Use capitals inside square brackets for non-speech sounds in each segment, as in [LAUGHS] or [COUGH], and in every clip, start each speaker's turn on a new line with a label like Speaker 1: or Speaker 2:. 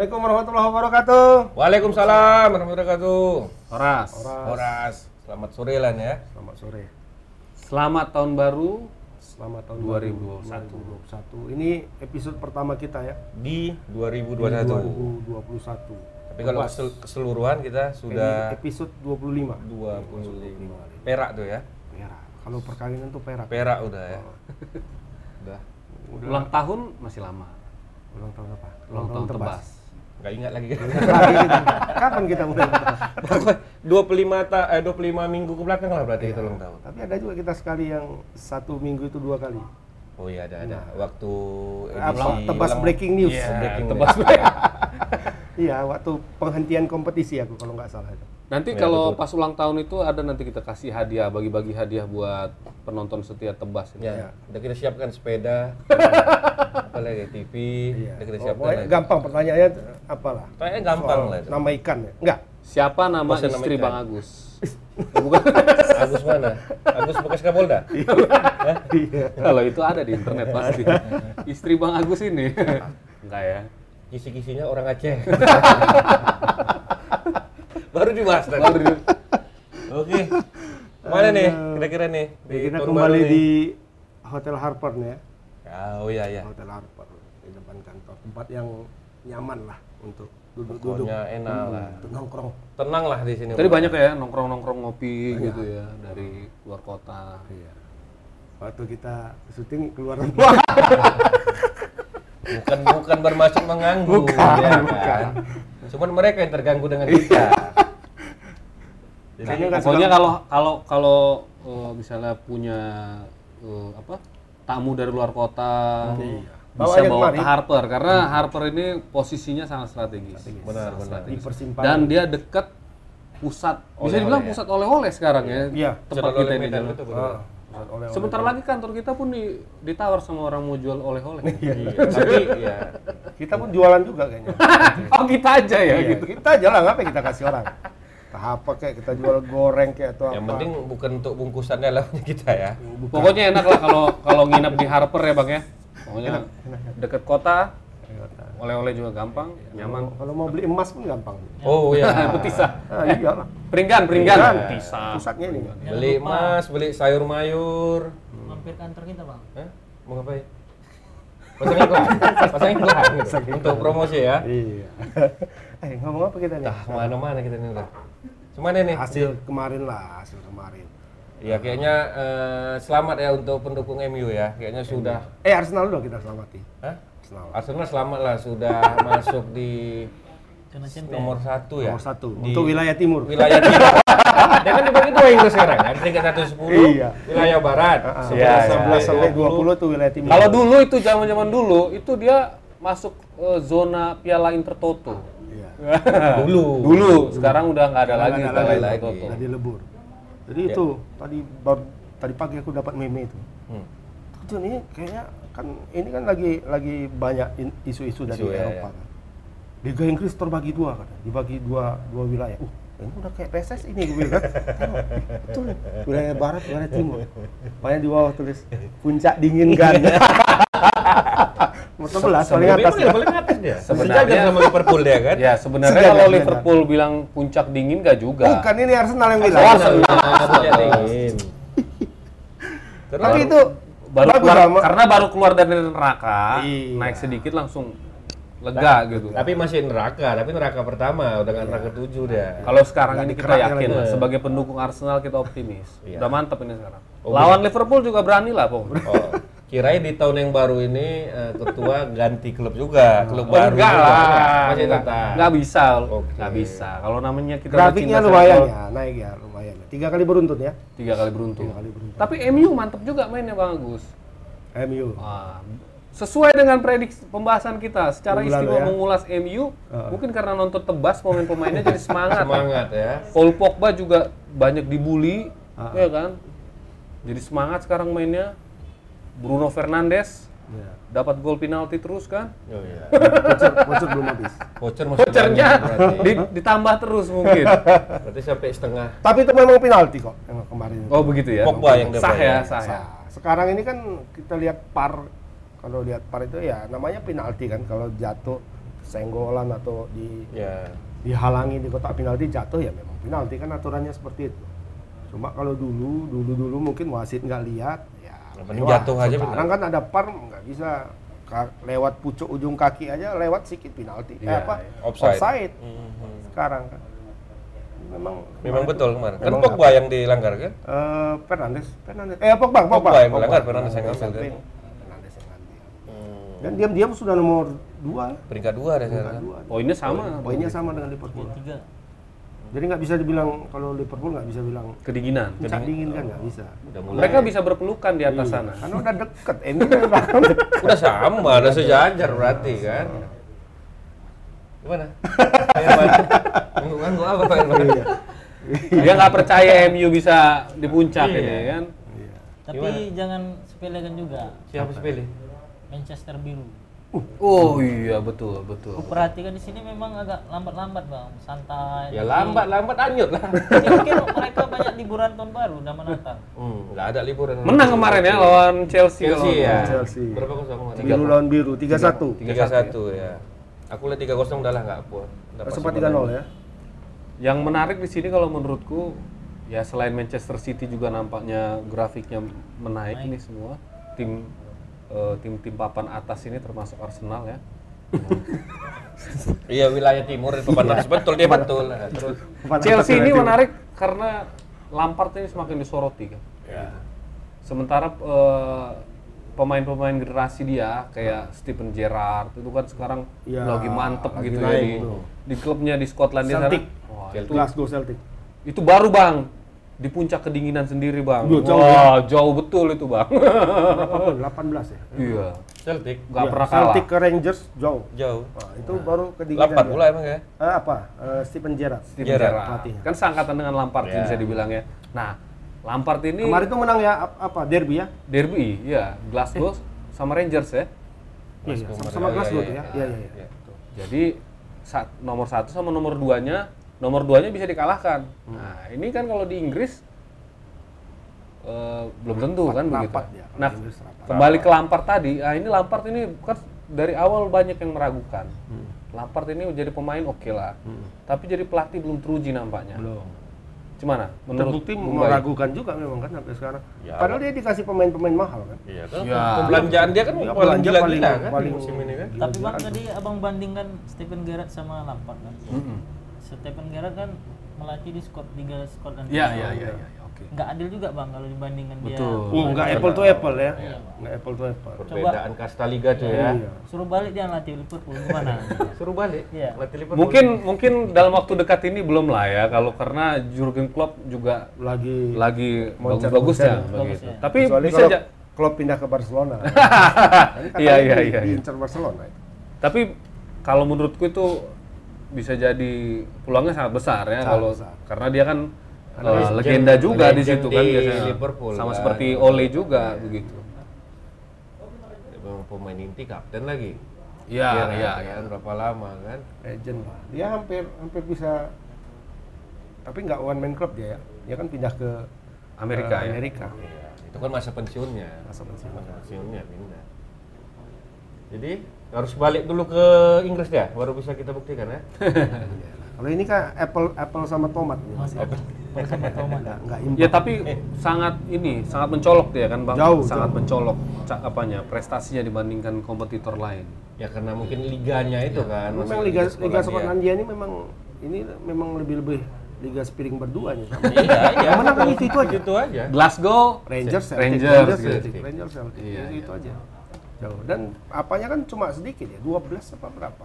Speaker 1: Assalamualaikum warahmatullahi wabarakatuh.
Speaker 2: Waalaikumsalam warahmatullahi wabarakatuh.
Speaker 1: Horas.
Speaker 2: Horas, selamat sore Lan ya.
Speaker 1: Selamat sore.
Speaker 3: Selamat tahun baru.
Speaker 1: Selamat tahun 2021. Ini episode pertama kita ya.
Speaker 2: Di 2021.
Speaker 1: 2021.
Speaker 2: Tapi kalau
Speaker 1: Lepas.
Speaker 2: kesel- keseluruhan kita
Speaker 1: Ini
Speaker 2: sudah
Speaker 1: episode 25.
Speaker 2: 25 perak tuh ya.
Speaker 1: Perak. Kalau perkawinan tuh perak.
Speaker 2: Perak udah ya.
Speaker 1: Oh.
Speaker 2: [LAUGHS] Udah.
Speaker 3: Ulang tahun masih lama.
Speaker 1: Ulang tahun apa?
Speaker 3: Ulang tahun
Speaker 1: [LAUGHS]
Speaker 3: tebas.
Speaker 2: Nggak ingat lagi. [LAUGHS]
Speaker 1: Lagi kita. Kapan kita mulai?
Speaker 2: Pokoknya 25 ta eh 25 minggu ke belakang lah berarti kita ulang tahun.
Speaker 1: Tapi ada juga kita sekali yang satu minggu itu dua kali.
Speaker 2: Oh iya ada ada. Waktu
Speaker 1: Apa? Nah. Ah, Tebas breaking news.
Speaker 2: Iya, breaking
Speaker 3: tebas
Speaker 2: news.
Speaker 1: [LAUGHS] Iya, waktu penghentian kompetisi aku kalau nggak salah itu.
Speaker 3: Nanti
Speaker 2: Ya,
Speaker 3: kalau
Speaker 2: betul.
Speaker 3: pas ulang tahun itu ada nanti kita kasih hadiah, bagi-bagi hadiah buat penonton setia tebas ini.
Speaker 1: Iya.
Speaker 2: Ya, udah kita siapkan
Speaker 1: [LAUGHS]
Speaker 2: sepeda, apa lagi TV, udah kita
Speaker 1: Oh,
Speaker 2: siapkan.
Speaker 1: pokoknya
Speaker 2: Iya. lagi.
Speaker 1: gampang pertanyaannya apalah.
Speaker 2: Kayaknya gampang
Speaker 1: Soal
Speaker 2: lah itu.
Speaker 1: Nama ikan ya? Enggak.
Speaker 3: Siapa nama
Speaker 2: Bosan nama
Speaker 3: istri
Speaker 2: ikan.
Speaker 3: Bang Agus? Bukan. [LAUGHS]
Speaker 2: Agus mana? Agus bekas Kapolda?
Speaker 1: Iya.
Speaker 3: kalau itu ada di internet pasti. istri Bang Agus ini. Enggak ya.
Speaker 2: Kisi-kisinya orang Aceh. Baru dibahas tadi.
Speaker 3: Baru di-
Speaker 2: Oke. Mana nih kira-kira nih?
Speaker 1: Ya, kita
Speaker 2: tahun
Speaker 1: kembali
Speaker 2: baru nih?
Speaker 1: di Hotel Harper nih ya.
Speaker 2: Ah, oh iya iya.
Speaker 1: Hotel Harper di depan kantor. Tempat yang nyaman lah untuk duduk-duduk,
Speaker 2: Pokoknya enak lah.
Speaker 1: untuk nongkrong.
Speaker 2: Tenang lah di sini.
Speaker 3: Tadi banyak ya nongkrong-nongkrong ngopi gitu ya dari luar kota.
Speaker 1: Iya. Waktu kita syuting keluar
Speaker 2: [LAUGHS]
Speaker 1: rumah.
Speaker 2: Bukan bukan bermaksud mengganggu.
Speaker 1: Bukan,
Speaker 2: ya kan?
Speaker 1: bukan. Iya.
Speaker 2: Cuman mereka yang terganggu dengan kita. Jadi
Speaker 1: Kayaknya nggak
Speaker 3: Pokoknya kalau kalau kalau eh, misalnya punya eh, apa tamu dari luar kota
Speaker 1: Iya. Bawa
Speaker 3: bisa
Speaker 1: aja
Speaker 3: bawa ke
Speaker 1: kemari. Hmm.
Speaker 3: Harper karena Harper ini posisinya sangat strategis.
Speaker 2: benar
Speaker 3: Sangat
Speaker 2: benar.
Speaker 1: di persimpangan.
Speaker 3: Dan dia dekat pusat, bisa
Speaker 2: Oleh-oleh
Speaker 3: dibilang
Speaker 2: ya.
Speaker 3: pusat oleh-oleh sekarang ya.
Speaker 1: Iya.
Speaker 3: Tempat kita ini.
Speaker 2: Medan
Speaker 3: Jalan.
Speaker 2: betul betul.
Speaker 1: Ah, pusat oleh-oleh.
Speaker 3: Sebentar lagi kantor kita pun di- ditawar sama orang mau jual oleh-oleh. [LAUGHS]
Speaker 2: Iya, tapi ya
Speaker 1: Kita pun jualan juga
Speaker 2: [LAUGHS]
Speaker 1: kayaknya.
Speaker 2: Iya.
Speaker 3: oh kita aja ya
Speaker 1: Iya,
Speaker 3: gitu.
Speaker 1: Kita aja lah, ngapain kita kasih orang? Entah apa kayak kita jual goreng kayak atau apa.
Speaker 2: yang penting bukan untuk bungkusan dalamnya [LAUGHS] kita ya.
Speaker 1: Bukan.
Speaker 3: Pokoknya enak lah kalau kalau nginep di Harper ya bang
Speaker 1: [LAUGHS]
Speaker 3: ya. Pokoknya deket kota, oleh-oleh juga gampang,
Speaker 1: Iya.
Speaker 3: nyaman.
Speaker 1: Kalau mau beli emas pun gampang.
Speaker 2: Oh
Speaker 3: Nah,
Speaker 2: iya.
Speaker 3: Petisah.
Speaker 1: Ah, iyalah.
Speaker 3: Peringgan, peringgan.
Speaker 1: Peringgan.
Speaker 3: Petisah.
Speaker 1: Pusatnya ini.
Speaker 2: Beli emas, beli sayur mayur.
Speaker 4: mampir kantor kita bang
Speaker 2: Hah? Mau ngapain? Pasang iklan, pasang
Speaker 1: [LAUGHS]
Speaker 2: iklan gitu. untuk promosi ya.
Speaker 1: Iya. [LAUGHS] eh ngomong apa kita nih?
Speaker 2: Tah mana-mana kita ini udah. Cuman ini,
Speaker 1: Hasil kemarin lah, hasil kemarin.
Speaker 2: ya kayaknya eh, selamat ya untuk pendukung MU ya. Kayaknya sudah,
Speaker 1: Eh Arsenal udah kita selamati.
Speaker 2: Hah?
Speaker 1: Arsenal.
Speaker 2: Arsenal selamat lah
Speaker 1: [LAUGHS]
Speaker 2: sudah masuk di
Speaker 4: zona champion
Speaker 2: nomor satu ya.
Speaker 1: Nomor satu
Speaker 2: Di
Speaker 1: untuk wilayah timur. [LAUGHS]
Speaker 2: wilayah timur. Dia kan dibagi dua Inggris sekarang kan, peringkat satu sepuluh,
Speaker 1: Iya.
Speaker 2: wilayah barat,
Speaker 1: Sebelas sebelas sampai dua puluh tuh wilayah timur. Iya.
Speaker 3: Kalau dulu itu zaman-zaman dulu itu dia masuk eh, zona Piala Intertoto.
Speaker 1: Iya.
Speaker 2: dulu.
Speaker 3: Dulu, sekarang udah nggak ada
Speaker 2: Iya,
Speaker 3: lagi
Speaker 1: Nggak ada
Speaker 3: Piala
Speaker 2: lagi.
Speaker 3: Intertoto.
Speaker 1: Tadi lebur. Jadi
Speaker 2: Iya.
Speaker 1: itu tadi baru, tadi pagi aku dapat meme itu.
Speaker 2: Hmm.
Speaker 1: Itu nih kayaknya kan ini kan lagi lagi banyak in- isu-isu dari
Speaker 2: Isu, ya,
Speaker 1: Eropa kan. Liga Inggris terbagi dua kan, dibagi dua dua wilayah. Uh, ini udah kayak PSS ini gue bilang. Tengok, Betul. nih. Wilayah barat, wilayah timur. Makanya di bawah tulis puncak dingin kan.
Speaker 2: [LAUGHS]
Speaker 1: Nomor 11 Ah, paling atas. ya.
Speaker 2: Dia paling atas dia.
Speaker 3: Sebenarnya-
Speaker 2: Sebenarnya sama Liverpool dia kan.
Speaker 3: Ya sebenarnya
Speaker 1: Sejajar,
Speaker 3: kalau
Speaker 1: sejajar.
Speaker 3: Liverpool bilang puncak dingin nggak juga.
Speaker 1: Bukan ini Arsenal yang bilang.
Speaker 2: Terus
Speaker 1: Tapi itu
Speaker 3: Baru
Speaker 1: bagus
Speaker 3: keluar-
Speaker 1: sama-
Speaker 3: karena baru keluar dari neraka,
Speaker 1: Iya.
Speaker 3: naik sedikit langsung lega gitu.
Speaker 2: tapi masih neraka, tapi neraka pertama udah nggak neraka tujuh dia.
Speaker 3: Kalau sekarang ini kita
Speaker 1: dikerak
Speaker 3: yakin
Speaker 1: lagi.
Speaker 3: lah, sebagai pendukung Arsenal kita optimis.
Speaker 2: Iya.
Speaker 3: Udah mantep ini sekarang. Lawan Liverpool juga berani lah pokoknya.
Speaker 2: Oh, kirain di tahun yang baru ini eh, ketua ganti klub juga,
Speaker 1: Oh,
Speaker 2: klub baru.
Speaker 3: enggak
Speaker 2: juga.
Speaker 3: lah,
Speaker 2: Masih
Speaker 3: enggak,
Speaker 2: tetap.
Speaker 3: enggak bisa,
Speaker 2: Oke.
Speaker 3: nggak bisa. Kalau namanya kita udah
Speaker 1: Grafiknya
Speaker 3: cinta
Speaker 1: lumayan
Speaker 3: sepak
Speaker 1: ya, naik ya lumayan. Tiga kali beruntun ya.
Speaker 3: bola, tiga kali beruntung.
Speaker 1: Tiga kali beruntun.
Speaker 3: Tapi MU mantep juga mainnya bang Agus.
Speaker 1: MU.
Speaker 3: Wah, sesuai dengan prediksi pembahasan kita, secara
Speaker 1: Minggu lalu
Speaker 3: istimewa
Speaker 1: ya.
Speaker 3: mengulas MU, mungkin karena nonton tebas pemain-pemainnya jadi semangat.
Speaker 2: Semangat ya.
Speaker 3: Paul Pogba juga banyak dibully, ya kan? Jadi semangat sekarang mainnya. Bruno Fernandes
Speaker 1: Ya.
Speaker 3: dapat gol penalti terus kan?
Speaker 2: Oh, iya.
Speaker 1: Voucher, voucher belum habis.
Speaker 2: Voucher masih
Speaker 3: Vouchernya
Speaker 2: banyak berarti.
Speaker 3: di- ditambah terus mungkin.
Speaker 2: Berarti sampai setengah.
Speaker 1: Tapi itu memang penalti kok yang kemarin. itu.
Speaker 3: Oh begitu ya.
Speaker 2: Pogba yang dia
Speaker 3: sah ya,
Speaker 2: bayar.
Speaker 3: sah ya.
Speaker 1: Nah, sekarang ini kan kita lihat par kalau lihat par itu ya namanya penalti kan kalau jatuh senggolan atau di
Speaker 3: Ya.
Speaker 1: dihalangi di kotak penalti jatuh ya memang penalti kan aturannya seperti itu. Cuma kalau dulu dulu dulu mungkin wasit nggak lihat ya.
Speaker 2: Yang penting
Speaker 1: lewat.
Speaker 2: jatuh aja
Speaker 1: Sekarang kan ada par nggak bisa Ka- lewat pucuk ujung kaki aja lewat sikit penalti eh,
Speaker 3: Iya,
Speaker 1: apa
Speaker 3: iya.
Speaker 2: Offside.
Speaker 1: offside
Speaker 2: Mhm.
Speaker 1: sekarang kan. Memang
Speaker 2: Memang betul kemarin. Kan
Speaker 1: Memang
Speaker 2: Pogba yang dilanggar kan?
Speaker 1: eh Fernandes, Fernandes. Eh Pogba, Pogba.
Speaker 2: Pogba yang melanggar, Fernandes yang ngambil,
Speaker 1: samping.
Speaker 2: kan?
Speaker 1: Fernandes yang ngambil. Dan diam-diam sudah nomor 2.
Speaker 2: Hmm. Peringkat dua ada sekarang.
Speaker 3: Poinnya sama.
Speaker 1: Poinnya sama dengan Liverpool.
Speaker 3: Iya.
Speaker 4: tiga
Speaker 1: Jadi nggak bisa dibilang kalau Liverpool nggak bisa bilang
Speaker 3: Kedinginan.
Speaker 1: puncak dingin kan nggak bisa. Iya.
Speaker 2: Udah mulai.
Speaker 3: Mereka bisa berpelukan di atas [LAUGHS] sana.
Speaker 1: Karena udah deket, MU kan banget.
Speaker 2: Udah sama, udah sejajar berarti kan. Gimana? Pak Irfan? Nunggu-nunggu apa Pak Irfan?
Speaker 3: Dia nggak percaya MU bisa di puncak ini kan.
Speaker 4: tapi jangan sepelekan juga
Speaker 2: Siapa sih pilih?
Speaker 4: Manchester biru
Speaker 3: Oh iya betul betul.
Speaker 4: kuperhatikan di sini memang agak lambat-lambat bang santai
Speaker 2: Ya lambat-lambat anyut lah.
Speaker 4: mungkin mereka banyak liburan tahun baru dan menantang
Speaker 3: Iya,
Speaker 2: Hmm, nggak ada liburan.
Speaker 3: Menang kemarin ya lawan Chelsea. iya.
Speaker 2: Chelsea
Speaker 3: lawan-
Speaker 2: ya.
Speaker 1: Chelsea.
Speaker 2: Berapa kosong kemarin?
Speaker 1: Biru lawan biru, 3-1.
Speaker 2: 3-1 ya. Aku lihat 3-0 udah lah nggak apa. Nggak pasti
Speaker 1: Sempat
Speaker 2: menang.
Speaker 1: 3-0 ya.
Speaker 3: Yang menarik di sini kalau menurutku ya selain Manchester City juga nampaknya grafiknya menaik ini semua tim eh, tim-tim papan atas ini termasuk Arsenal ya.
Speaker 2: Iya wilayah timur itu panas betul dia betul. Nah, Terus
Speaker 3: Chelsea ini menarik karena Lampard ini semakin disoroti kan.
Speaker 2: ya.
Speaker 3: Sementara eh, pemain-pemain generasi dia kayak Steven Gerrard itu kan sekarang
Speaker 1: Ya,
Speaker 3: lagi mantep
Speaker 1: lagi
Speaker 3: gitu ya
Speaker 1: naik
Speaker 3: di,
Speaker 1: tuh.
Speaker 3: di klubnya di Skotlandia sana.
Speaker 1: Celtic.
Speaker 3: Wah, itu,
Speaker 1: Glasgow Celtic.
Speaker 3: itu baru bang di puncak kedinginan sendiri bang.
Speaker 1: Duh, jauh, ya.
Speaker 3: Wah jauh betul itu
Speaker 1: [LAUGHS]
Speaker 3: bang. [LAUGHS]
Speaker 1: Berapa gol? 18 ya.
Speaker 3: Iya,
Speaker 2: Celtic
Speaker 3: nggak
Speaker 1: Ya,
Speaker 3: pernah kalah.
Speaker 1: Celtic ke Rangers jauh.
Speaker 2: jauh.
Speaker 1: Nah, itu baru kedinginan.
Speaker 2: Lapan
Speaker 1: dia.
Speaker 2: pula emang ya.
Speaker 1: Eh, apa? Eh, Steven Gerrard.
Speaker 3: Steven
Speaker 2: Gerrard.
Speaker 3: Gerrard.
Speaker 1: Pelatihnya.
Speaker 3: Kan seangkatan dengan Lampard sih
Speaker 2: Ya.
Speaker 3: bisa dibilang ya. Nah Lampard ini
Speaker 1: Kemarin tuh menang ya ap- apa derby ya?
Speaker 3: derby ya
Speaker 1: Eh.
Speaker 3: Glasgow sama Rangers ya.
Speaker 1: Iya,
Speaker 2: Glasgow
Speaker 1: sama, sama
Speaker 2: kemarin.
Speaker 1: Glasgow
Speaker 2: Iya,
Speaker 1: tuh
Speaker 2: iya,
Speaker 1: ya. Iya,
Speaker 2: iya.
Speaker 1: iya, iya.
Speaker 2: Iya.
Speaker 3: Jadi sa- nomor satu sama nomor duanya, nomor duanya bisa dikalahkan.
Speaker 1: Hmm.
Speaker 3: Nah ini kan kalau di Inggris eh, belum tentu kan begitu.
Speaker 1: rapat ya, kalau
Speaker 3: nah
Speaker 1: di Inggris rapat.
Speaker 3: kembali ke Lampard tadi, nah ini Lampard ini kan dari awal banyak yang meragukan.
Speaker 1: Hmm.
Speaker 3: Lampard ini jadi pemain oke lah, tapi jadi pelatih belum teruji nampaknya.
Speaker 1: Belum.
Speaker 3: Gimana? Menurut
Speaker 1: Terbukti meragukan juga memang kan sampai sekarang.
Speaker 2: Ya.
Speaker 1: Padahal dia dikasih pemain-pemain mahal kan.
Speaker 2: Iya kan.
Speaker 3: Ya.
Speaker 2: Pembelanjaan dia kan
Speaker 1: Dia
Speaker 2: paling
Speaker 1: belanja
Speaker 2: gila-gila
Speaker 1: Iya, paling-
Speaker 2: kan
Speaker 1: paling-
Speaker 2: musim ini kan.
Speaker 4: tapi bang tadi abang bandingkan Stephen Gerrard sama Lampard kan
Speaker 3: Hmm.
Speaker 4: Stephen Gerrard kan melatih di Scott liga Scotland
Speaker 3: Iya
Speaker 1: Ya,
Speaker 3: iya iya iya, iya, oke.
Speaker 4: nggak adil juga bang kalau dibandingkan dia
Speaker 3: Betul.
Speaker 1: Oh, enggak apple to apple ya. Enggak apple to apple.
Speaker 2: Perbedaan kasta liga tuh ya.
Speaker 1: Iya.
Speaker 4: suruh balik dia latih Liverpool
Speaker 3: [LAUGHS]
Speaker 4: gimana
Speaker 2: Suruh balik.
Speaker 4: Iya.
Speaker 2: Latih Liverpool.
Speaker 3: Mungkin mungkin dalam waktu dekat ini belum lah ya kalau karena Jurgen Klopp juga
Speaker 1: Lagi
Speaker 3: lagi
Speaker 1: Moncer-
Speaker 3: bagus-bagusnya
Speaker 4: moncer.
Speaker 3: begitu.
Speaker 4: Bagusnya.
Speaker 3: Tapi
Speaker 1: kecuali
Speaker 3: bisa
Speaker 1: kalau kan
Speaker 3: ja-
Speaker 1: Klopp pindah ke Barcelona. Ini katanya
Speaker 3: Iya, iya,
Speaker 1: di-
Speaker 3: iya, iya.
Speaker 1: Diincar Barcelona itu.
Speaker 3: Tapi kalau menurutku itu bisa jadi peluangnya sangat besar ya
Speaker 1: Sangat
Speaker 3: kalau
Speaker 1: besar.
Speaker 3: karena dia kan eh,
Speaker 2: legend-
Speaker 3: legenda juga di
Speaker 2: legend
Speaker 3: situ kan
Speaker 2: di
Speaker 3: biasanya.
Speaker 2: Liverpool
Speaker 3: Sama
Speaker 2: kan.
Speaker 3: seperti Ole juga
Speaker 1: Iya.
Speaker 3: begitu.
Speaker 2: Memang pemain inti kapten lagi.
Speaker 3: Iya,
Speaker 2: kan,
Speaker 3: iya,
Speaker 2: kan, Berapa lama kan?
Speaker 1: Legend lah. Dia hampir hampir bisa tapi nggak one man club dia ya. Dia kan pindah ke
Speaker 3: Amerika
Speaker 1: eh,
Speaker 3: ya.
Speaker 1: Amerika.
Speaker 2: Iya. Itu kan masa pensiunnya.
Speaker 1: Masa pensiun.
Speaker 2: Masa pensiunnya pindah. Jadi harus balik dulu ke Inggris ya, baru bisa kita buktikan
Speaker 3: [LAUGHS]
Speaker 2: ya.
Speaker 1: Kalau ini kan apple apple sama tomat dia masih.
Speaker 4: bersama Thomas
Speaker 1: Enggak enggak imbang.
Speaker 3: Ya tapi sangat ini sangat mencolok dia kan Bang.
Speaker 1: Jauh,
Speaker 3: sangat
Speaker 1: jauh.
Speaker 3: mencolok ca- apanya prestasinya dibandingkan kompetitor lain.
Speaker 2: Ya karena mungkin liganya
Speaker 3: Iya.
Speaker 2: itu kan.
Speaker 1: Memang
Speaker 2: masih
Speaker 1: Liga
Speaker 2: Sekolah
Speaker 1: Liga
Speaker 2: dia.
Speaker 1: Skotlandia ini memang ini memang lebih-lebih liga spiring berdua nih.
Speaker 2: [LAUGHS] Iya, iya.
Speaker 1: [LAUGHS] Yang menang kan itu- itu aja.
Speaker 2: Itu aja.
Speaker 3: Glasgow
Speaker 1: Rangers, Celtic,
Speaker 3: Rangers,
Speaker 1: Rangers,
Speaker 3: gitu.
Speaker 1: Celtic, Rangers, Celtic,
Speaker 3: Iya,
Speaker 1: itu, itu aja. Jauh. Dan apanya kan cuma sedikit ya, 12 apa berapa?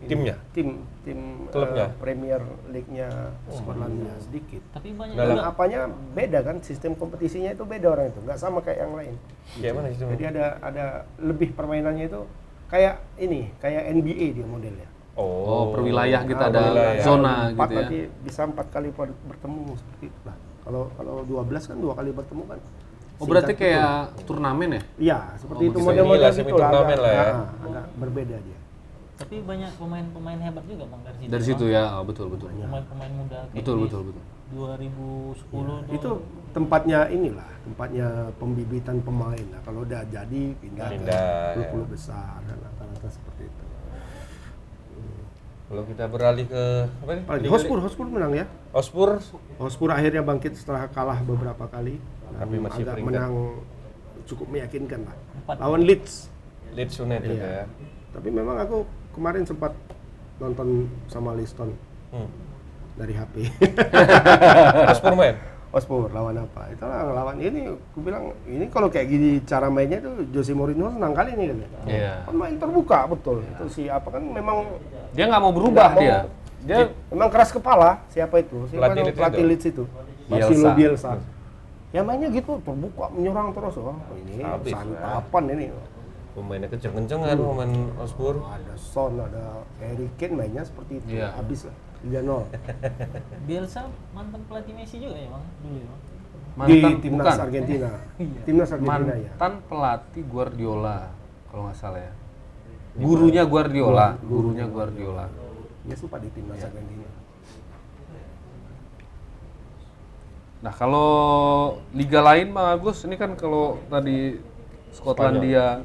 Speaker 1: Ini,
Speaker 2: Timnya?
Speaker 1: Tim tim
Speaker 2: Klubnya?
Speaker 1: eh, Premier League-nya
Speaker 2: Hmm.
Speaker 1: Skotlandia sedikit.
Speaker 4: tapi banyak
Speaker 2: Dalam-
Speaker 1: Dan apanya beda kan sistem kompetisinya itu beda orang itu, nggak sama kayak yang lain.
Speaker 2: Kayak Iya, mana sih?
Speaker 1: Jadi ada ada lebih permainannya itu kayak ini, kayak NBA dia modelnya.
Speaker 3: Oh, perwilayah kita ada
Speaker 2: Ah, perwilayah.
Speaker 3: zona
Speaker 1: empat
Speaker 3: gitu ya.
Speaker 1: nanti bisa empat kali per- bertemu seperti itu lah. Kalau kalau 12 kan dua kali bertemu kan.
Speaker 3: Oh berarti
Speaker 1: singkat gitu.
Speaker 3: kayak turnamen ya?
Speaker 1: Iya, seperti itu
Speaker 2: begitu.
Speaker 1: model-model
Speaker 2: Gila, semi
Speaker 1: gitu lah.
Speaker 2: turnamen
Speaker 1: Agak,
Speaker 2: lah ya.
Speaker 1: ah, agak berbeda dia.
Speaker 4: tapi banyak pemain-pemain hebat juga bang dari situ
Speaker 3: Dari situ ya, oh, betul betul.
Speaker 4: Bang. pemain-pemain muda kayak
Speaker 3: Betul
Speaker 4: di
Speaker 3: betul betul.
Speaker 4: 2010
Speaker 1: Ya, Itu tempatnya inilah, tempatnya pembibitan pemain. Nah, kalau udah jadi pindah,
Speaker 2: Pindah,
Speaker 1: ke klub-klub besar kan rata-rata seperti itu.
Speaker 2: Kalau kita beralih ke apa nih?
Speaker 1: Apalagi
Speaker 2: Liga-
Speaker 1: Hotspur, Hotspur menang ya.
Speaker 2: Hotspur
Speaker 1: Hotspur akhirnya bangkit setelah kalah beberapa kali.
Speaker 2: Tapi
Speaker 1: Dan
Speaker 2: masih
Speaker 1: agak
Speaker 2: peringkat.
Speaker 1: menang cukup meyakinkan lah.
Speaker 4: Empat.
Speaker 1: Lawan Leeds.
Speaker 2: Leeds United ya.
Speaker 1: Iya. Tapi memang aku kemarin sempat nonton sama Liston
Speaker 2: Hmm.
Speaker 1: dari [LAUGHS] HP. [LAUGHS]
Speaker 2: Hotspur main.
Speaker 1: Hotspur Oh, lawan apa? Itulah lawan ini. Aku bilang ini kalau kayak gini cara mainnya tuh Jose Mourinho senang kali nih kan.
Speaker 3: Iya.
Speaker 1: Kan main terbuka betul. Itu si apa kan memang
Speaker 3: Dia nggak mau berubah
Speaker 1: Nggak
Speaker 3: dia.
Speaker 1: mau.
Speaker 3: Dia
Speaker 1: memang keras kepala siapa itu? Siapa
Speaker 2: Pelatih
Speaker 1: yang
Speaker 2: Leeds
Speaker 1: pelatih
Speaker 2: itu?
Speaker 1: Leeds itu?
Speaker 3: Bielsa.
Speaker 1: Marcelo Bielsa. Ya mainnya gitu terbuka menyerang terus oh ini
Speaker 2: Habis,
Speaker 1: santapan ini.
Speaker 2: Pemainnya kenceng-kencengan pemain Hotspur.
Speaker 1: Ada Son, ada Harry Kane mainnya seperti itu.
Speaker 3: Iya.
Speaker 1: Habis lah. 3-0.
Speaker 4: Bielsa mantan pelatih Messi juga ya bang dulu ya bang. [LAUGHS]
Speaker 1: Di
Speaker 3: mantan
Speaker 1: timnas
Speaker 3: bukan
Speaker 1: Argentina.
Speaker 4: Iya.
Speaker 1: Timnas Argentina ya.
Speaker 3: mantan pelatih Guardiola kalau nggak salah ya. Gurunya Guardiola, gurunya Guardiola.
Speaker 1: Dia suka di timnas Argentina.
Speaker 3: Nah kalau liga lain Bang Agus, ini kan kalau tadi Skotlandia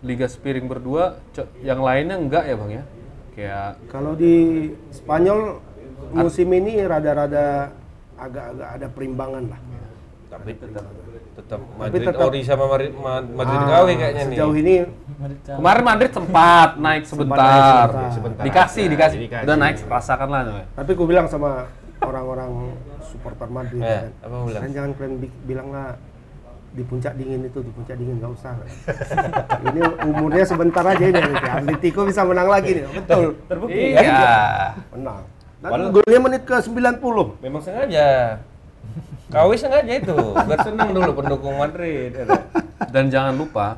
Speaker 3: liga sepiring berdua, co- yang lainnya enggak ya Bang ya? Kayak
Speaker 1: Kalau di Spanyol musim ini rada-rada agak-agak ada perimbangan lah.
Speaker 2: Tapi tetap tetap
Speaker 1: Tapi
Speaker 2: Madrid
Speaker 1: tetap-
Speaker 2: ori sama Mari- Ma- Madrid
Speaker 1: Ah,
Speaker 2: KW kayaknya nih.
Speaker 1: Sejauh ini
Speaker 4: Mereka
Speaker 3: kemarin Madrid sempat naik sebentar,
Speaker 1: naik sebentar.
Speaker 3: dikasih
Speaker 2: Ya,
Speaker 3: dikasih,
Speaker 2: dikasih.
Speaker 3: udah naik rasakan lah. ya. coy.
Speaker 1: tapi gue bilang sama orang-orang supporter Madrid
Speaker 2: Eh,
Speaker 1: kan,
Speaker 2: apa bilang?
Speaker 1: "Kalian jangan kalian bi- bilang lah di puncak dingin itu di puncak dingin nggak usah ini umurnya sebentar aja ini nanti Atletico bisa menang lagi nih betul Eh,
Speaker 3: Iya.
Speaker 1: menang dan golnya menit ke 90
Speaker 2: Memang [LAUGHS] sengaja. KW sengaja itu, biar senang dulu pendukung Madrid. ya kan?
Speaker 3: Dan jangan lupa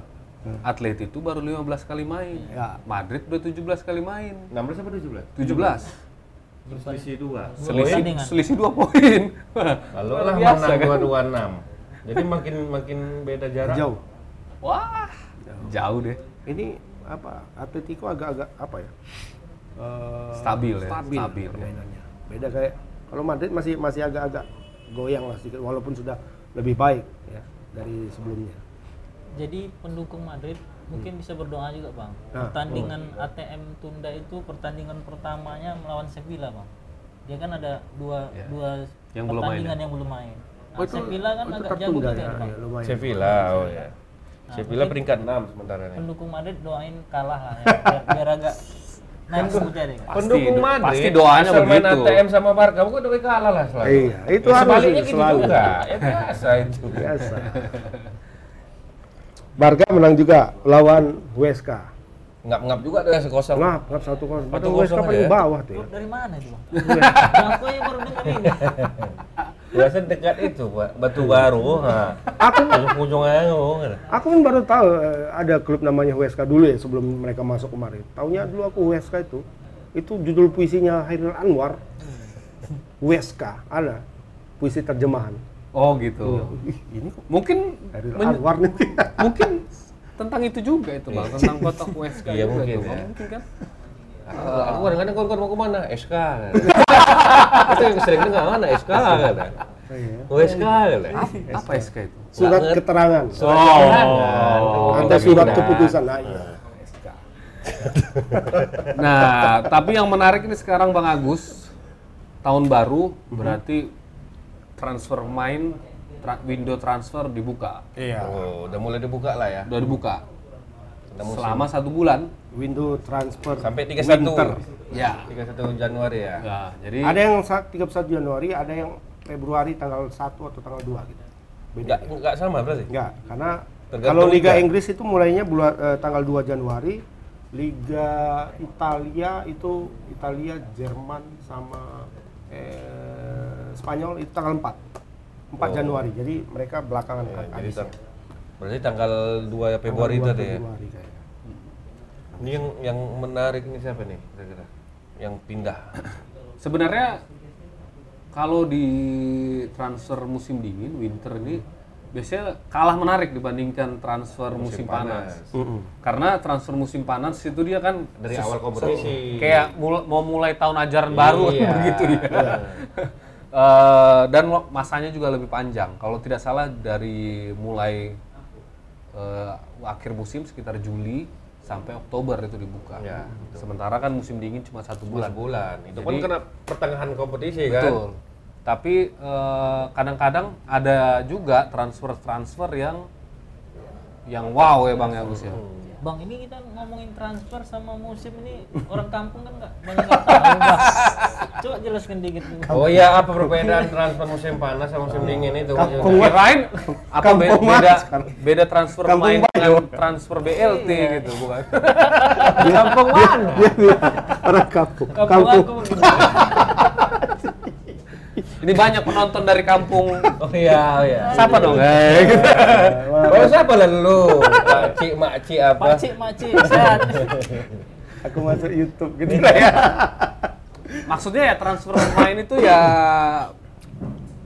Speaker 3: Atleti itu baru 15 kali main.
Speaker 1: Ya.
Speaker 3: Madrid udah 17 kali main.
Speaker 2: 16 apa 17?
Speaker 3: 17.
Speaker 2: Selisih 2.
Speaker 3: Selisih
Speaker 4: pertandingan.
Speaker 3: selisih 2 poin. [LAUGHS]
Speaker 2: Lalu
Speaker 3: Luar
Speaker 2: lah
Speaker 3: biasa, kan?
Speaker 2: menang 226. Jadi makin makin beda jarak.
Speaker 1: jauh
Speaker 3: Wah. Jauh deh.
Speaker 1: ini apa Atletico agak-agak apa ya Eh,
Speaker 3: Stabil ya,
Speaker 1: stabil,
Speaker 3: stabil.
Speaker 1: permainannya. beda kayak kalau Madrid masih masih agak-agak goyang lah sedikit walaupun sudah lebih baik ya dari sebelumnya
Speaker 4: Jadi pendukung Madrid mungkin bisa berdoa juga bang.
Speaker 1: Nah,
Speaker 4: pertandingan ATM tunda itu pertandingan pertamanya melawan Sevilla bang. Dia kan ada dua dua
Speaker 3: Yang belum ya.
Speaker 4: pertandingan yang belum main. Nah,
Speaker 1: Oh, itu-
Speaker 4: Sevilla kan
Speaker 1: itu
Speaker 4: agak jago
Speaker 1: tertunda
Speaker 4: juga
Speaker 1: ya,
Speaker 4: nih, bang.
Speaker 1: ya, lumayan.
Speaker 2: Sevilla, oh ya. Sevilla peringkat 6 sementara ini.
Speaker 4: Pendukung Madrid doain kalah lah ya, biar, biar agak naik sebentar ya. Bang.
Speaker 3: Pasti do- pasti doanya
Speaker 2: asal main
Speaker 3: begitu.
Speaker 2: ATM sama Barca, bukan udah kalah lah selalu.
Speaker 1: Iya, itu
Speaker 2: Ya,
Speaker 1: harus
Speaker 2: sebaliknya
Speaker 1: itu
Speaker 2: gitu
Speaker 1: selalu.
Speaker 2: juga. Ya biasa itu.
Speaker 1: biasa Barca menang juga lawan Huesca
Speaker 2: Ngap-ngap juga ada sekosong.
Speaker 1: ngap ngap satu kosong
Speaker 2: Satu
Speaker 1: padahal Huesca
Speaker 2: kosong
Speaker 1: paling
Speaker 2: aja.
Speaker 1: bawah tuh ya.
Speaker 4: Klub dari mana itu bang? Aku yang baru dengar ini.
Speaker 2: Biasa dekat itu, Pak. Batu baru. Ha.
Speaker 1: aku
Speaker 2: Ujung-ujung aja ngomong.
Speaker 1: aku kan baru tahu eh, ada klub namanya Huesca dulu ya sebelum mereka masuk kemarin Taunya dulu aku Huesca itu itu judul puisinya Hairil Anwar Huesca ada puisi terjemahan
Speaker 3: Oh gitu.
Speaker 1: Ih, ini kok
Speaker 3: Mungkin
Speaker 1: Hairil
Speaker 3: men-
Speaker 1: Anwar nih
Speaker 3: mungkin tentang itu juga itu
Speaker 1: [LAUGHS]
Speaker 3: Bang, tentang kotak USK juga
Speaker 2: Iya, mungkin
Speaker 3: itu, Bang.
Speaker 2: ya.
Speaker 3: Mungkin kan?
Speaker 2: Eh, Aku kadang-kadang kalau mau kemana? SK.
Speaker 1: [LAUGHS]
Speaker 2: Itu yang sering dengar mana? SK. kata.
Speaker 1: Iya.
Speaker 2: Oh, SK. kata.
Speaker 3: Apa SK itu?
Speaker 1: surat
Speaker 2: Banget.
Speaker 1: keterangan
Speaker 2: Surat
Speaker 3: Oh.
Speaker 2: keterangan.
Speaker 1: ada surat
Speaker 2: Pindah.
Speaker 1: keputusan nah, iya.
Speaker 3: Nah, tapi yang menarik ini sekarang Bang Agus, tahun baru berarti transfer main tra- window transfer dibuka.
Speaker 1: Iya.
Speaker 2: Oh, udah mulai dibuka lah ya.
Speaker 3: Udah dibuka.
Speaker 2: Udah musim.
Speaker 3: Selama satu bulan.
Speaker 1: window transfer
Speaker 2: Sampai 31.
Speaker 1: winter.
Speaker 3: Ya.
Speaker 2: 31 Januari ya.
Speaker 3: Nah, jadi
Speaker 1: ada yang sa- 31 Januari ada yang Februari tanggal 1 atau tanggal 2 gitu
Speaker 2: Enggak enggak sama berarti.
Speaker 1: Enggak, karena
Speaker 2: Tergantung
Speaker 1: kalau Liga
Speaker 2: liga.
Speaker 1: Inggris itu mulainya bulan eh, tanggal 2 Januari, Liga Italia itu Italia, Jerman sama eh, Spanyol itu tanggal 4. 4 Januari. Jadi mereka belakangan
Speaker 2: Ya,
Speaker 1: kan
Speaker 2: Oh. jadi
Speaker 1: habis.
Speaker 2: tang- berarti tanggal 2
Speaker 1: Tanggal
Speaker 2: Februari
Speaker 1: 2
Speaker 2: tadi ya.
Speaker 1: Februari kayaknya.
Speaker 2: Ini yang yang menarik ini siapa nih kira-kira? Yang
Speaker 1: [COUGHS]
Speaker 2: pindah.
Speaker 3: sebenarnya kalau di transfer musim dingin winter ini biasanya kalah menarik dibandingkan transfer musim, panas. Karena transfer musim panas itu dia kan
Speaker 2: Dari awal kompetisi.
Speaker 3: kayak mul- mau mulai tahun ajaran baru [LAUGHS]
Speaker 2: Iya.
Speaker 3: begitu dia. Eh, dan lo- masanya juga lebih panjang. Kalau tidak salah dari mulai eh, akhir musim sekitar Juli sampai Oktober itu dibuka.
Speaker 2: Ya,
Speaker 3: Sementara kan musim dingin cuma satu
Speaker 2: bulan
Speaker 3: bulan.
Speaker 2: bulan itu pun
Speaker 3: Jadi-
Speaker 2: kena pertengahan kompetisi kan
Speaker 3: Betul. Tapi eh, kadang-kadang ada juga transfer-transfer yang yang wow ya Bang Agus ya.
Speaker 2: Hmm.
Speaker 4: Bang ini kita ngomongin transfer sama musim ini orang kampung kan nggak banyak nggak tahu bang. Coba jelaskan dikit dulu.
Speaker 2: oh iya apa perbedaan transfer musim panas sama musim dingin itu
Speaker 1: Kampung.
Speaker 3: Kirain Iya, apa be-
Speaker 1: Kampung Mas
Speaker 3: beda
Speaker 1: sekarang.
Speaker 3: beda transfer
Speaker 1: Kampung Iya.
Speaker 3: main
Speaker 1: Mas.
Speaker 3: dengan transfer BLT gitu bukan?
Speaker 1: Kampung Orang kampung. [LAUGHS]
Speaker 4: Kampung, aku.
Speaker 3: Ini banyak penonton dari kampung.
Speaker 2: oh iya oh iya
Speaker 3: Siapa dong? Eh, gitu.
Speaker 2: Oh siapa lah lu? Makcik, makcik apa? [LAUGHS]
Speaker 4: Macik macik sehat.
Speaker 1: Aku masuk YouTube gitu lah ya.
Speaker 3: Maksudnya ya transfer pemain itu ya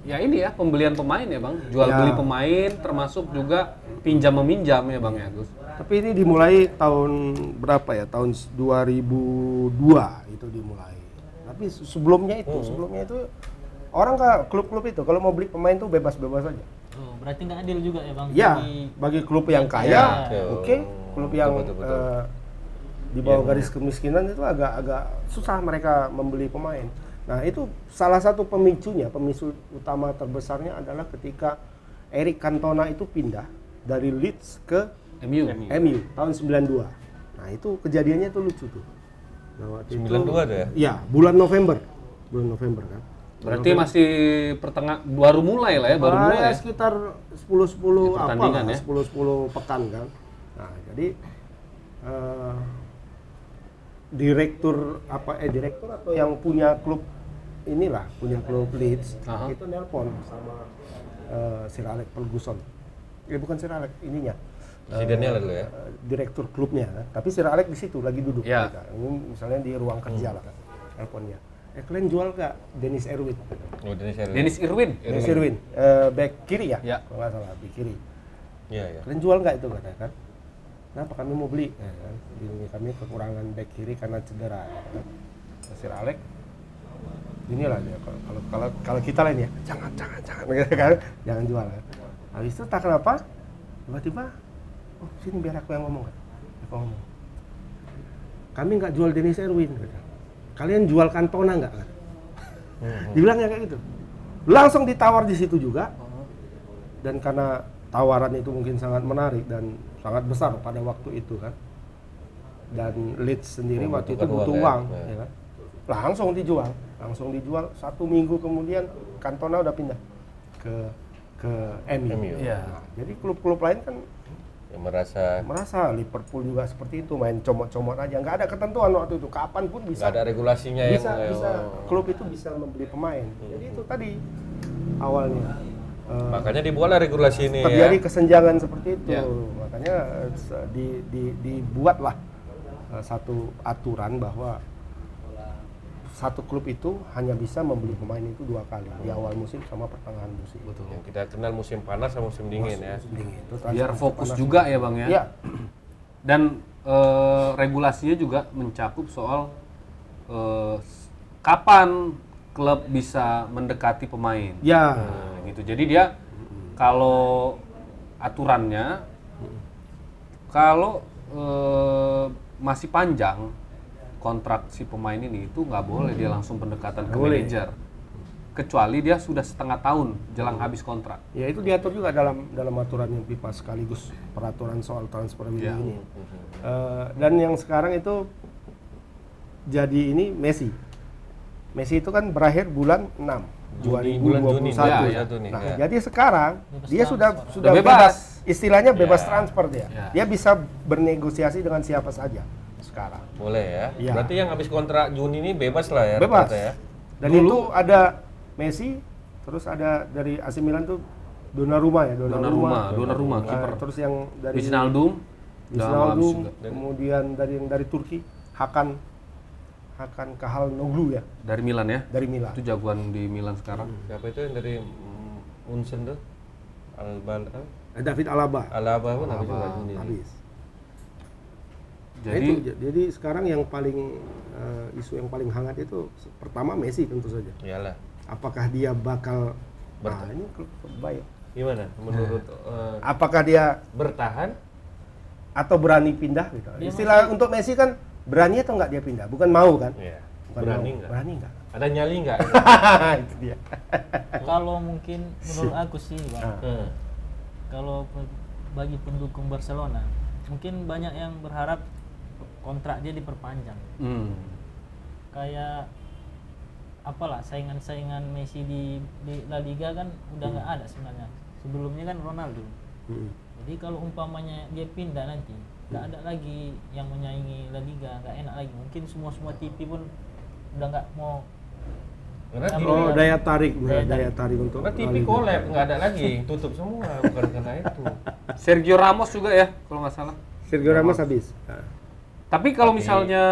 Speaker 3: ya ini ya pembelian pemain ya bang, jual
Speaker 1: Ya.
Speaker 3: beli pemain termasuk juga pinjam meminjam ya bang ya Agus.
Speaker 1: Tapi ini dimulai tahun berapa ya? Tahun 2002 itu dimulai. Tapi se- sebelumnya itu,
Speaker 2: Hmm.
Speaker 1: sebelumnya itu orang ke klub-klub itu kalau mau beli pemain tuh bebas-bebas aja.
Speaker 4: Oh, berarti nggak adil juga ya bang?
Speaker 1: Ya,
Speaker 4: Jadi-
Speaker 1: bagi klub yang
Speaker 2: Ya,
Speaker 1: kaya,
Speaker 2: betul.
Speaker 1: oke. Klub yang
Speaker 2: Betul, betul, Ya, betul.
Speaker 1: eh, di bawah garis kemiskinan itu agak-agak susah mereka membeli pemain. Nah, itu salah satu pemicunya, pemicu utama terbesarnya adalah ketika Erik Cantona itu pindah dari Leeds ke
Speaker 3: MU.
Speaker 1: MU tahun 92. Nah, itu kejadiannya itu lucu tuh. Nah, waktu
Speaker 2: 92 tuh ya?
Speaker 1: Iya, bulan November. Bulan November kan.
Speaker 3: Berarti masih pertengah baru mulai lah ya, baru
Speaker 1: Ah,
Speaker 3: mulai.
Speaker 1: ya,
Speaker 3: ya.
Speaker 1: sekitar 10
Speaker 3: Di
Speaker 1: 10 apa
Speaker 3: pertandingan ya?
Speaker 1: 10 10 pekan kan. Nah, jadi eh, direktur apa eh direktur atau yang punya klub inilah, punya klub Leeds
Speaker 3: Aha.
Speaker 1: itu nelpon sama eh, Sir Alex Ferguson. Ya bukan Sir Alex, ininya.
Speaker 2: Presidennya lah dulu ya.
Speaker 1: eh, direktur klubnya kan. Tapi Sir Alex di situ lagi duduk
Speaker 3: Ya.
Speaker 1: mereka. Ini misalnya di ruang kerja lah kan. Teleponnya. Eh kalian jual gak Dennis Erwin?
Speaker 2: Oh, Dennis Herlin.
Speaker 3: Dennis Irwin.
Speaker 1: Dennis Irwin, eh, back kiri ya?
Speaker 3: Ya.
Speaker 1: Kalau nggak salah, back kiri.
Speaker 2: Iya, iya.
Speaker 1: Kalian jual nggak itu katanya kan? Kenapa kami mau beli? Ya kan? Ini kami kekurangan back kiri karena cedera. ya kan? Sir Alex, inilah dia. Kalau kalau kalau, kalau kita lain ya, jangan jangan jangan, gitu kan? jangan jual. Kan? Habis itu tak kenapa? Tiba-tiba, oh sini biar aku yang ngomong. Kan? Aku ngomong. Kami nggak jual Dennis Erwin. Kata. Kalian jual Cantona nggak? Kata.
Speaker 2: Hmm.
Speaker 1: Dibilangnya kayak gitu. Langsung ditawar di situ juga
Speaker 2: Hmm.
Speaker 1: dan karena tawaran itu mungkin sangat menarik dan sangat besar pada waktu itu kan dan Leeds sendiri
Speaker 2: Oh,
Speaker 1: waktu itu
Speaker 2: butuhkan
Speaker 1: butuh
Speaker 2: uang,
Speaker 1: uang
Speaker 2: ya?
Speaker 1: ya kan? langsung dijual langsung dijual satu minggu kemudian Cantona udah pindah ke ke MU,
Speaker 2: MU.
Speaker 3: Iya.
Speaker 1: Nah, jadi klub-klub lain kan
Speaker 2: Yang merasa
Speaker 1: merasa Liverpool juga seperti itu main comot-comot aja nggak ada ketentuan waktu itu kapan pun bisa
Speaker 2: nggak ada regulasinya ya? Oh. yang
Speaker 1: bisa bisa klub itu bisa membeli pemain jadi itu tadi awalnya
Speaker 2: Hmm.
Speaker 1: Eh,
Speaker 2: Makanya dibuatlah regulasi ini ya.
Speaker 1: terjadi kesenjangan seperti itu
Speaker 2: Iya.
Speaker 3: Ya.
Speaker 1: makanya eh, se- di, di, dibuatlah eh, satu aturan bahwa satu klub itu hanya bisa membeli pemain itu dua kali di awal musim sama pertengahan musim betul
Speaker 2: Yang kita kenal musim panas sama musim dingin ya.
Speaker 1: itu
Speaker 3: Biar
Speaker 1: transfer
Speaker 3: fokus
Speaker 1: panas.
Speaker 3: juga ya bang ya.
Speaker 1: ya
Speaker 3: [CLEARS THROAT] Dan eh, regulasinya juga mencakup soal eh, s- kapan klub bisa mendekati pemain.
Speaker 1: ya
Speaker 3: Nah, gitu. Jadi dia kalau aturannya kalau eh, masih panjang kontrak si pemain ini itu nggak boleh dia langsung pendekatan ke
Speaker 1: boleh.
Speaker 3: manajer. Kecuali dia sudah setengah tahun jelang habis kontrak.
Speaker 1: ya itu diatur juga dalam dalam aturan yang pipa sekaligus peraturan soal transfer window
Speaker 3: Ya.
Speaker 1: ini Eh, dan yang sekarang itu jadi ini Messi Messi itu kan berakhir bulan 6
Speaker 2: Juni,
Speaker 1: 2021
Speaker 2: bulan Juni,
Speaker 1: ya.
Speaker 2: ya, satu nih,
Speaker 1: Nah,
Speaker 2: ya.
Speaker 1: jadi sekarang
Speaker 4: Bebas
Speaker 1: dia
Speaker 4: transfer.
Speaker 1: sudah sudah
Speaker 3: Udah
Speaker 1: bebas.
Speaker 3: bebas.
Speaker 1: istilahnya bebas
Speaker 2: Ya.
Speaker 1: transfer dia.
Speaker 3: Ya.
Speaker 1: Dia bisa bernegosiasi dengan siapa saja sekarang.
Speaker 2: Boleh ya.
Speaker 1: Iya.
Speaker 2: Berarti yang habis kontrak Juni ini bebas lah ya.
Speaker 1: Bebas.
Speaker 2: rata-rata Ya.
Speaker 1: Dan itu ada Messi, terus ada dari AC Milan tuh Donnarumma ya,
Speaker 3: Donnarumma,
Speaker 1: Donnarumma.
Speaker 3: Donnarumma
Speaker 1: Nah,
Speaker 3: kiper.
Speaker 1: terus yang dari
Speaker 3: Wijnaldum udah mau habis
Speaker 1: Wijnaldum,
Speaker 3: juga.
Speaker 1: kemudian dari yang dari Turki Hakan Hakan Kahalnoglu ya
Speaker 3: Dari Milan ya.
Speaker 1: dari Milan.
Speaker 3: Itu jagoan di Milan sekarang.
Speaker 2: Siapa itu yang dari mm, Unsen tuh? Albal
Speaker 1: Eh, David Alaba
Speaker 2: Alaba pun habis juga Juni.
Speaker 1: habis. Nah,
Speaker 3: Jadi
Speaker 1: itu, j- jadi sekarang yang paling eh, isu yang paling hangat itu se- pertama Messi tentu saja.
Speaker 2: Iyalah.
Speaker 1: Apakah dia bakal nah, ini klub terbaik. Nah.
Speaker 2: Gimana menurut eh,
Speaker 1: Apakah dia
Speaker 2: bertahan
Speaker 1: atau berani pindah gitu.
Speaker 4: Dia
Speaker 1: Istilah untuk Messi kan berani atau nggak dia pindah, bukan mau kan?
Speaker 2: Iya.
Speaker 1: Bukan
Speaker 2: Berani
Speaker 1: mau.
Speaker 2: nggak?
Speaker 1: Berani nggak? Nah,
Speaker 2: Ada nyali
Speaker 1: [LAUGHS]
Speaker 2: nggak?
Speaker 1: itu dia.
Speaker 4: Kalau mungkin menurut aku sih, Bang,
Speaker 2: Hmm.
Speaker 4: kalau pe- bagi pendukung Barcelona, mungkin banyak yang berharap kontrak dia diperpanjang.
Speaker 3: Hmm.
Speaker 4: Kayak apalah saingan-saingan Messi di, di La Liga kan udah nggak ada sebenarnya. Sebelumnya kan Ronaldo.
Speaker 1: Mm.
Speaker 4: Jadi kalau umpamanya dia pindah nanti, nggak ada lagi yang menyaingi La Liga, nggak enak lagi. Mungkin semua semua TV pun udah nggak mau.
Speaker 2: Karena
Speaker 4: Apa?
Speaker 2: TV,
Speaker 1: Oh, daya tarik, daya,
Speaker 4: Daya
Speaker 1: daya tarik untuk
Speaker 2: karena TV
Speaker 1: La Liga.
Speaker 2: collab nggak ada lagi, tutup semua bukan karena itu.
Speaker 3: Sergio Ramos juga ya kalau nggak salah.
Speaker 1: Sergio Ramos habis. Nah.
Speaker 3: Tapi kalau misalnya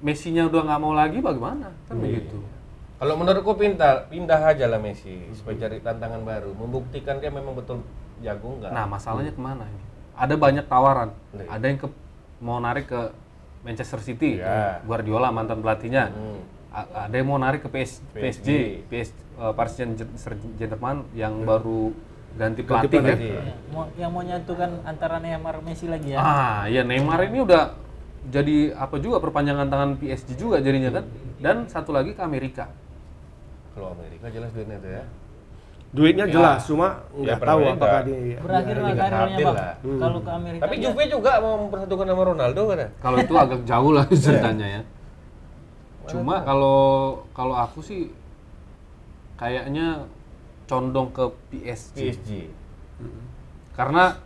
Speaker 3: Messi-nya udah nggak mau lagi bagaimana? Kan begitu.
Speaker 2: Kalau menurutku pintar, pindah aja lah Messi supaya cari tantangan baru, membuktikan dia memang betul jago nggak.
Speaker 3: Nah, masalahnya kemana ini? Ada banyak tawaran.
Speaker 2: Iya.
Speaker 3: Ada yang ke, mau narik ke Manchester City,
Speaker 2: Iya.
Speaker 3: Guardiola mantan pelatihnya.
Speaker 2: Hmm.
Speaker 3: A- Ada yang mau narik ke PS, PSG, PS, eh, Paris Saint- Saint- Germain yang baru ganti pelatih kan?
Speaker 2: pelatih. iya.
Speaker 4: Ya, mau- yang mau nyatukan antara Neymar Messi lagi ya.
Speaker 3: Ah, ya Neymar ini udah jadi apa juga perpanjangan tangan PSG juga jadinya kan? Dan satu lagi ke Amerika.
Speaker 2: Kalau Amerika jelas duitnya itu ya.
Speaker 1: Duitnya jelas, cuma nggak
Speaker 2: Iya, pernah
Speaker 1: tahu
Speaker 2: beda.
Speaker 1: apakah dia iya.
Speaker 4: Berakhir lah
Speaker 2: Liga
Speaker 4: karirnya
Speaker 2: Habil
Speaker 4: bang.
Speaker 2: lah.
Speaker 4: Kalau ke Amerika.
Speaker 2: Tapi Juve juga mau mempersatukan nama Ronaldo kan?
Speaker 3: Kalau itu agak jauh lah ceritanya ya. Cuma kalau kalau aku sih kayaknya condong ke PSG
Speaker 2: PSG.
Speaker 3: karena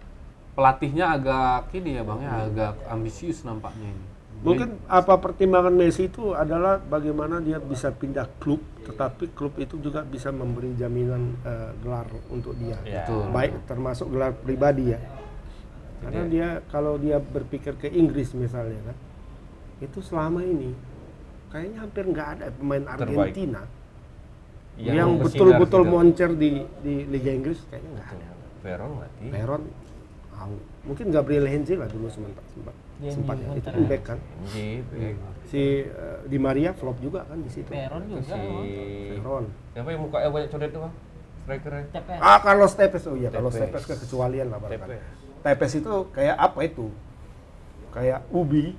Speaker 3: pelatihnya agak ini ya bang ya agak ambisius nampaknya ini.
Speaker 1: Mungkin apa pertimbangan Messi itu adalah bagaimana dia bisa pindah klub, tetapi klub itu juga bisa memberi jaminan eh, gelar untuk dia.
Speaker 2: Ya.
Speaker 3: Betul.
Speaker 1: Baik termasuk gelar pribadi ya. Karena
Speaker 2: Iya.
Speaker 1: dia kalau dia berpikir ke Inggris misalnya kan, itu selama ini kayaknya hampir nggak ada pemain Argentina
Speaker 2: Yang
Speaker 1: yang
Speaker 2: bersinar
Speaker 1: betul-betul
Speaker 2: gitu.
Speaker 1: moncer di di Liga Inggris kayaknya nggak ada.
Speaker 2: Veron mati.
Speaker 1: Peron, out. mungkin Gabriel Henze lah dulu sempat sempat
Speaker 4: Dia
Speaker 1: sempat ya.
Speaker 4: minggu
Speaker 1: itu
Speaker 4: terakhir.
Speaker 1: back kan.
Speaker 2: Anji, Bek.
Speaker 1: si eh, Di Maria flop juga kan di situ.
Speaker 4: Peron juga.
Speaker 2: si
Speaker 1: Iya.
Speaker 4: Bang.
Speaker 1: Peron.
Speaker 2: siapa yang mukanya banyak codet tuh bang? Striker
Speaker 4: TPR.
Speaker 1: Ah Carlos Tevez oh iya Carlos
Speaker 2: Tevez.
Speaker 1: Tevez kekecualian lah barangkali.
Speaker 2: Tevez.
Speaker 1: Tevez itu kayak apa itu? Kayak ubi.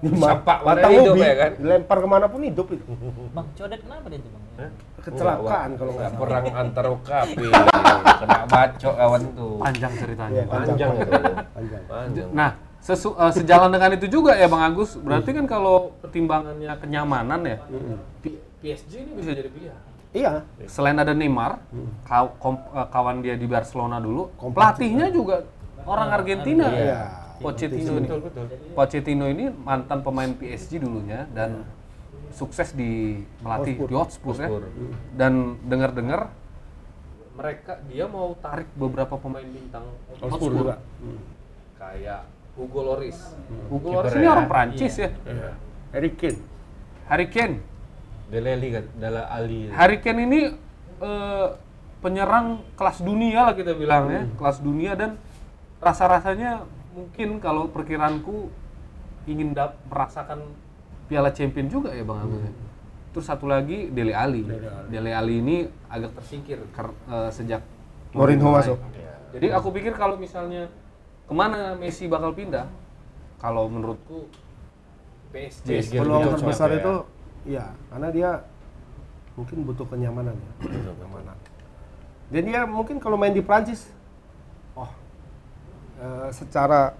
Speaker 2: Disampak
Speaker 1: Mat-
Speaker 2: mana hidup ya kan?
Speaker 1: dilempar kemana pun hidup
Speaker 2: [LAUGHS]
Speaker 1: itu.
Speaker 4: Bang Codet kenapa dia tuh bang?
Speaker 1: Kecelakaan kalau nggak
Speaker 2: nggak
Speaker 1: salah.
Speaker 2: perang antar OKP
Speaker 1: [LAUGHS]
Speaker 2: kena bacok kawan tuh
Speaker 3: Panjang ceritanya.
Speaker 1: Iya,
Speaker 3: Bang.
Speaker 2: panjang itu
Speaker 1: Panjang.
Speaker 2: panjang
Speaker 3: Nah, sesu- eh, sejalan dengan itu juga ya Bang Agus. Berarti kan kalau pertimbangannya kenyamanan ya, P- PSG ini bisa jadi pilihan.
Speaker 1: Iya.
Speaker 3: Selain ada Neymar, kaw- kom- eh, kawan dia di Barcelona dulu,
Speaker 1: Kompas
Speaker 3: pelatihnya juga orang Argentina.
Speaker 1: Iya.
Speaker 3: Pochettino ini.
Speaker 2: betul betul
Speaker 3: Pochettino ini mantan pemain PSG dulunya dan sukses di melatih di Hotspur ya.
Speaker 2: Hotspur.
Speaker 1: Mm.
Speaker 3: Dan dengar-dengar mereka dia mau tarik beberapa pemain bintang
Speaker 1: Hotspur juga. Hmm.
Speaker 2: kayak Hugo Loris
Speaker 3: Hugo
Speaker 2: Kiper
Speaker 3: Lloris ini
Speaker 2: ya.
Speaker 3: orang Prancis Hmm. ya.
Speaker 1: Harry Kane.
Speaker 3: Harry Kane.
Speaker 2: Deleli kan Dela Ali
Speaker 3: Harry Kane ini eh, penyerang kelas dunia lah kita bilang ya, kelas dunia dan rasa-rasanya mungkin kalau perkiraanku ingin dap- merasakan Piala Champion juga ya Bang Agus. ya. Terus satu lagi Dele Alli. Dele Alli ini agak tersingkir kar- eh, sejak
Speaker 1: Mourinho masuk.
Speaker 3: jadi aku pikir kalau misalnya kemana Messi bakal pindah, kalau menurutku PSG.
Speaker 2: PSG. Gil-
Speaker 1: Peluang
Speaker 2: Gil-
Speaker 1: terbesar
Speaker 3: ya.
Speaker 2: Gil-
Speaker 1: itu iya, karena dia mungkin butuh kenyamanan ya. kenyamanan. Dan dia mungkin kalau main di Prancis oh eh, secara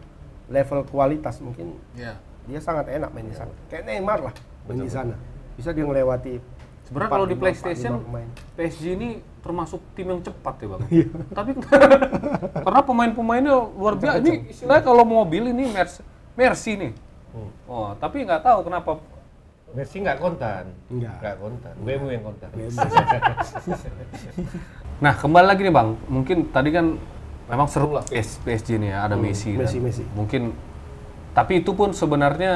Speaker 1: level kualitas mungkin
Speaker 3: Ya.
Speaker 1: dia sangat enak main di sana.
Speaker 3: Iya.
Speaker 1: Kayak Neymar lah main di sana. Bisa dia ngelewati
Speaker 3: Sebenarnya
Speaker 1: empat,
Speaker 3: kalau di
Speaker 1: lima,
Speaker 3: PlayStation
Speaker 1: empat, lima pemain.
Speaker 3: PSG ini termasuk tim yang cepat ya bang.
Speaker 1: Iya.
Speaker 3: Tapi [LAUGHS] karena pemain-pemainnya luar biasa. Ini istilahnya kalau mobil ini Mercy, Mercy nih.
Speaker 1: Hmm.
Speaker 3: Oh, tapi nggak tahu kenapa.
Speaker 2: Messi nggak kontan
Speaker 1: Nggak.
Speaker 2: nggak kontan Bemu yang kontan
Speaker 3: Nah kembali lagi nih bang, mungkin tadi kan memang seru lah PS, PSG ini ya ada Messi.
Speaker 1: Hmm, Messi,
Speaker 3: dan
Speaker 1: Messi.
Speaker 3: Mungkin tapi itu pun sebenarnya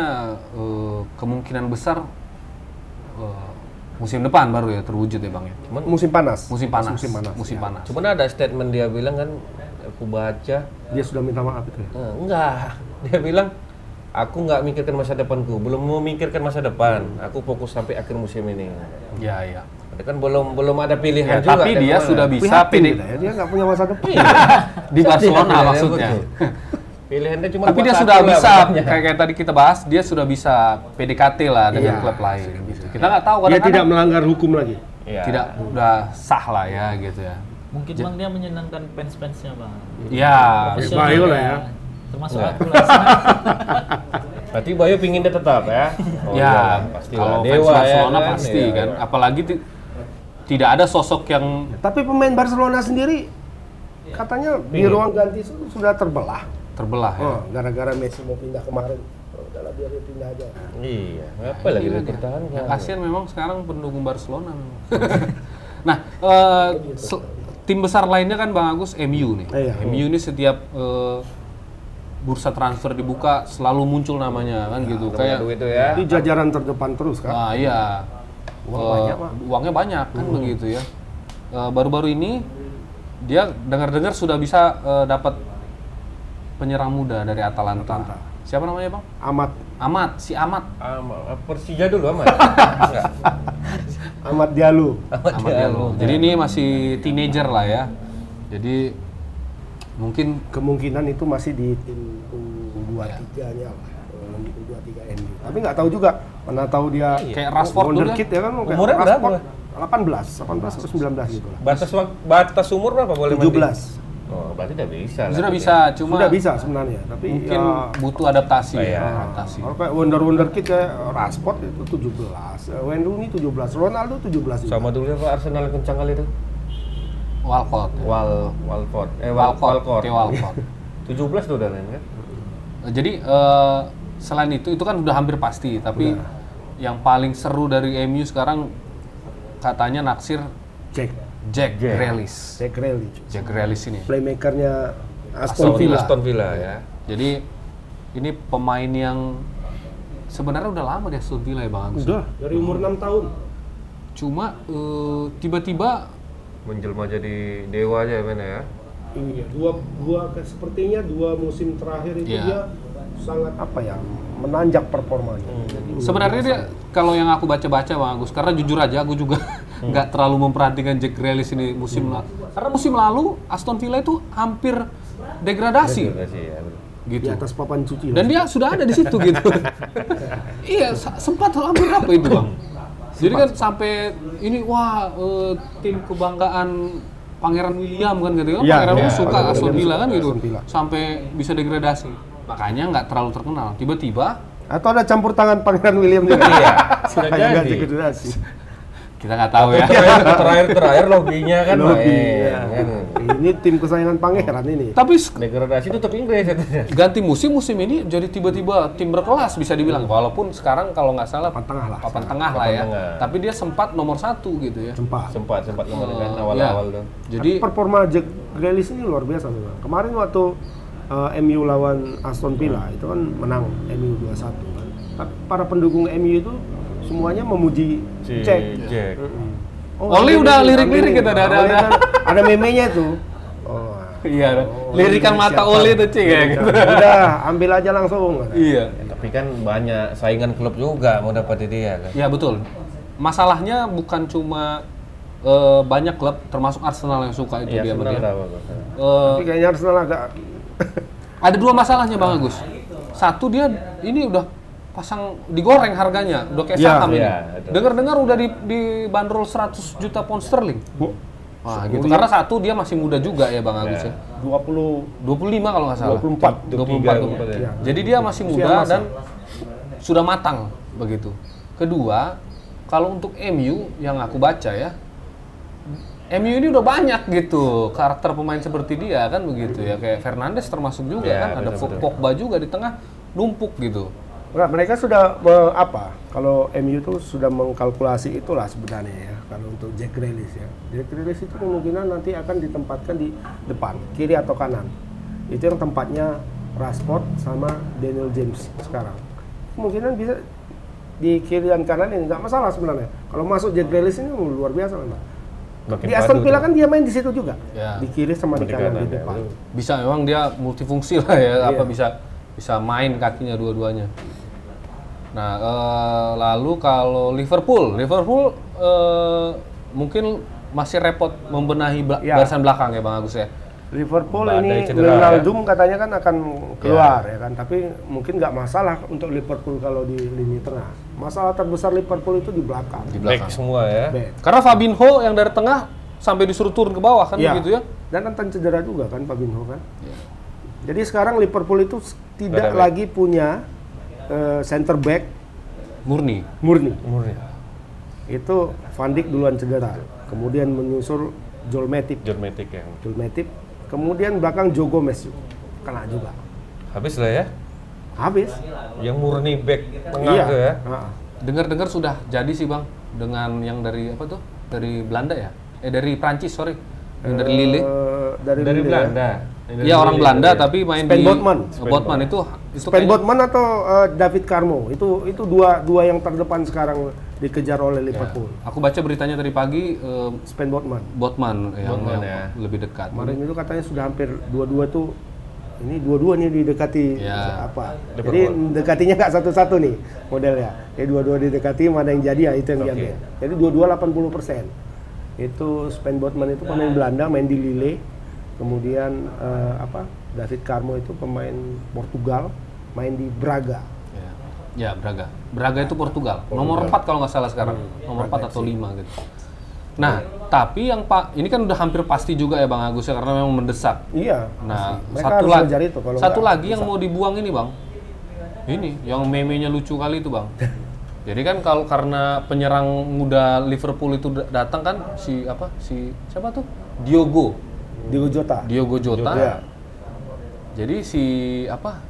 Speaker 3: eh, kemungkinan besar eh, musim depan baru ya terwujud ya bang ya.
Speaker 1: musim panas.
Speaker 3: Musim panas.
Speaker 1: Musim panas. ya.
Speaker 3: Musim panas.
Speaker 2: [LAUGHS] cuman ada statement dia bilang kan aku baca
Speaker 1: Dia sudah minta maaf itu ya.
Speaker 2: Eh, enggak [LAUGHS] dia bilang aku nggak mikirkan masa depanku belum memikirkan masa depan aku fokus sampai akhir musim ini
Speaker 3: Ya ya.
Speaker 2: Dia kan belum belum ada pilihan juga
Speaker 3: tapi
Speaker 2: dan
Speaker 3: dia
Speaker 2: [LAUGHS] kemana.
Speaker 3: sudah bisa
Speaker 1: Iya
Speaker 3: Iya,
Speaker 1: Prihatin ya.
Speaker 3: PD
Speaker 1: kita ya, dia nggak punya masa depan.
Speaker 2: kan
Speaker 3: [LAUGHS] di Barcelona maksudnya.
Speaker 2: Betul. gitu. Pilihannya cuma
Speaker 3: Tapi
Speaker 2: buat
Speaker 3: dia
Speaker 2: satu ya,
Speaker 3: sudah
Speaker 2: lah
Speaker 3: bisa Kan
Speaker 2: pokoknya.
Speaker 3: kayak, kayak tadi kita bahas, dia sudah bisa PDKT lah dengan
Speaker 1: Iya,
Speaker 3: klub lain. Gitu. Kita nggak tahu
Speaker 1: Dia tidak
Speaker 3: kadang-kadang ya,
Speaker 1: melanggar hukum lagi.
Speaker 2: Iya.
Speaker 3: tidak udah sah lah ya gitu ya.
Speaker 4: Mungkin bang dia menyenangkan fans-fansnya bang.
Speaker 2: Iya.
Speaker 3: Ya,
Speaker 4: Profesional
Speaker 1: Bayu lah ya.
Speaker 4: Termasuk
Speaker 2: Nah.
Speaker 4: aku lah.
Speaker 2: Berarti Bayu pinginnya tetap
Speaker 3: [LAUGHS]
Speaker 2: ya? Oh,
Speaker 3: ya
Speaker 2: iyalah, pastilah.
Speaker 3: kalau fans
Speaker 2: Dewa ya
Speaker 3: Barcelona
Speaker 2: kan?
Speaker 3: pasti
Speaker 2: Iya,
Speaker 3: kan.
Speaker 2: iya.
Speaker 3: Apalagi ti- tidak ada sosok yang
Speaker 1: Tapi pemain Barcelona sendiri
Speaker 3: Iya.
Speaker 1: katanya di
Speaker 2: Pingin.
Speaker 1: ruang ganti su- sudah terbelah.
Speaker 3: terbelah ya.
Speaker 1: Oh, gara-gara Messi mau pindah kemarin. Oh, udahlah biar dia pindah aja.
Speaker 2: Iya, apa lagi
Speaker 3: Gila dia.
Speaker 2: dipertahankan?
Speaker 1: Iya.
Speaker 3: Yang kasihan Ya, memang sekarang pendukung Barcelona memang. [LAUGHS] nah, eh, se- tim besar lainnya kan Bang Agus MU nih.
Speaker 1: Iya.
Speaker 3: MU ini setiap eh, bursa transfer dibuka selalu muncul namanya
Speaker 1: Iya,
Speaker 3: kan gitu.
Speaker 2: Kayak
Speaker 3: Kayak
Speaker 2: duit tuh ya.
Speaker 1: Di jajaran terdepan terus kan.
Speaker 3: ah iya.
Speaker 1: Uang
Speaker 3: Eh,
Speaker 1: banyak, Pak. Hmm.
Speaker 3: uangnya banyak kan begitu ya. Eh, baru-baru ini dia dengar-dengar sudah bisa eh, dapat penyerang muda dari Atalanta. Siapa namanya, Bang?
Speaker 1: Amat
Speaker 3: Amat, si Amat.
Speaker 2: Ama- Persija dulu [LAUGHS] amat.
Speaker 1: Amat Diallo.
Speaker 3: Ahmad
Speaker 2: ya
Speaker 3: Diallo. Jadi ini masih teenager lah ya. Jadi mungkin
Speaker 1: Kemungkinan itu masih di tim U23-nya lah. Orang di U23 MU. Tapi nggak tahu juga. Mana tahu dia
Speaker 3: Kayak Rashford dulu
Speaker 1: wonderkid ya kan kayak
Speaker 2: Umurnya
Speaker 1: Rashford
Speaker 2: berapa?
Speaker 1: 18, 18 atau 19 gitu lah.
Speaker 2: Batas wak- batas umur berapa boleh mandi?
Speaker 1: 17.
Speaker 2: Oh, berarti udah bisa. lah.
Speaker 3: sudah bisa, cuma
Speaker 1: Sudah bisa sebenarnya, tapi
Speaker 3: mungkin
Speaker 1: ya,
Speaker 3: butuh adaptasi
Speaker 2: Iya.
Speaker 3: ya, adaptasi.
Speaker 1: Kalau kayak Wonder Wonder Kid kayak Rashford itu 17, eh, Wayne Rooney 17, Ronaldo 17 juga.
Speaker 2: Sama dulu apa Arsenal yang kencang kali itu?
Speaker 3: Walcott,
Speaker 2: Wal Walford. Eh Wal
Speaker 3: Walcott,
Speaker 2: Walcott.
Speaker 3: Theo Walcott.
Speaker 2: 17 tuh udah lain kan?
Speaker 3: Jadi eh, selain itu itu kan udah hampir pasti, tapi yang paling seru dari MU sekarang katanya naksir
Speaker 1: Jack,
Speaker 3: Jack
Speaker 2: Jack.
Speaker 3: Grealish.
Speaker 1: Jack Relic,
Speaker 3: Jack Grealish ini.
Speaker 1: playmakernya Aston Villa.
Speaker 2: Aston Villa ya.
Speaker 3: Jadi ini pemain yang sebenarnya udah lama dia Aston Villa ya Bang Agus.
Speaker 1: Udah dari umur 6 tahun.
Speaker 3: Cuma eh, tiba-tiba
Speaker 2: Menjelma jadi dewa aja ya men ya.
Speaker 1: Iya, dua dua sepertinya dua musim terakhir itu
Speaker 3: Iya.
Speaker 1: dia sangat apa ya menanjak performanya.
Speaker 3: Hmm.
Speaker 1: Jadi,
Speaker 3: Sebenarnya dia kalau yang aku baca-baca Bang Agus, karena jujur aja aku juga [LAUGHS]
Speaker 1: Hmm.
Speaker 3: nggak terlalu memperhatikan Jack Grealish ini musim lalu. Karena musim lalu Aston Villa itu hampir degradasi
Speaker 2: Terima kasih ya. betul.
Speaker 1: di
Speaker 3: gitu.
Speaker 1: atas papan cuci.
Speaker 3: Dan dia sudah ada di situ
Speaker 1: [LAUGHS]
Speaker 3: gitu. iya, sa- sempat hampir apa itu Bang?
Speaker 1: Hmm.
Speaker 3: Jadi kan sampai ini wah eh, tim kebanggaan Pangeran William kan gitu kan.
Speaker 1: Iya,
Speaker 3: Pangeran
Speaker 1: iya,
Speaker 3: William suka
Speaker 1: Pangeran
Speaker 3: Aston
Speaker 1: William
Speaker 3: Villa
Speaker 1: suka
Speaker 3: kan gitu.
Speaker 1: Aston Villa.
Speaker 3: Sampai bisa degradasi. Makanya nggak terlalu terkenal. Tiba-tiba
Speaker 1: Atau ada campur tangan Pangeran William juga.
Speaker 2: Iya,
Speaker 1: [LAUGHS]
Speaker 2: sudah
Speaker 1: Supaya nggak
Speaker 2: jadi.
Speaker 1: degradasi.
Speaker 3: kita nggak tahu
Speaker 1: [LAUGHS]
Speaker 3: ya.
Speaker 2: Terakhir terakhir terakhir loginya kan
Speaker 1: Lobby,
Speaker 2: main,
Speaker 1: ya.
Speaker 2: kan?
Speaker 1: Ini tim kesayangan Pangeran ini.
Speaker 3: Tapi s-
Speaker 2: Degradasi itu tetap Inggris ya. katanya.
Speaker 3: ganti musim musim ini jadi tiba-tiba tim berkelas bisa dibilang. Walaupun sekarang kalau nggak salah
Speaker 1: Papan tengah lah.
Speaker 3: papan tengah lah
Speaker 2: Papan
Speaker 3: ya.
Speaker 2: tengah.
Speaker 3: Tapi dia sempat nomor satu gitu ya.
Speaker 1: Sempat.
Speaker 2: Sempat sempat kemarin kan
Speaker 3: Eh,
Speaker 2: awal-awal
Speaker 3: ya.
Speaker 2: tuh.
Speaker 3: Jadi
Speaker 1: Tapi Iya, performa Jack Grealish ini luar biasa memang. Kemarin waktu eh, MU lawan Aston Villa
Speaker 3: Hmm.
Speaker 1: itu kan menang MU 2-1 kan. Tapi para pendukung MU itu semuanya memuji
Speaker 2: Si
Speaker 1: Jack. Oh,
Speaker 2: Jack.
Speaker 3: Hmm. Oli
Speaker 1: Oli
Speaker 3: udah
Speaker 1: ini,
Speaker 3: lirik-lirik
Speaker 1: Oli ini.
Speaker 3: gitu, ada- ada-
Speaker 1: Oli
Speaker 3: ada.
Speaker 1: kan Ada memenya itu. Oh.
Speaker 3: iya
Speaker 1: Oh,
Speaker 3: lirikan
Speaker 1: ini
Speaker 3: mata
Speaker 1: siapa?
Speaker 3: Oli itu cing ya gitu.
Speaker 1: Udah, ambil aja langsung.
Speaker 3: Iya.
Speaker 2: Ya, tapi kan banyak saingan klub juga mau dapat dia kan.
Speaker 3: Ya betul. Masalahnya bukan cuma eh, banyak klub termasuk Arsenal yang suka itu
Speaker 2: Iya,
Speaker 3: dia sama
Speaker 2: senang
Speaker 3: dia.
Speaker 2: tahu aku.
Speaker 3: Eh,
Speaker 1: Tapi kayaknya Arsenal agak
Speaker 3: ada dua masalahnya Bang Agus. Satu dia ini udah pasang digoreng harganya, udah kayak
Speaker 1: Iya,
Speaker 3: saham ini.
Speaker 2: iya, betul.
Speaker 3: Dengar-dengar udah di, dibanderol 100 juta pound sterling. Wah, gitu. Karena satu dia masih muda juga ya Bang Agus ya.
Speaker 1: 20
Speaker 3: 25 kalau nggak salah.
Speaker 1: 24
Speaker 3: 24.
Speaker 2: 24 ya.
Speaker 3: Jadi dia masih
Speaker 1: Usia
Speaker 3: muda
Speaker 1: masa.
Speaker 3: dan sudah matang begitu. Kedua, kalau untuk MU yang aku baca ya, MU ini udah banyak gitu karakter pemain seperti dia kan begitu ya kayak Fernandes termasuk juga
Speaker 2: Ya,
Speaker 3: kan ada
Speaker 2: betul-betul.
Speaker 3: Pogba juga di tengah numpuk gitu.
Speaker 1: Enggak, mereka sudah me- apa? Kalau MU itu sudah mengkalkulasi itulah sebenarnya ya. Kalau untuk Jack Grealish ya. Jack Grealish itu kemungkinan nanti akan ditempatkan di depan, kiri atau kanan. Itu yang tempatnya Rashford sama Daniel James sekarang. Kemungkinan bisa di kiri dan kanan ini nggak masalah sebenarnya. Kalau masuk Jack Grealish ini luar biasa memang.
Speaker 2: Makin
Speaker 1: Di Aston
Speaker 2: padu
Speaker 1: Villa
Speaker 2: tuh.
Speaker 1: kan dia main di situ juga.
Speaker 3: Ya.
Speaker 1: Di kiri sama di
Speaker 2: Di
Speaker 1: kanan
Speaker 2: kanan,
Speaker 1: di
Speaker 2: ya.
Speaker 1: depan.
Speaker 3: Bisa memang dia multifungsi lah ya apa
Speaker 1: Iya.
Speaker 3: bisa bisa main kakinya dua-duanya. Nah, eh, lalu kalau Liverpool, Liverpool eh, mungkin masih repot membenahi bela-
Speaker 1: Ya.
Speaker 3: barisan belakang ya Bang Agus ya.
Speaker 1: Liverpool
Speaker 2: Badai
Speaker 1: ini
Speaker 2: cedera, ya? Iya.
Speaker 1: Wijnaldum katanya kan akan keluar ya kan, tapi mungkin nggak masalah untuk Liverpool kalau di lini tengah. Masalah terbesar Liverpool itu di belakang.
Speaker 5: di
Speaker 2: Back
Speaker 5: belakang.
Speaker 2: semua ya.
Speaker 1: Back.
Speaker 3: Karena Fabinho yang dari tengah sampai disuruh turun ke bawah kan
Speaker 1: Iya.
Speaker 3: begitu ya?
Speaker 1: Dan Anton cedera juga kan Fabinho kan. Jadi sekarang Liverpool itu s- tidak
Speaker 2: Iya. Ada back.
Speaker 1: lagi punya eh, center back
Speaker 3: Murni.
Speaker 1: murni.
Speaker 2: Murni.
Speaker 1: Itu Van Dijk duluan cedera, kemudian menyusul Joel Matip.
Speaker 2: John Matic yang
Speaker 1: Joel Matip, kemudian belakang Joe Gomez juga. kena juga.
Speaker 2: habis lah ya.
Speaker 1: Habis.
Speaker 2: Yang murni back tengah
Speaker 1: iya.
Speaker 2: tuh ya.
Speaker 1: Ha-ha.
Speaker 3: Dengar-dengar sudah jadi sih bang dengan yang dari apa tuh? Dari Belanda ya? Eh dari Prancis sorry. Yang dari Lille.
Speaker 1: Eh, dari,
Speaker 2: Dari
Speaker 1: Lille ya.
Speaker 2: Belanda.
Speaker 3: Iya orang Belanda tapi main
Speaker 1: Sven
Speaker 3: di
Speaker 1: Botman.
Speaker 3: Sven Botman itu itu
Speaker 1: Sven
Speaker 3: kayaknya-
Speaker 1: Botman atau eh, David Carmo itu itu dua dua yang terdepan sekarang dikejar oleh Liverpool.
Speaker 3: Aku baca beritanya tadi pagi eh,
Speaker 1: Sven Botman.
Speaker 3: Botman yang,
Speaker 2: Botman
Speaker 3: yang
Speaker 2: ya.
Speaker 3: lebih dekat.
Speaker 1: Kemarin itu katanya sudah hampir dua-dua tuh ini dua-dua nih didekati
Speaker 3: Ya.
Speaker 1: apa? Jadi
Speaker 2: Liverpool.
Speaker 1: dekatinya nggak satu-satu nih modelnya. Jadi dua-dua didekati mana yang jadi ya itu yang
Speaker 2: Oke.
Speaker 1: diambil. Jadi dua-dua 80 persen. Itu Sven Botman itu pemain Belanda main di Lille. Kemudian eh, apa? David Carmo itu pemain Portugal main di Braga.
Speaker 3: Ya. Ya, Braga. Braga itu Portugal. Nomor 4 kalau nggak salah sekarang.
Speaker 1: Hmm,
Speaker 3: Nomor 4 atau 5 gitu. Nah, tapi yang Pak ini kan udah hampir pasti juga ya Bang Agus ya karena memang mendesak.
Speaker 1: Iya.
Speaker 3: Nah,
Speaker 1: pasti. Mereka
Speaker 3: satu lagi
Speaker 1: harus belajar itu kalau
Speaker 3: satu
Speaker 1: nggak
Speaker 3: lagi yang mau dibuang ini, Bang. Ini yang memenya lucu kali itu,
Speaker 1: [LAUGHS]
Speaker 3: Bang. Jadi kan kalau karena penyerang muda Liverpool itu da- datang kan si apa? Si siapa tuh? Diogo.
Speaker 1: Diego Jota.
Speaker 3: Diogo Jota.
Speaker 1: Iya.
Speaker 3: Jadi si apa?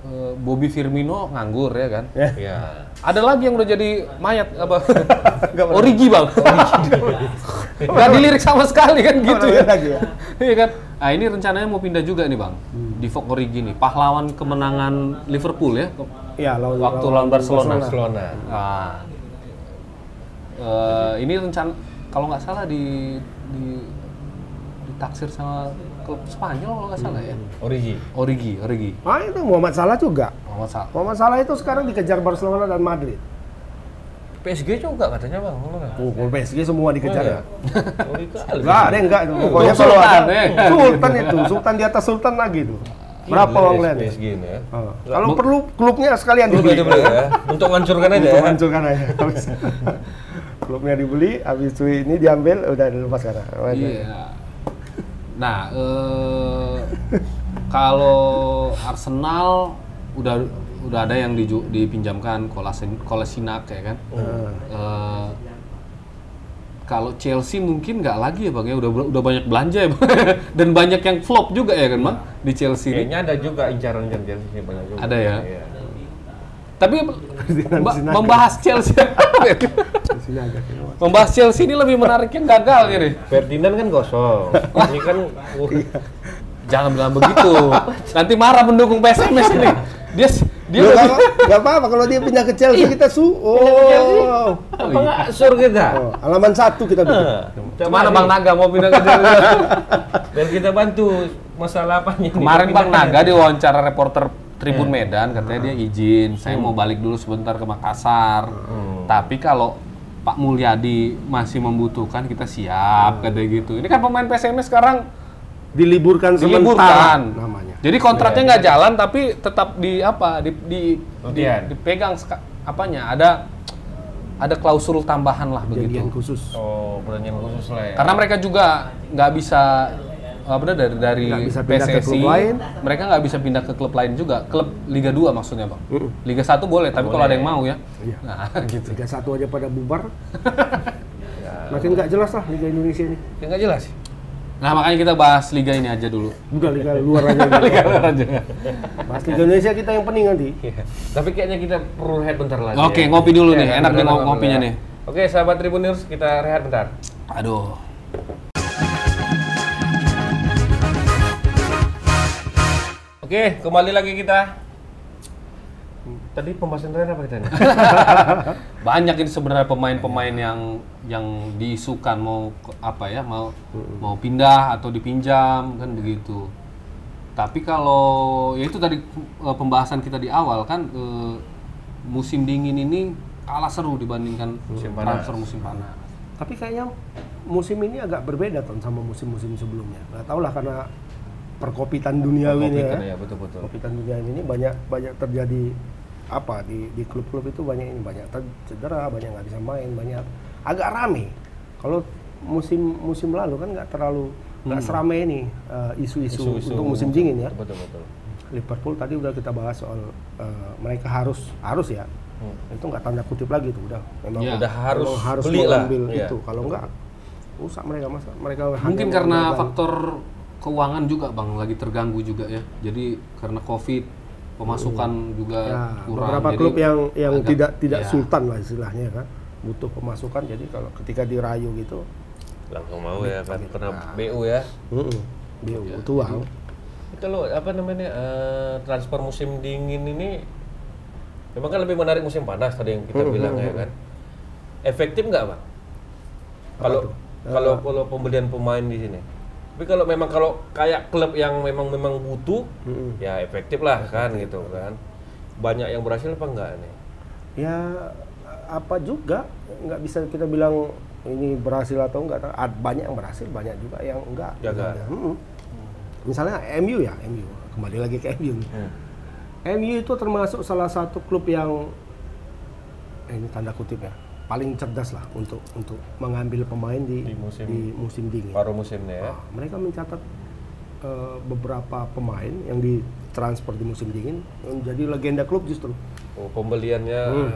Speaker 3: eh, Bobby Firmino nganggur ya kan.
Speaker 2: Iya.
Speaker 3: Ada lagi yang udah jadi mayat [LAUGHS] apa? Origi bang. [LAUGHS] Gak dilirik sama sekali kan gitu ya.
Speaker 1: Lagi ya.
Speaker 3: Iya kan. Nah ini rencananya mau pindah juga nih bang. Di Fok Origi nih. Pahlawan kemenangan Liverpool ya.
Speaker 1: Iya, lawan
Speaker 3: Waktu lawan Barcelona.
Speaker 2: Barcelona.
Speaker 3: Nah, eh, ini rencana kalau nggak salah di, di ditaksir sama klub Spanyol kalau nggak salah ya.
Speaker 2: Origi.
Speaker 3: Origi, Origi.
Speaker 1: Ah itu Muhammad Salah juga.
Speaker 3: Kalau nggak salah.
Speaker 1: Muhammad Salah itu sekarang dikejar Barcelona dan Madrid.
Speaker 2: PSG juga katanya bang, lu nggak? ya?
Speaker 1: Oh, gol PSG semua dikejar ya?
Speaker 2: Origi kali.
Speaker 1: Enggak, ada yang enggak. itu. Pokoknya
Speaker 3: Itu
Speaker 1: kalau
Speaker 3: ya? Oh,
Speaker 1: ada
Speaker 3: Sultan, eh. Iya,
Speaker 1: Sultan itu, Sultan di atas Sultan lagi tuh. Berapa
Speaker 2: Gila,
Speaker 1: uang lainnya?
Speaker 2: PSG ini ya.
Speaker 1: Ah, Kalau perlu klubnya sekalian
Speaker 2: Lu
Speaker 1: dibeli.
Speaker 2: aja beli ya. Untuk ngancurkan aja
Speaker 1: Untuk
Speaker 2: ya.
Speaker 1: hancurkan aja. [LAUGHS] Habis- klubnya dibeli, habis itu ini diambil, udah dilepas karena.
Speaker 3: Iya. Nah, eh, kalau Arsenal udah udah ada yang diju- dipinjamkan Kolasin, Kolasinak ya kan.
Speaker 1: Ah.
Speaker 3: Eh, kalau Chelsea mungkin nggak lagi ya bang ya udah udah banyak belanja ya bang [LAUGHS] dan banyak yang flop juga ya kan bang di Chelsea ini.
Speaker 2: Kayaknya ada juga incaran yang dia sini banyak juga.
Speaker 3: Ada ya?
Speaker 2: Iya.
Speaker 3: Tapi mba-
Speaker 1: Sinaga.
Speaker 3: membahas Chelsea
Speaker 1: Sini aja. kayaknya.
Speaker 3: membahas Chelsea ini lebih menarik yang gagal ini.
Speaker 2: Ferdinand kan kosong.
Speaker 3: [LAUGHS]
Speaker 2: ini kan
Speaker 3: Iya. Jangan bilang begitu. Nanti marah pendukung PSMS ini. Dia dia Iya,
Speaker 1: Lu kalau- nggak apa-apa kalau dia pindah ke Chelsea kita su. Oh.
Speaker 2: apa nggak sur kita?
Speaker 1: Oh, halaman satu kita bikin.
Speaker 3: Eh.
Speaker 2: Nah,
Speaker 3: Kemana
Speaker 2: coba
Speaker 3: Bang
Speaker 2: nih,
Speaker 3: Naga mau pindah ke Jakarta?
Speaker 2: Biar kita bantu masalah apa nih?
Speaker 3: Kemarin
Speaker 2: Kita
Speaker 3: Bang
Speaker 2: pindah.
Speaker 3: Naga diwawancara reporter Tribun
Speaker 1: Iya.
Speaker 3: Medan, katanya dia izin, saya
Speaker 1: Hmm.
Speaker 3: mau balik dulu sebentar ke Makassar. Tapi kalau Pak Mulyadi masih membutuhkan, kita siap,
Speaker 1: Hmm.
Speaker 3: katanya gitu. Ini kan pemain PSMS sekarang
Speaker 1: Diliburkan sementara
Speaker 3: diliburkan
Speaker 1: namanya. Iya,
Speaker 3: Jadi kontraknya nggak jalan, tapi tetap di apa? Di, di, di-
Speaker 2: Latihan.
Speaker 3: dipegang seka- apanya? Ada ada klausul tambahan lah begitu.
Speaker 1: Jadian khusus.
Speaker 2: Oh, pertanyaan khusus lah ya.
Speaker 3: Karena mereka juga nggak bisa apa dah, dari dari
Speaker 1: Nggak bisa pindah ke klub lain.
Speaker 3: mereka nggak bisa pindah ke klub lain juga. Klub Liga 2 maksudnya, Bang.
Speaker 1: Mm-mm.
Speaker 3: Liga 1 boleh, tapi kalau ada yang mau ya.
Speaker 1: Iya.
Speaker 3: Nah, [LAUGHS] gitu.
Speaker 1: Liga satu aja pada bubar. Makin nggak jelas lah Liga Indonesia ini.
Speaker 2: Ya nggak jelas.
Speaker 3: Nah, makanya kita bahas liga ini aja dulu.
Speaker 1: Udah Liga luar aja. gitu.
Speaker 3: Liga luar aja.
Speaker 1: Mas Liga Indonesia kita yang pening nanti.
Speaker 2: Iya. Tapi kayaknya kita perlu rehat bentar lagi.
Speaker 3: Oke,
Speaker 2: ya.
Speaker 3: ngopi dulu nih.
Speaker 2: Iya,
Speaker 3: Enak nih
Speaker 2: benar,
Speaker 3: ngop- ngopinya
Speaker 2: benar.
Speaker 3: nih.
Speaker 2: Oke, sahabat Tribuners, kita rehat bentar.
Speaker 3: Aduh.
Speaker 2: Oke, kembali lagi kita. Tadi pembahasan terakhir apa kita nih?
Speaker 3: Banyak ini sebenarnya pemain-pemain yang yang diisukan mau ke- apa ya, mau mau pindah atau dipinjam kan begitu. Tapi kalau ya itu tadi eh, pembahasan kita di awal kan eh, musim dingin ini kalah seru dibandingkan
Speaker 2: Musim
Speaker 3: transfer musim panas.
Speaker 1: Tapi kayaknya musim ini agak berbeda ton sama musim-musim sebelumnya. Nggak tahu lah karena perkopitan duniawi ini ya.
Speaker 3: iya.
Speaker 2: Kopitan, ya betul betul.
Speaker 1: Perkopitan duniawi ini banyak banyak terjadi apa di di klub-klub itu banyak ini banyak ter- cedera, banyak nggak bisa main, banyak agak rame. Kalau musim musim lalu kan nggak terlalu nggak seramai ini eh, isu-isu
Speaker 2: Hmm. Isu-isu
Speaker 1: untuk musim dingin ya.
Speaker 2: Betul betul.
Speaker 1: Liverpool tadi udah kita bahas soal eh, mereka harus harus ya
Speaker 2: Hmm.
Speaker 1: itu nggak tanda kutip lagi tuh udah memang
Speaker 3: Ya,
Speaker 2: udah harus
Speaker 1: memang harus
Speaker 2: beli lah.
Speaker 1: mengambil
Speaker 2: Iya.
Speaker 1: itu kalau nggak rusak mereka masa mereka
Speaker 3: Mungkin
Speaker 1: hanya
Speaker 3: karena
Speaker 1: mengandalkan-
Speaker 3: faktor keuangan juga bang lagi terganggu juga ya. Jadi karena covid pemasukan juga
Speaker 1: ya,
Speaker 3: kurang.
Speaker 1: beberapa
Speaker 3: Jadi
Speaker 1: klub yang yang
Speaker 3: agak-
Speaker 1: tidak tidak
Speaker 3: ya.
Speaker 1: sultan lah istilahnya kan butuh pemasukan jadi kalau ketika dirayu gitu
Speaker 2: Langsung mau ya kan kena BU ya.
Speaker 1: mm dia
Speaker 3: Iya,
Speaker 1: butuh uang
Speaker 2: Kalau apa namanya eh, transfer musim dingin ini memang kan lebih menarik musim panas tadi yang kita bilang ya kan. Efektif nggak pak? Kalau kalau kalau pembelian pemain di sini. Tapi kalau memang kalau kayak klub yang memang memang butuh, ya efektif lah kan gitu kan. Banyak yang berhasil apa enggak nih?
Speaker 1: ya apa juga nggak bisa kita bilang ini berhasil atau enggak Ad- banyak yang berhasil banyak juga yang enggak
Speaker 2: Ya, enggak.
Speaker 1: Mm-mm. misalnya MU ya MU kembali lagi ke MU nih.
Speaker 2: Ya.
Speaker 1: MU itu termasuk salah satu klub yang eh, ini tanda kutip ya paling cerdas lah untuk untuk mengambil pemain di
Speaker 2: Di musim-
Speaker 1: musim dingin
Speaker 2: Paruh musimnya ya.
Speaker 1: Nah, mereka mencatat eh, beberapa pemain yang ditransfer di musim dingin menjadi legenda klub justru
Speaker 2: Oh, pembeliannya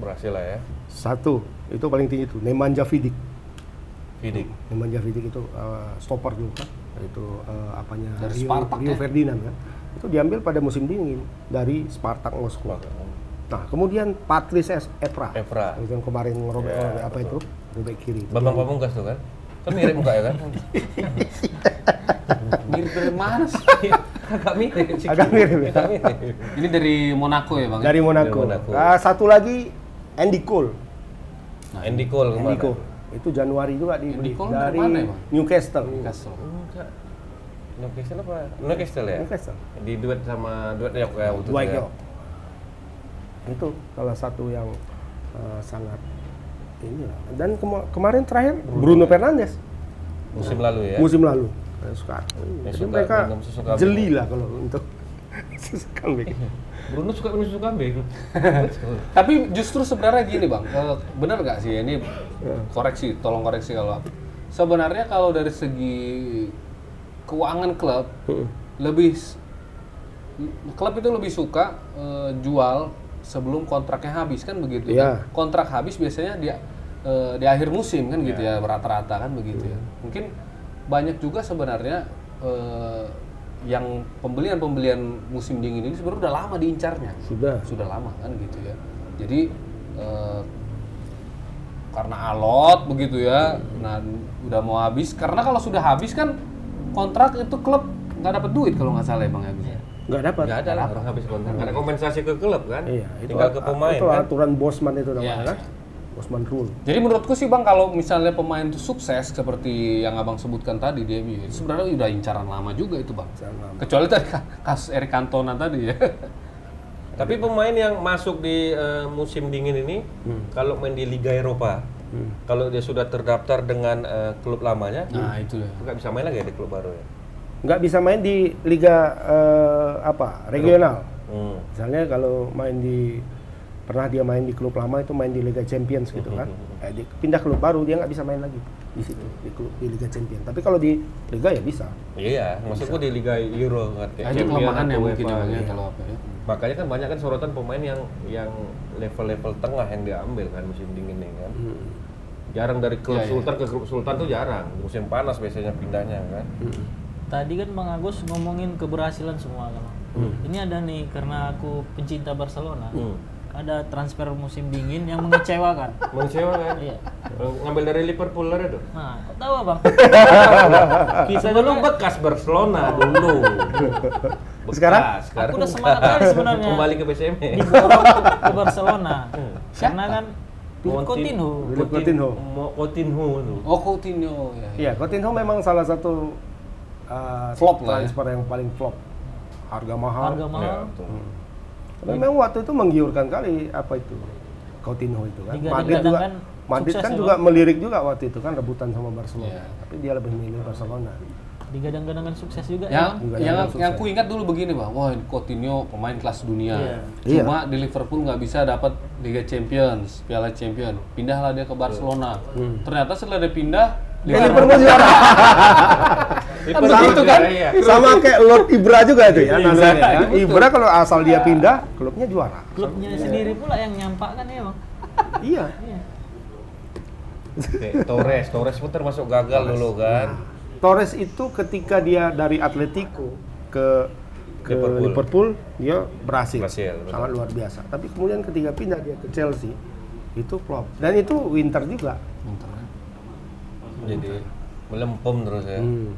Speaker 2: berhasil lah ya.
Speaker 1: satu itu paling tinggi itu Nemanja Vidic
Speaker 2: Vidic.
Speaker 1: Nemanja Vidic itu eh, stopper dulu kan itu eh, apanya
Speaker 3: Dari
Speaker 1: Rio,
Speaker 3: Spartak,
Speaker 1: Rio
Speaker 3: ya?
Speaker 1: Ferdinand kan itu diambil pada musim dingin dari Spartak Moskow
Speaker 2: Hmm.
Speaker 1: nah kemudian Patrice Es- Evra
Speaker 2: Evra.
Speaker 1: yang kemarin ngerobek orang, apa itu robek kiri itu.
Speaker 2: Bambang Pamungkas tuh kan. Kan mirip muka ya kan?
Speaker 3: Mirip dari mana sih?
Speaker 2: [LAUGHS] Agak mirip. sih.
Speaker 1: agak mirip ya
Speaker 2: Agak mirip.
Speaker 3: Ini dari Monaco ya bang?
Speaker 1: dari Monaco,
Speaker 2: Monaco.
Speaker 1: Ah, satu lagi Andy Cole
Speaker 2: Nah, Andy Cole kemana?
Speaker 1: Enrico. Itu Januari juga dibeli
Speaker 3: Cole dari
Speaker 1: dari
Speaker 3: mana ya, Bang?
Speaker 1: Newcastle.
Speaker 3: Newcastle.
Speaker 2: Enggak. Newcastle apa? Newcastle ya?
Speaker 1: Newcastle.
Speaker 2: Di duet sama duet Yok ya waktu itu
Speaker 1: Dwight
Speaker 2: ya?
Speaker 1: York. Itu salah satu yang eh, sangat inilah. Dan kema- kemarin terakhir Bruno, Fernandes
Speaker 2: Musim lalu ya?
Speaker 1: musim lalu. Eh, suka. Jadi
Speaker 2: suka
Speaker 1: mereka
Speaker 2: minum susu kambing.
Speaker 1: jeli lah kalau untuk [LAUGHS] susu kambing.
Speaker 2: [LAUGHS] Bruno suka minum susu [LAUGHS] kambing.
Speaker 3: Tapi justru sebenarnya gini bang, eh, benar nggak sih ini koreksi, tolong koreksi kalau aku. sebenarnya kalau dari segi keuangan klub lebih s- klub itu lebih suka eh, jual sebelum kontraknya habis kan begitu
Speaker 1: Iya.
Speaker 3: kan? kontrak habis biasanya di eh, di akhir musim kan gitu ya rata-rata kan begitu ya mungkin banyak juga sebenarnya eh, yang pembelian-pembelian musim dingin ini sebenarnya udah lama diincarnya
Speaker 1: Sudah.
Speaker 3: sudah lama kan gitu ya. Jadi eh, karena alot begitu ya, nah udah mau habis. Karena kalau sudah habis kan kontrak itu klub nggak dapat duit kalau nggak salah emang ya. Gus?
Speaker 1: Nggak dapat.
Speaker 2: Nggak ada lah orang habis kontrak. Ada kompensasi ke klub kan?
Speaker 1: Iya, itu,
Speaker 2: Tinggal ke
Speaker 1: a-
Speaker 2: pemain
Speaker 1: itu
Speaker 2: kan? Ya.
Speaker 1: aturan Bosman itu namanya
Speaker 3: Iya.
Speaker 1: kan. Bosman rule.
Speaker 3: Jadi menurutku sih bang kalau misalnya pemain itu sukses seperti yang abang sebutkan tadi di MU, itu sebenarnya udah incaran lama juga itu bang.
Speaker 1: Sama.
Speaker 3: Kecuali tadi ka- kasus Eric Cantona tadi ya.
Speaker 2: Tapi pemain yang masuk di eh, musim dingin ini, kalau main di Liga Eropa, kalau dia sudah terdaftar dengan eh, klub lamanya,
Speaker 3: Nah itu ya.
Speaker 2: nggak bisa main lagi ya di klub baru ya?
Speaker 1: Nggak bisa main di liga eh, apa? regional.
Speaker 2: Hmm.
Speaker 1: Misalnya kalau main di pernah dia main di klub lama itu main di Liga Champions gitu kan.
Speaker 3: Hmm,
Speaker 1: Eh, di- pindah klub baru dia nggak bisa main lagi di situ di klub di Liga Champions. Tapi kalau di Liga ya bisa.
Speaker 2: Iya, maksudku di Liga Euro
Speaker 3: Nah,
Speaker 2: kan.
Speaker 3: itu
Speaker 2: kayak Champions
Speaker 3: kelemahan ya
Speaker 2: atau
Speaker 3: mungkin ya
Speaker 2: UEFA. gitu.
Speaker 3: bang ya kalau apa ya.
Speaker 2: Makanya kan banyak kan sorotan pemain yang yang level-level tengah yang diambil kan musim dingin ini kan. Jarang dari klub
Speaker 3: Iya, iya.
Speaker 2: sultan ke klub sultan tuh jarang. Musim panas biasanya pindahnya kan.
Speaker 4: Tadi kan Bang Agus ngomongin keberhasilan semua kan. Bang. Ini ada nih karena aku pencinta Barcelona.
Speaker 2: Hmm.
Speaker 4: Ada transfer musim dingin yang mengecewakan.
Speaker 1: kan?
Speaker 2: Mengecewakan.
Speaker 4: Iya.
Speaker 1: Eh,
Speaker 2: Ngambil dari Liverpool ada [LAUGHS] tuh.
Speaker 4: Nah, kok tahu Bang?
Speaker 2: Kita dulu bekas Barcelona dulu. Bekas,
Speaker 1: Sekarang?
Speaker 2: sekarang
Speaker 4: Aku udah semangat kali sebenarnya.
Speaker 2: Kembali ke BCM.
Speaker 4: Diborong ke, ke Barcelona. Karena kan Coutinho.
Speaker 1: Philip Coutinho.
Speaker 2: Mo- Coutinho tuh.
Speaker 3: Oh Coutinho ya. ya.
Speaker 1: Iya, Coutinho memang salah satu eh,
Speaker 3: Flop lah ya.
Speaker 1: transfer yang paling flop. Harga mahal.
Speaker 4: Harga
Speaker 2: Ya,
Speaker 4: mahal.
Speaker 2: betul.
Speaker 1: Memang waktu itu menggiurkan kali apa itu Coutinho itu kan.
Speaker 4: Liga-
Speaker 1: Madrid
Speaker 4: Liga
Speaker 1: juga
Speaker 4: kan
Speaker 1: Madrid
Speaker 4: sukses
Speaker 1: kan
Speaker 4: ya,
Speaker 1: juga
Speaker 4: Bang.
Speaker 1: melirik juga waktu itu kan rebutan sama Barcelona.
Speaker 3: Iya.
Speaker 1: Tapi dia lebih milih Barcelona.
Speaker 4: digadang-gadangkan sukses juga
Speaker 3: yang
Speaker 1: Juga
Speaker 3: yang,
Speaker 1: yang
Speaker 3: yang aku ingat dulu begini bang wah ini Coutinho pemain kelas dunia
Speaker 1: Iya.
Speaker 3: cuma di Liverpool nggak bisa dapat Liga Champions Piala Champion pindahlah dia ke Barcelona ternyata setelah dia pindah
Speaker 1: Eh, Liverpool
Speaker 3: [LAUGHS]
Speaker 1: juara.
Speaker 2: Kan
Speaker 1: begitu kan?
Speaker 2: Iya.
Speaker 1: Sama kayak Lord Ibra juga tuh ya.
Speaker 3: Ibra,
Speaker 1: namanya ya.
Speaker 3: betul.
Speaker 1: Ibra kalau asal dia pindah, klubnya juara.
Speaker 4: klubnya sendiri pula yang nyampakkan ya bang
Speaker 1: Iya.
Speaker 4: Iya.
Speaker 2: Oke, Torres, Torres pun termasuk gagal dulu kan.
Speaker 1: Torres itu ketika dia dari Atletico ke ke
Speaker 2: Liverpool.
Speaker 1: Liverpool, dia berhasil.
Speaker 2: Berhasil, betul.
Speaker 1: Sangat luar biasa. Tapi kemudian ketika pindah dia ke Chelsea, itu flop. Dan itu winter juga.
Speaker 3: Hmm, Nah.
Speaker 2: Jadi melempem terus ya.
Speaker 1: Hmm.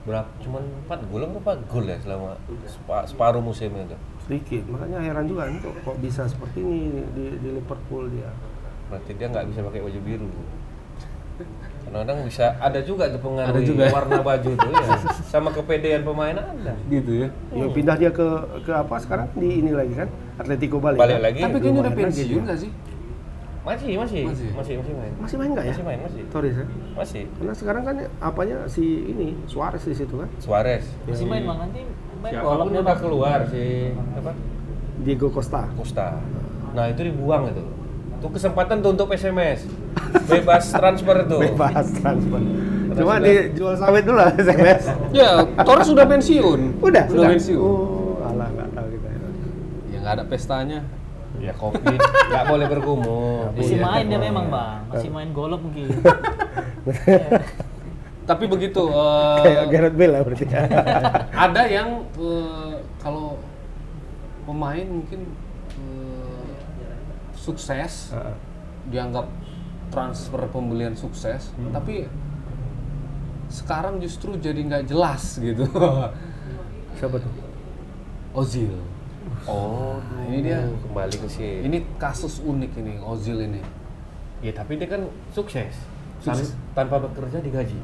Speaker 2: Berapa? Cuman 4 gol apa 4 gol ya selama sepa- separuh musim itu.
Speaker 1: Sedikit. Makanya heran juga ini kok, kok bisa seperti ini di, di Liverpool dia.
Speaker 2: Berarti dia nggak bisa pakai baju biru. Kadang-kadang bisa ada juga tuh pengaruh
Speaker 3: Ada juga ya.
Speaker 2: warna baju itu ya. Sama kepedean pemain Anda.
Speaker 3: gitu ya
Speaker 1: Ya
Speaker 2: Hmm.
Speaker 1: pindah dia ke ke apa sekarang di ini lagi kan? Atletico Bali.
Speaker 2: Balik
Speaker 1: kan?
Speaker 2: lagi.
Speaker 3: ya? tapi kayaknya udah
Speaker 1: lumayan lagi
Speaker 3: pensiun
Speaker 1: dia.
Speaker 3: nggak sih ya.
Speaker 2: Masih, masih.
Speaker 3: Masih.
Speaker 2: Masih, masih main.
Speaker 1: Masih main nggak ya?
Speaker 2: Masih main, masih.
Speaker 1: Torres ya?
Speaker 2: Masih.
Speaker 1: Karena sekarang kan apanya si ini Suarez di situ kan?
Speaker 2: Suarez.
Speaker 4: masih main bang nanti main
Speaker 2: Siapapun
Speaker 4: kolom dia
Speaker 2: udah
Speaker 3: ya?
Speaker 4: bang
Speaker 2: keluar si apa?
Speaker 1: Diego Costa.
Speaker 2: Costa. Nah, itu dibuang itu. Itu kesempatan tuh untuk SMS. Bebas transfer tuh.
Speaker 1: Bebas transfer. Cuma dijual sawit dulu lah SMS.
Speaker 3: ya Torres sudah pensiun
Speaker 1: Udah,
Speaker 3: sudah pensiun
Speaker 1: Oh, alah nggak tahu kita.
Speaker 3: ya nggak ada pestanya
Speaker 2: Ya covid, nggak boleh bergumul.
Speaker 4: masih
Speaker 2: Iya.
Speaker 4: main dia memang bang masih main golok mungkin Iya.
Speaker 3: tapi begitu [LAUGHS] eh,
Speaker 1: Kayak Gareth Bale lah berarti.
Speaker 3: ada yang eh, kalau pemain mungkin eh, sukses
Speaker 1: Heeh.
Speaker 3: dianggap transfer pembelian sukses
Speaker 1: Hmm.
Speaker 3: tapi sekarang justru jadi nggak jelas
Speaker 1: [LAUGHS]
Speaker 3: gitu
Speaker 1: Siapa tuh?
Speaker 3: Ozil Nah,
Speaker 2: Oh,
Speaker 3: ini dia
Speaker 2: kembali ke sini.
Speaker 3: Hmm. ini kasus unik ini Ozil ini
Speaker 2: Ya tapi dia kan sukses.
Speaker 3: Sukses.
Speaker 2: Tan- Tanpa bekerja digaji.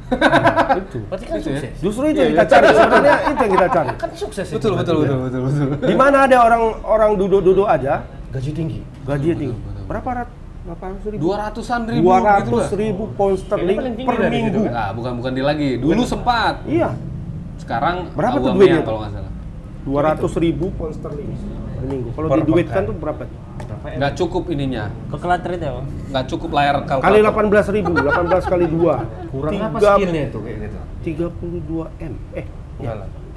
Speaker 1: Itu.
Speaker 2: Berarti kan
Speaker 3: Gitu ya?
Speaker 2: sukses.
Speaker 1: Justru itu yang kita cari Iya, sebenarnya itu yang kita cari.
Speaker 2: Kan sukses itu.
Speaker 3: betul betul betul
Speaker 1: Di mana ada orang orang duduk-duduk aja
Speaker 2: ya? Gaji tinggi.
Speaker 1: gajinya tinggi. Berapa rat? 800 ribu.
Speaker 3: dua ratusan ribu
Speaker 1: Dua
Speaker 3: gitu
Speaker 1: ratus
Speaker 3: lah.
Speaker 1: ribu pound sterling
Speaker 2: paling tinggi
Speaker 1: per
Speaker 2: dari situ
Speaker 1: minggu.
Speaker 2: kan?
Speaker 3: Ah, bukan bukan dia lagi dulu sempat
Speaker 1: Iya,
Speaker 3: sekarang
Speaker 1: Berapa tuh
Speaker 3: Aubameyang
Speaker 1: duitnya tuh?
Speaker 3: kalau nggak salah
Speaker 1: dua ratus ribu pound sterling per minggu. Kalau
Speaker 2: Per
Speaker 1: diduitkan
Speaker 2: pekan.
Speaker 1: tuh berapa? tuh?
Speaker 3: nggak cukup ininya
Speaker 4: kekelatrit ya bang
Speaker 3: nggak cukup layar kalkulator.
Speaker 1: Kali 18 ribu, 18 kali 2
Speaker 2: Kurang apa
Speaker 1: Tiga-
Speaker 2: skillnya itu kayak
Speaker 3: Iya.
Speaker 2: gitu?
Speaker 1: 32 M Eh,
Speaker 2: Enggak lah.
Speaker 1: 3,2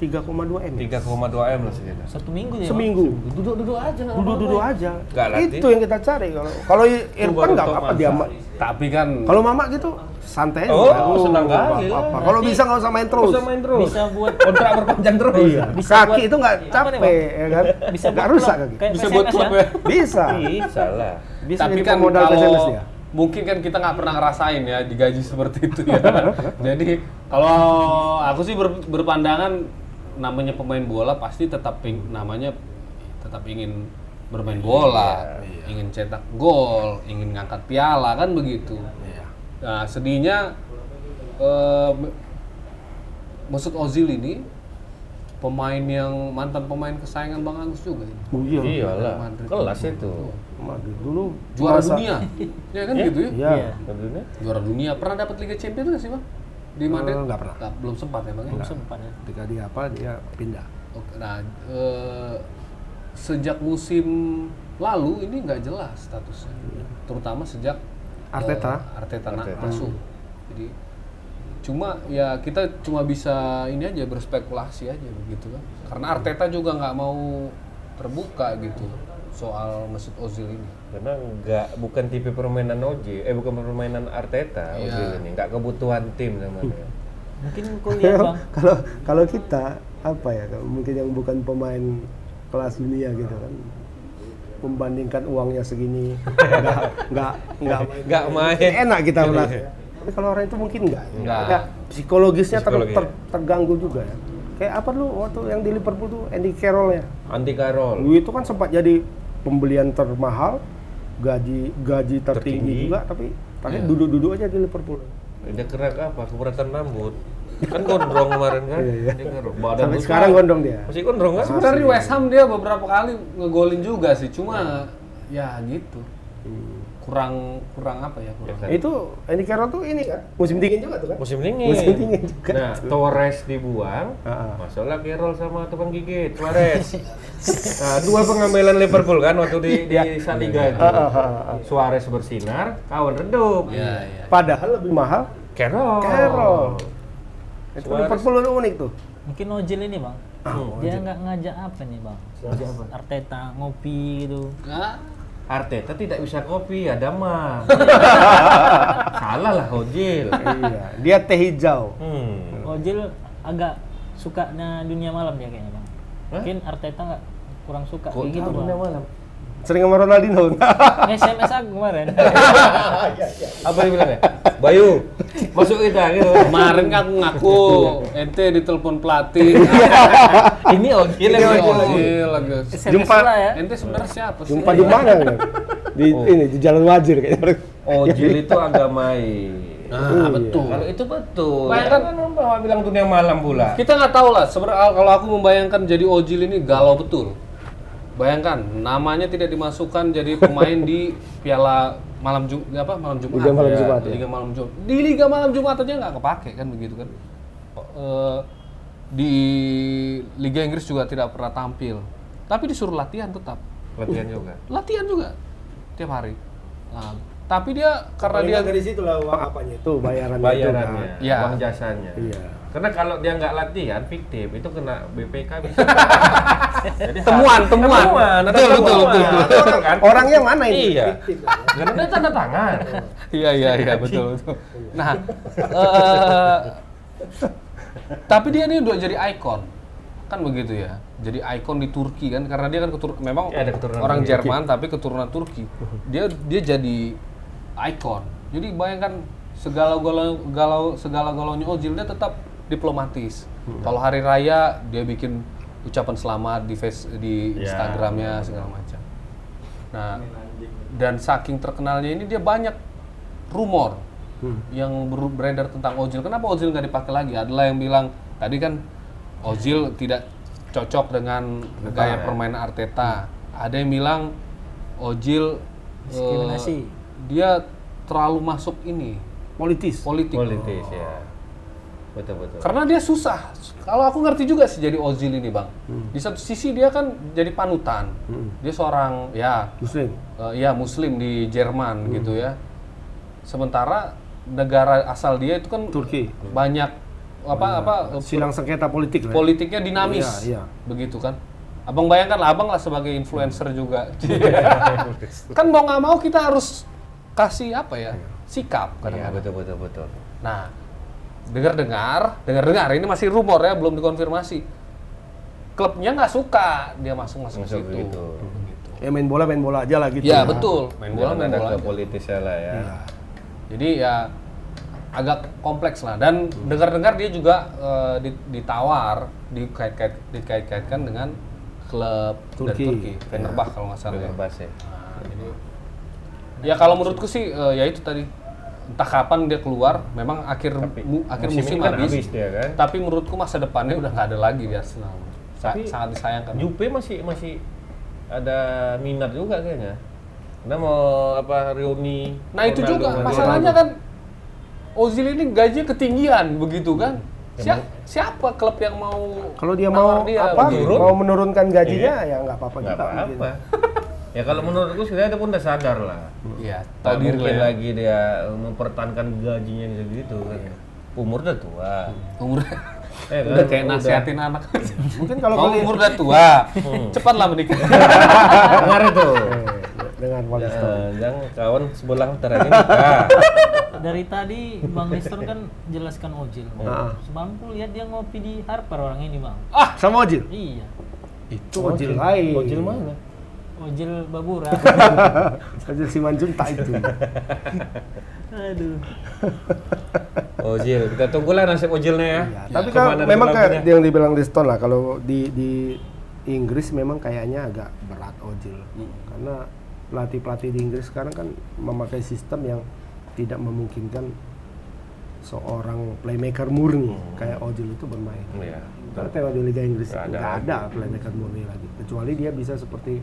Speaker 1: M ya?
Speaker 2: 3,2 M lah sekitar.
Speaker 4: satu minggu dia Bang.
Speaker 1: Seminggu
Speaker 2: Duduk-duduk aja. nggak
Speaker 1: Duduk-duduk aja
Speaker 2: Nggak latih.
Speaker 1: Itu yang kita cari Kalau kalau Irfan
Speaker 2: baru
Speaker 1: nggak
Speaker 2: top
Speaker 1: apa-apa
Speaker 2: masa.
Speaker 1: dia ma-
Speaker 3: Tapi kan
Speaker 1: Kalau Mama gitu santai aja.
Speaker 2: Oh, senang
Speaker 1: nggak
Speaker 2: kali lah.
Speaker 1: apa-apa. Kalau bisa nggak usah main
Speaker 2: Terus.
Speaker 1: terus
Speaker 2: Bisa main terus.
Speaker 4: bisa buat
Speaker 2: Kontrak berpanjang terus.
Speaker 1: Iya.
Speaker 4: Bisa
Speaker 1: Kaki
Speaker 4: buat-
Speaker 1: itu nggak
Speaker 4: apa nih,
Speaker 1: capek ya kan
Speaker 4: bisa
Speaker 1: Nggak
Speaker 4: buat
Speaker 1: rusak
Speaker 4: klub,
Speaker 1: kaki
Speaker 4: kayak
Speaker 3: bisa buat
Speaker 4: PSMS
Speaker 3: klub
Speaker 4: ya.
Speaker 3: ya.
Speaker 1: Bisa
Speaker 2: Ih, Iya. salah.
Speaker 1: Bisa
Speaker 3: Tapi
Speaker 1: jadi
Speaker 3: kan
Speaker 1: pemodal SMS
Speaker 3: kalau
Speaker 1: dia
Speaker 3: mungkin kan kita nggak pernah ngerasain ya digaji seperti itu ya. Jadi kalau aku sih ber- berpandangan namanya pemain bola pasti tetap ping- namanya tetap ingin bermain bola, ingin cetak gol, ingin ngangkat piala kan begitu. Nah, sedihnya eh, maksud Ozil ini pemain yang mantan pemain kesayangan Bang Agus juga ini.
Speaker 1: Oh, Iya
Speaker 2: Iyalah.
Speaker 3: Madrid.
Speaker 2: Kelas itu.
Speaker 1: Madrid dulu
Speaker 3: Juara
Speaker 1: masa-
Speaker 3: dunia. ya kan gitu ya.
Speaker 1: Iya
Speaker 4: Iya.
Speaker 2: Sebenarnya
Speaker 3: Juara dunia pernah dapat Liga Champions nggak sih bang? Di Madrid?
Speaker 1: Eh, nggak pernah.
Speaker 3: belum sempat ya bang ya?
Speaker 4: belum sempat ya
Speaker 1: Ketika dia apa dia pindah
Speaker 3: Oke, nah eh, sejak musim lalu ini nggak jelas statusnya, terutama sejak eh,
Speaker 1: Iya. Arteta.
Speaker 3: Arteta, na-
Speaker 2: Arteta.
Speaker 3: masuk. Jadi cuma ya kita cuma bisa ini aja berspekulasi aja begitu kan, karena Arteta juga nggak mau terbuka gitu soal Mesut Ozil ini.
Speaker 2: karena nggak bukan tipe permainan OJ, eh bukan permainan Arteta
Speaker 3: Iya.
Speaker 2: Ozil ini, nggak kebutuhan tim sama dia.
Speaker 1: Hmm.
Speaker 4: mungkin kau lihat
Speaker 1: kalau
Speaker 4: bang
Speaker 1: kalau kalau kita apa ya kalau mungkin yang bukan pemain kelas dunia gitu kan membandingkan uangnya segini nggak nggak nggak
Speaker 2: Nggak main.
Speaker 1: enak kita
Speaker 2: iya.
Speaker 1: merasa ya. tapi kalau orang itu mungkin nggak ya.
Speaker 3: Nggak.
Speaker 1: Ya, psikologisnya ter-
Speaker 2: Psikologi. iya.
Speaker 1: ter- terganggu juga ya kayak apa lu waktu yang di Liverpool tuh Andy Carroll ya
Speaker 2: Anti Karol.
Speaker 1: Lu itu kan sempat jadi pembelian termahal gaji gaji tertinggi,
Speaker 2: Tertinggi. Iya.
Speaker 1: juga tapi tapi duduk-duduk aja di Liverpool
Speaker 2: Dia kerak apa? Keberatan rambut. Kan gondrong kemarin kan? Dia kerak. Badan
Speaker 1: Iya, sampai
Speaker 2: besar.
Speaker 1: sekarang Iya. gondong dia
Speaker 2: Masih gondrong kan?
Speaker 3: Sebenarnya Iya. West Ham dia beberapa kali ngegolin juga sih, cuma ya gitu. ya kurang kurang apa ya kurang
Speaker 1: Itu Andy Carroll tuh ini kan musim dingin juga tuh
Speaker 2: Iya
Speaker 1: kan.
Speaker 2: kan? Musim dingin.
Speaker 1: Musim dingin juga.
Speaker 2: Nah, Torres dibuang,
Speaker 1: Ah, ah.
Speaker 2: masuklah Carroll sama Tebang Gigit, Suarez. [LAUGHS] nah, dua pengambilan Liverpool kan waktu di di Saliga itu.
Speaker 1: Ah, ah, ah, ah.
Speaker 2: Suarez bersinar, kawan redup.
Speaker 3: ya ya
Speaker 1: Padahal lebih mahal
Speaker 2: Carroll.
Speaker 1: Carroll. Itu
Speaker 2: Suarez.
Speaker 1: Liverpool ini unik tuh.
Speaker 4: Mungkin Ojil ini bang, dia nggak ngajak apa nih bang? Arteta ngopi gitu.
Speaker 2: Arteta tidak bisa kopi, ada [LAUGHS] mah. Salah lah Ojil.
Speaker 1: iya, dia teh hijau.
Speaker 2: Hmm.
Speaker 4: Ojil agak sukanya dunia malam dia kayaknya bang. Mungkin Arteta nggak kurang suka
Speaker 2: Kok
Speaker 4: kayak gitu
Speaker 2: tahu
Speaker 4: bang.
Speaker 2: dunia malam?
Speaker 1: Sering sama Ronaldinho.
Speaker 4: SMS aku kemarin.
Speaker 2: Apa dia bilang ya? Bayu, masuk kita gitu.
Speaker 3: kemarin kan aku ngaku [LAUGHS] ente ditelepon pelatih
Speaker 2: Ini Ojil yang
Speaker 3: Ente
Speaker 2: ngomong.
Speaker 3: ojil lagi
Speaker 4: SMS
Speaker 1: Jumpa.
Speaker 4: lah ya.
Speaker 3: ente sebenarnya siapa sih Iya.
Speaker 1: Jumpa di mana? kan? Di
Speaker 2: Oh.
Speaker 1: ini di Jalan Wajir kayaknya.
Speaker 2: Ojil itu agamai.
Speaker 3: nah betul
Speaker 2: Kalau itu betul.
Speaker 3: Bayangkan
Speaker 2: kan bawa bilang dunia malam pula.
Speaker 3: kita nggak tahu lah sebenarnya kalau aku membayangkan jadi ojil ini galau betul bayangkan namanya tidak dimasukkan jadi pemain di piala malam Jum apa malam Jumat
Speaker 1: Liga malam
Speaker 3: Ya,
Speaker 1: Jumat, ya.
Speaker 3: Liga malam Jumat di Liga malam Jumat aja nggak kepake kan begitu kan Eh, di Liga Inggris juga tidak pernah tampil tapi disuruh latihan tetap
Speaker 2: Latihan juga.
Speaker 3: latihan juga tiap hari nah, tapi dia karena dia
Speaker 5: dari situ lah uang apanya
Speaker 1: Itu kan? bayarannya.
Speaker 2: Bayarannya,
Speaker 1: juga.
Speaker 3: Iya.
Speaker 2: uang jasanya.
Speaker 1: Iya.
Speaker 2: Karena kalau dia nggak latihan fiktif itu kena BPK
Speaker 1: [LAUGHS]
Speaker 2: bisa. Jadi
Speaker 3: Temuan,
Speaker 2: harus-
Speaker 3: temuan.
Speaker 2: ada
Speaker 3: Betul,
Speaker 2: temuan.
Speaker 3: betul, betul, betul.
Speaker 2: Ada Orang kan?
Speaker 1: Orangnya mana ini?
Speaker 2: Iya. Karena dia tanda tangan.
Speaker 3: Iya iya iya betul betul. Nah, eh, tapi dia ini udah jadi ikon, kan begitu ya. Jadi ikon di Turki kan, karena dia kan ketur- memang
Speaker 2: Ya, ada keturunan
Speaker 3: orang
Speaker 2: Turki.
Speaker 3: Jerman tapi keturunan Turki. Dia dia jadi ikon. Jadi bayangkan segala galau galau segala galaunya Ojil dia tetap diplomatis.
Speaker 2: Hmm.
Speaker 3: Kalau hari raya dia bikin ucapan selamat di face di
Speaker 2: Ya.
Speaker 3: Instagramnya segala macam. Nah, dan saking terkenalnya ini dia banyak rumor yang ber- beredar tentang Ozil. Kenapa Ozil nggak dipakai lagi? Adalah yang bilang tadi kan Ozil tidak cocok dengan gaya permainan Arteta. Ada yang bilang Ozil eh,
Speaker 4: Diskriminasi.
Speaker 3: dia terlalu masuk ini
Speaker 1: Politis.
Speaker 3: politik.
Speaker 2: Politis ya. Betul betul.
Speaker 3: Karena dia susah. Kalau aku ngerti juga sih jadi Ozil ini, Bang. Di satu sisi dia kan jadi panutan. Dia seorang ya
Speaker 1: Muslim.
Speaker 3: Eh, ya muslim di Jerman gitu ya. Sementara negara asal dia itu kan
Speaker 1: Turki.
Speaker 3: banyak apa apa eh,
Speaker 1: Silang sengketa politik kan? lah.
Speaker 3: politiknya dinamis.
Speaker 1: Iya, iya.
Speaker 3: Begitu kan. Abang bayangkan lah, abang lah sebagai influencer juga. kan mau nggak mau kita harus kasih apa ya sikap
Speaker 2: Iya,
Speaker 3: kadang-kadang.
Speaker 2: betul betul betul.
Speaker 3: Nah, dengar-dengar, dengar-dengar ini masih rumor ya, belum dikonfirmasi. Klubnya nggak suka dia masuk-masuk
Speaker 2: Masuk
Speaker 3: situ.
Speaker 2: gitu.
Speaker 1: ya main bola main bola aja lah gitu.
Speaker 3: Ya, betul.
Speaker 2: Main
Speaker 3: Main bola
Speaker 2: bola
Speaker 3: main
Speaker 2: ada
Speaker 3: bola.
Speaker 2: ke politisnya lah ya.
Speaker 1: Iya.
Speaker 3: Jadi ya agak kompleks lah dan dengar-dengar dia juga eh, di- ditawar dikait-kait dikait-kaitkan dengan klub dari
Speaker 1: Turki.
Speaker 3: Turki,
Speaker 2: Iya.
Speaker 3: Fenerbahce kalau nggak salah. ya.
Speaker 2: Fenerbahce.
Speaker 3: Nah, jadi ya kalau menurutku sih eh, ya itu tadi entah kapan dia keluar, memang akhir mu- akhir
Speaker 2: musim
Speaker 3: musim,
Speaker 2: ini kan
Speaker 3: habis,
Speaker 2: habis dia kan.
Speaker 3: Tapi menurutku masa depannya udah nggak ada lagi di Arsenal. Sa-
Speaker 2: Tapi-
Speaker 3: sangat disayangkan.
Speaker 2: Jupe masih masih ada minat juga kayaknya. Karena mau apa reuni.
Speaker 3: Nah itu
Speaker 2: Ronaldo
Speaker 3: juga
Speaker 2: sama
Speaker 3: masalahnya kan Ozil ini gajinya ketinggian begitu kan. Sia- siapa klub yang mau
Speaker 1: Kalau dia
Speaker 3: nawar Gitu.
Speaker 1: mau apa
Speaker 3: begitu?
Speaker 1: mau menurunkan gajinya ya nggak apa-apa
Speaker 2: Iya. Nggak
Speaker 1: juga. mungkin.
Speaker 2: apa-apa. ya kalau menurutku sebenarnya dia pun udah sadar lah.
Speaker 3: Iya,
Speaker 2: Tahu
Speaker 3: tahu diri lah.
Speaker 2: mungkin
Speaker 3: ya.
Speaker 2: lagi dia mempertahankan gajinya yang segitu kan. Umur udah tua.
Speaker 3: Umur
Speaker 2: Eh,
Speaker 3: [LAUGHS] udah
Speaker 2: kan,
Speaker 3: kayak nasihatin anak.
Speaker 1: Mungkin kalau
Speaker 3: Kalau
Speaker 1: kali-
Speaker 3: umur udah tua, cepatlah [LAUGHS] menikah.
Speaker 2: Dengar itu.
Speaker 1: dengan Wally
Speaker 2: Jangan,
Speaker 1: Stone.
Speaker 2: jangan kawan sebelah ntar Ah, ini nikah.
Speaker 4: Dari tadi Bang Nestor kan jelaskan Ojil.
Speaker 1: Ah.
Speaker 4: Semalam aku lihat dia ngopi di Harper orang ini bang.
Speaker 1: Sama Ojil.
Speaker 4: Iya.
Speaker 1: Itu Ojil lain.
Speaker 2: Ojil mana?
Speaker 4: Ojil Babura.
Speaker 1: [LAUGHS] Ojil Simanjunta itu.
Speaker 4: [LAUGHS]
Speaker 2: Iya.
Speaker 4: Aduh.
Speaker 2: Ojil, kita tunggulah nasib Ojilnya ya.
Speaker 1: Ya, tapi
Speaker 2: Kemana
Speaker 1: kalau
Speaker 2: dia
Speaker 1: memang kayak
Speaker 2: lakunya.
Speaker 1: yang dibilang di Stone lah kalau di di Inggris memang kayaknya agak berat Ojil
Speaker 2: Hmm.
Speaker 1: karena pelatih-pelatih di Inggris sekarang kan memakai sistem yang tidak memungkinkan seorang playmaker murni kayak Ojil itu bermain.
Speaker 2: Iya.
Speaker 1: Karena kalau di Liga Inggris
Speaker 2: Hmm. Nggak ada
Speaker 1: nggak ada, playmaker murni lagi kecuali dia bisa seperti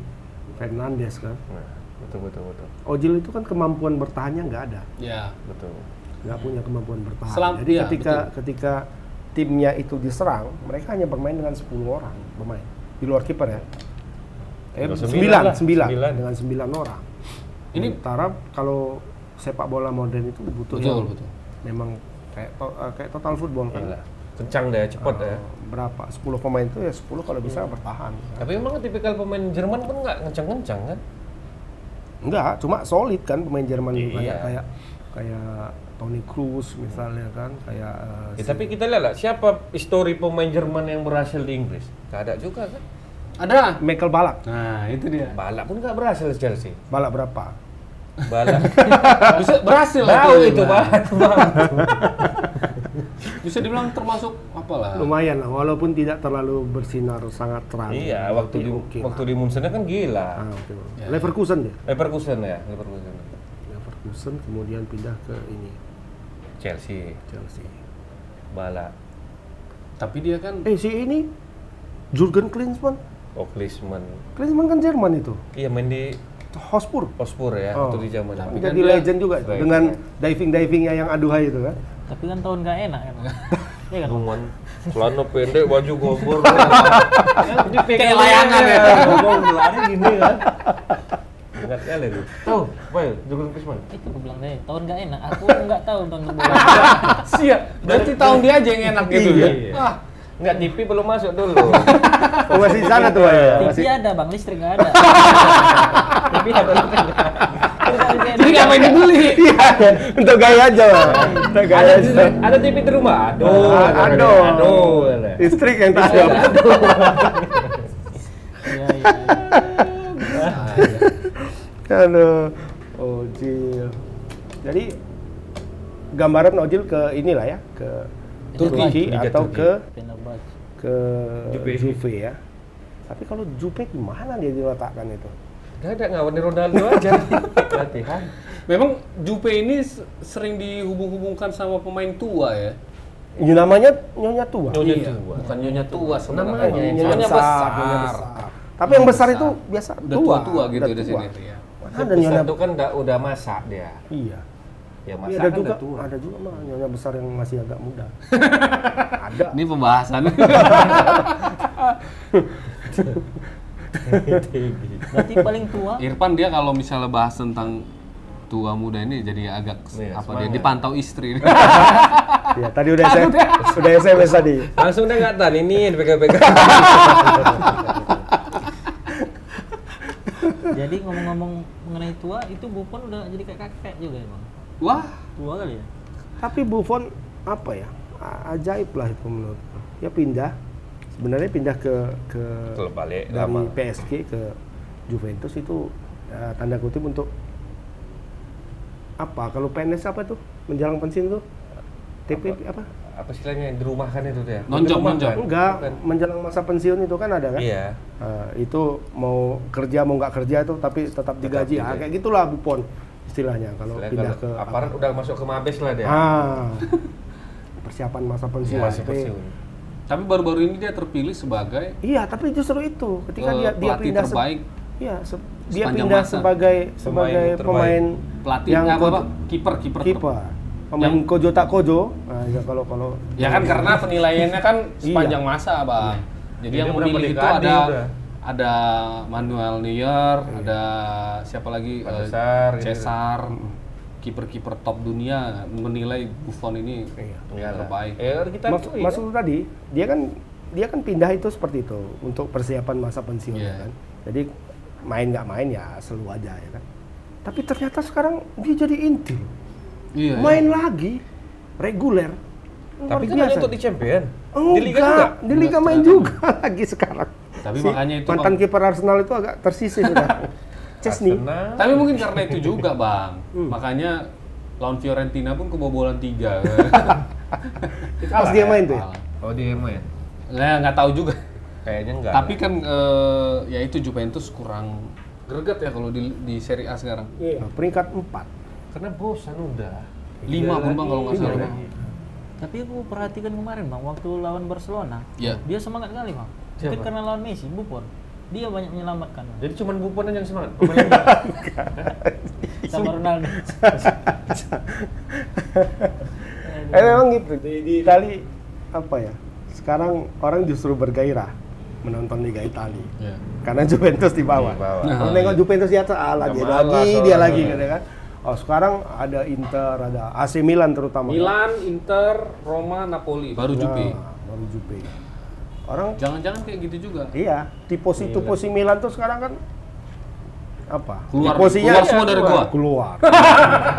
Speaker 1: Fernandes kan.
Speaker 2: Nah. betul betul betul
Speaker 1: Ojil itu kan kemampuan bertahannya nggak ada,
Speaker 3: Ya.
Speaker 2: betul
Speaker 1: nggak punya kemampuan bertahan.
Speaker 3: Selam-
Speaker 1: Jadi
Speaker 3: iya,
Speaker 1: ketika ketika timnya itu diserang, mereka hanya bermain dengan 10 orang pemain di luar kiper ya. Eh,
Speaker 2: Dengan sembilan
Speaker 1: sembilan,
Speaker 2: lah,
Speaker 1: sembilan,
Speaker 2: sembilan.
Speaker 1: dengan sembilan orang. Ini
Speaker 3: Ini-
Speaker 1: Sementara kalau sepak bola modern itu butuh
Speaker 3: Betul,
Speaker 1: yang
Speaker 3: betul.
Speaker 1: memang kayak to- eh, kayak total football kan.
Speaker 2: Gila. kencang deh cepat
Speaker 1: Eh,
Speaker 2: ya
Speaker 1: Berapa? 10 pemain itu ya 10 kalau bisa
Speaker 3: Iya.
Speaker 1: bertahan.
Speaker 2: tapi emang tipikal pemain Jerman pun nggak kencang-kencang kan
Speaker 1: Enggak, cuma solid kan pemain Jerman
Speaker 2: Iya.
Speaker 1: itu kayak kayak kayak Toni Kroos misalnya kan, kayak eh,
Speaker 2: Ya,
Speaker 1: si-
Speaker 2: tapi kita lihat lah siapa histori pemain Jerman yang berhasil di Inggris nggak ada juga kan
Speaker 3: Ada.
Speaker 1: Michael Balak.
Speaker 3: Nah, itu dia.
Speaker 2: balap pun nggak berhasil Chelsea
Speaker 1: Balak berapa?
Speaker 2: balap
Speaker 3: [LAUGHS] Bisa berhasil
Speaker 2: tahu itu
Speaker 3: Bang. [LAUGHS]
Speaker 2: banget
Speaker 3: Bisa dibilang termasuk apalah.
Speaker 1: Lumayan lah, walaupun tidak terlalu bersinar sangat terang.
Speaker 2: iya waktu di
Speaker 1: Oke lah.
Speaker 2: waktu di Munchen kan gila
Speaker 1: Ah, oke lah. Leverkusen deh.
Speaker 2: Leverkusen ya Leverkusen
Speaker 1: Leverkusen kemudian pindah ke ini
Speaker 2: Chelsea
Speaker 1: Chelsea.
Speaker 2: balap
Speaker 3: Tapi dia kan
Speaker 1: Eh si ini Jurgen Klinsmann.
Speaker 2: Oklisman
Speaker 1: Klinsmann kan Jerman itu.
Speaker 2: iya main di
Speaker 1: Hotspur.
Speaker 2: Ospur ya
Speaker 1: Oh.
Speaker 2: waktu di zaman
Speaker 3: Tapi kan
Speaker 1: Jadi
Speaker 3: dia-
Speaker 1: legend juga itu,
Speaker 2: Baik.
Speaker 1: dengan diving-divingnya yang aduhai itu kan.
Speaker 4: Tapi kan tahun nggak enak [LAUGHS] kan. Iya kan?
Speaker 2: Cuman celana pendek, baju [LAUGHS] gobor. Kayak
Speaker 3: layangan ya.
Speaker 2: Gobor lari gini kan. Ingat kali lu. Tahu, Boy, Jurgen Krisman.
Speaker 4: Itu gue bilang deh, tahun nggak enak. Aku nggak tahu nonton bola. [LAUGHS]
Speaker 3: Sia, berarti tahun dia aja yang enak gitu ya.
Speaker 2: Iya.
Speaker 3: Ah,
Speaker 2: Enggak TV belum masuk dulu.
Speaker 1: Oh, masih di sana tuh ya.
Speaker 4: TV
Speaker 1: Masih
Speaker 4: ada, bang listrik nggak [LAUGHS] ada.
Speaker 2: Tapi ada
Speaker 3: jadi nggak main dibeli.
Speaker 1: [LAUGHS] Iya, kan? untuk gaya aja lah. Untuk gaya
Speaker 2: ada Oh,
Speaker 1: aja.
Speaker 2: TV, ada TV di rumah. Aduh,
Speaker 1: Aduh,
Speaker 2: aduh.
Speaker 1: Listrik yang tak ada.
Speaker 4: Iya, iya. iya.
Speaker 1: Aduh, Ojil. Jadi gambaran Ojil ke inilah ya, ke
Speaker 4: Turki.
Speaker 1: Turki
Speaker 2: Liga
Speaker 1: atau
Speaker 2: Turki.
Speaker 1: ke
Speaker 4: Fenerbahce.
Speaker 1: ke
Speaker 2: Juve.
Speaker 1: Juve ya. Tapi kalau Juve gimana dia diletakkan itu?
Speaker 2: Enggak ada ngawanin Ronaldo [LAUGHS] aja. Latihan.
Speaker 3: Memang Jupe ini s- sering dihubung-hubungkan sama pemain tua ya.
Speaker 1: Ini namanya nyonya tua. Eh,
Speaker 2: Nyonya
Speaker 3: Iya,
Speaker 2: tua.
Speaker 3: Bukan nyonya tua sebenarnya.
Speaker 2: Namanya
Speaker 1: Nyonya
Speaker 3: Nyonya
Speaker 1: besar, nyonya
Speaker 3: besar.
Speaker 1: besar. Tapi yang besar itu biasa
Speaker 3: Udah tua-tua gitu
Speaker 1: udah
Speaker 3: di
Speaker 1: tua.
Speaker 3: sini. Iya.
Speaker 1: Mana ada
Speaker 2: Ada
Speaker 1: nyonya
Speaker 2: satu kan udah, udah masak dia.
Speaker 1: Iya.
Speaker 2: Ya
Speaker 1: Iya,
Speaker 2: masak
Speaker 1: ada
Speaker 2: kan
Speaker 1: juga,
Speaker 2: udah tua.
Speaker 1: ada juga mah nyonya besar yang masih agak muda. ada.
Speaker 3: Ini pembahasan.
Speaker 4: Berarti paling tua
Speaker 3: [LAUGHS] Irfan dia kalau misalnya bahas tentang tua muda ini jadi agak
Speaker 2: Iya,
Speaker 3: apa dia
Speaker 2: semangat.
Speaker 3: dipantau istri.
Speaker 1: [LAUGHS] Iya, tadi udah saya sudah SMS tadi.
Speaker 2: [LAUGHS] Langsung dia nggak tahan ini pegang-pegang.
Speaker 4: Jadi ngomong-ngomong mengenai tua, itu Buffon udah jadi kayak kakek juga ya bang.
Speaker 3: Wah,
Speaker 4: Tua kali ya.
Speaker 1: Tapi Buffon apa ya? A- Ajaib lah itu menurutku. Ya pindah. Sebenarnya pindah ke ke
Speaker 2: Klub balik
Speaker 1: dari
Speaker 2: lama.
Speaker 1: PSG ke Juventus itu eh, tanda kutip untuk apa? Kalau PNS apa tuh? Menjelang pensiun tuh? TPP apa?
Speaker 2: apa istilahnya yang dirumahkan itu dia?
Speaker 3: Nonjok,
Speaker 2: Dirumahkan.
Speaker 3: nonjok.
Speaker 1: Enggak,
Speaker 2: Bukan.
Speaker 1: menjelang masa pensiun itu kan ada kan?
Speaker 2: Iya.
Speaker 1: Eh, itu mau kerja mau nggak kerja itu tapi tetap digaji
Speaker 2: digaji.
Speaker 1: Ah, kayak gitulah Buffon istilahnya kalau
Speaker 2: Istilahnya
Speaker 1: pindah ke
Speaker 2: kalau ya? aparat udah masuk ke mabes lah dia.
Speaker 1: ah [LAUGHS] iya, persiapan masa pensiun
Speaker 2: Masih
Speaker 1: Tapi-
Speaker 2: Iya, pensiun.
Speaker 3: tapi baru-baru ini dia terpilih sebagai
Speaker 1: iya tapi justru itu
Speaker 3: Eh,
Speaker 1: ketika dia dia
Speaker 3: pelatih
Speaker 1: pindah se-
Speaker 3: terbaik
Speaker 1: iya se- dia
Speaker 3: sepanjang
Speaker 1: pindah
Speaker 3: masa.
Speaker 1: sebagai sebagai
Speaker 2: terbaik.
Speaker 1: pemain
Speaker 3: pelatih eh,
Speaker 1: yang
Speaker 3: apa,
Speaker 1: ko-
Speaker 3: Pak? kiper kiper ter-
Speaker 1: kiper pemain kojo tak kojo nah, ya kalau kalau
Speaker 3: Ya kan karena penilaiannya kan sepanjang masa, Bang. Jadi
Speaker 2: Dia
Speaker 3: yang
Speaker 2: udah
Speaker 3: memilih itu
Speaker 2: mendekati,
Speaker 3: ada
Speaker 2: udah.
Speaker 3: ada Manuel Neuer, ada siapa lagi? Eh,
Speaker 2: Van der Sar, gitu.
Speaker 3: Cesar, kiper-kiper top dunia menilai Buffon ini
Speaker 2: Iya lah.
Speaker 3: terbaik.
Speaker 2: Eh, kita
Speaker 1: Maksud,
Speaker 2: akui,
Speaker 1: maksud tadi, dia kan dia kan pindah itu seperti itu untuk persiapan masa pensiun
Speaker 3: Iya.
Speaker 1: kan. Jadi main nggak main ya selu aja ya kan. Tapi ternyata sekarang dia jadi inti. loh.
Speaker 3: Iya.
Speaker 1: main lagi reguler.
Speaker 2: kan? Tapi kan
Speaker 1: Luar
Speaker 2: hanya
Speaker 1: biasa.
Speaker 2: untuk di champion.
Speaker 1: Enggak,
Speaker 2: Di liga juga.
Speaker 1: di liga main juga [LAUGHS] lagi sekarang.
Speaker 3: Tapi makanya itu,
Speaker 1: mantan
Speaker 3: Bang.
Speaker 1: kiper Arsenal itu agak tersisih
Speaker 3: [LAUGHS]
Speaker 1: sudah. Chesney.
Speaker 2: Arsenal.
Speaker 3: Tapi mungkin karena itu juga, Bang. Makanya lawan Fiorentina pun kebobolan 3.
Speaker 1: Pas dia main
Speaker 3: Ah.
Speaker 1: tuh ya.
Speaker 2: Oh dia yang main.
Speaker 3: Nah, nggak tahu juga.
Speaker 2: Kayaknya enggak.
Speaker 3: Tapi kan eh, ya itu Juventus kurang greget ya kalau di, di Serie A sekarang.
Speaker 1: Nah, peringkat 4.
Speaker 2: karena bosan udah. Iya. kan?
Speaker 3: Lima pun bang kalau nggak salah. Bang.
Speaker 4: Tapi aku perhatikan kemarin bang, waktu lawan Barcelona,
Speaker 3: Iya.
Speaker 4: dia semangat kali bang. Mungkin karena lawan Messi, Buffon. dia banyak menyelamatkan
Speaker 1: [LAUGHS]
Speaker 4: Bang.
Speaker 2: Jadi cuman Buffon aja yang
Speaker 3: [LAUGHS]
Speaker 2: semangat. Pemain lain nggak?
Speaker 4: sama Ronaldo.
Speaker 3: Iya.
Speaker 1: Eh memang gitu di, di Itali apa ya? Sekarang orang justru bergairah menonton Liga Itali
Speaker 3: Iya.
Speaker 1: karena Juventus di bawah.
Speaker 2: Di bawah.
Speaker 3: Nah.
Speaker 1: Kalau nengok Juventus di atas, alah dia
Speaker 2: Malas
Speaker 1: lagi, dia
Speaker 2: orang.
Speaker 1: lagi gitu kan. Oh sekarang ada Inter, ada AC Milan terutama.
Speaker 3: Milan, Inter, Roma, Napoli, baru
Speaker 2: Iya.
Speaker 1: Nah,
Speaker 3: Juve.
Speaker 1: baru Juve. Orang
Speaker 3: Jangan-jangan kayak gitu juga.
Speaker 1: iya, tiposi tiposi Milan tuh sekarang kan apa?
Speaker 3: Keluar-
Speaker 1: Tiposinya-
Speaker 3: keluar semua dari gua.
Speaker 1: Keluar.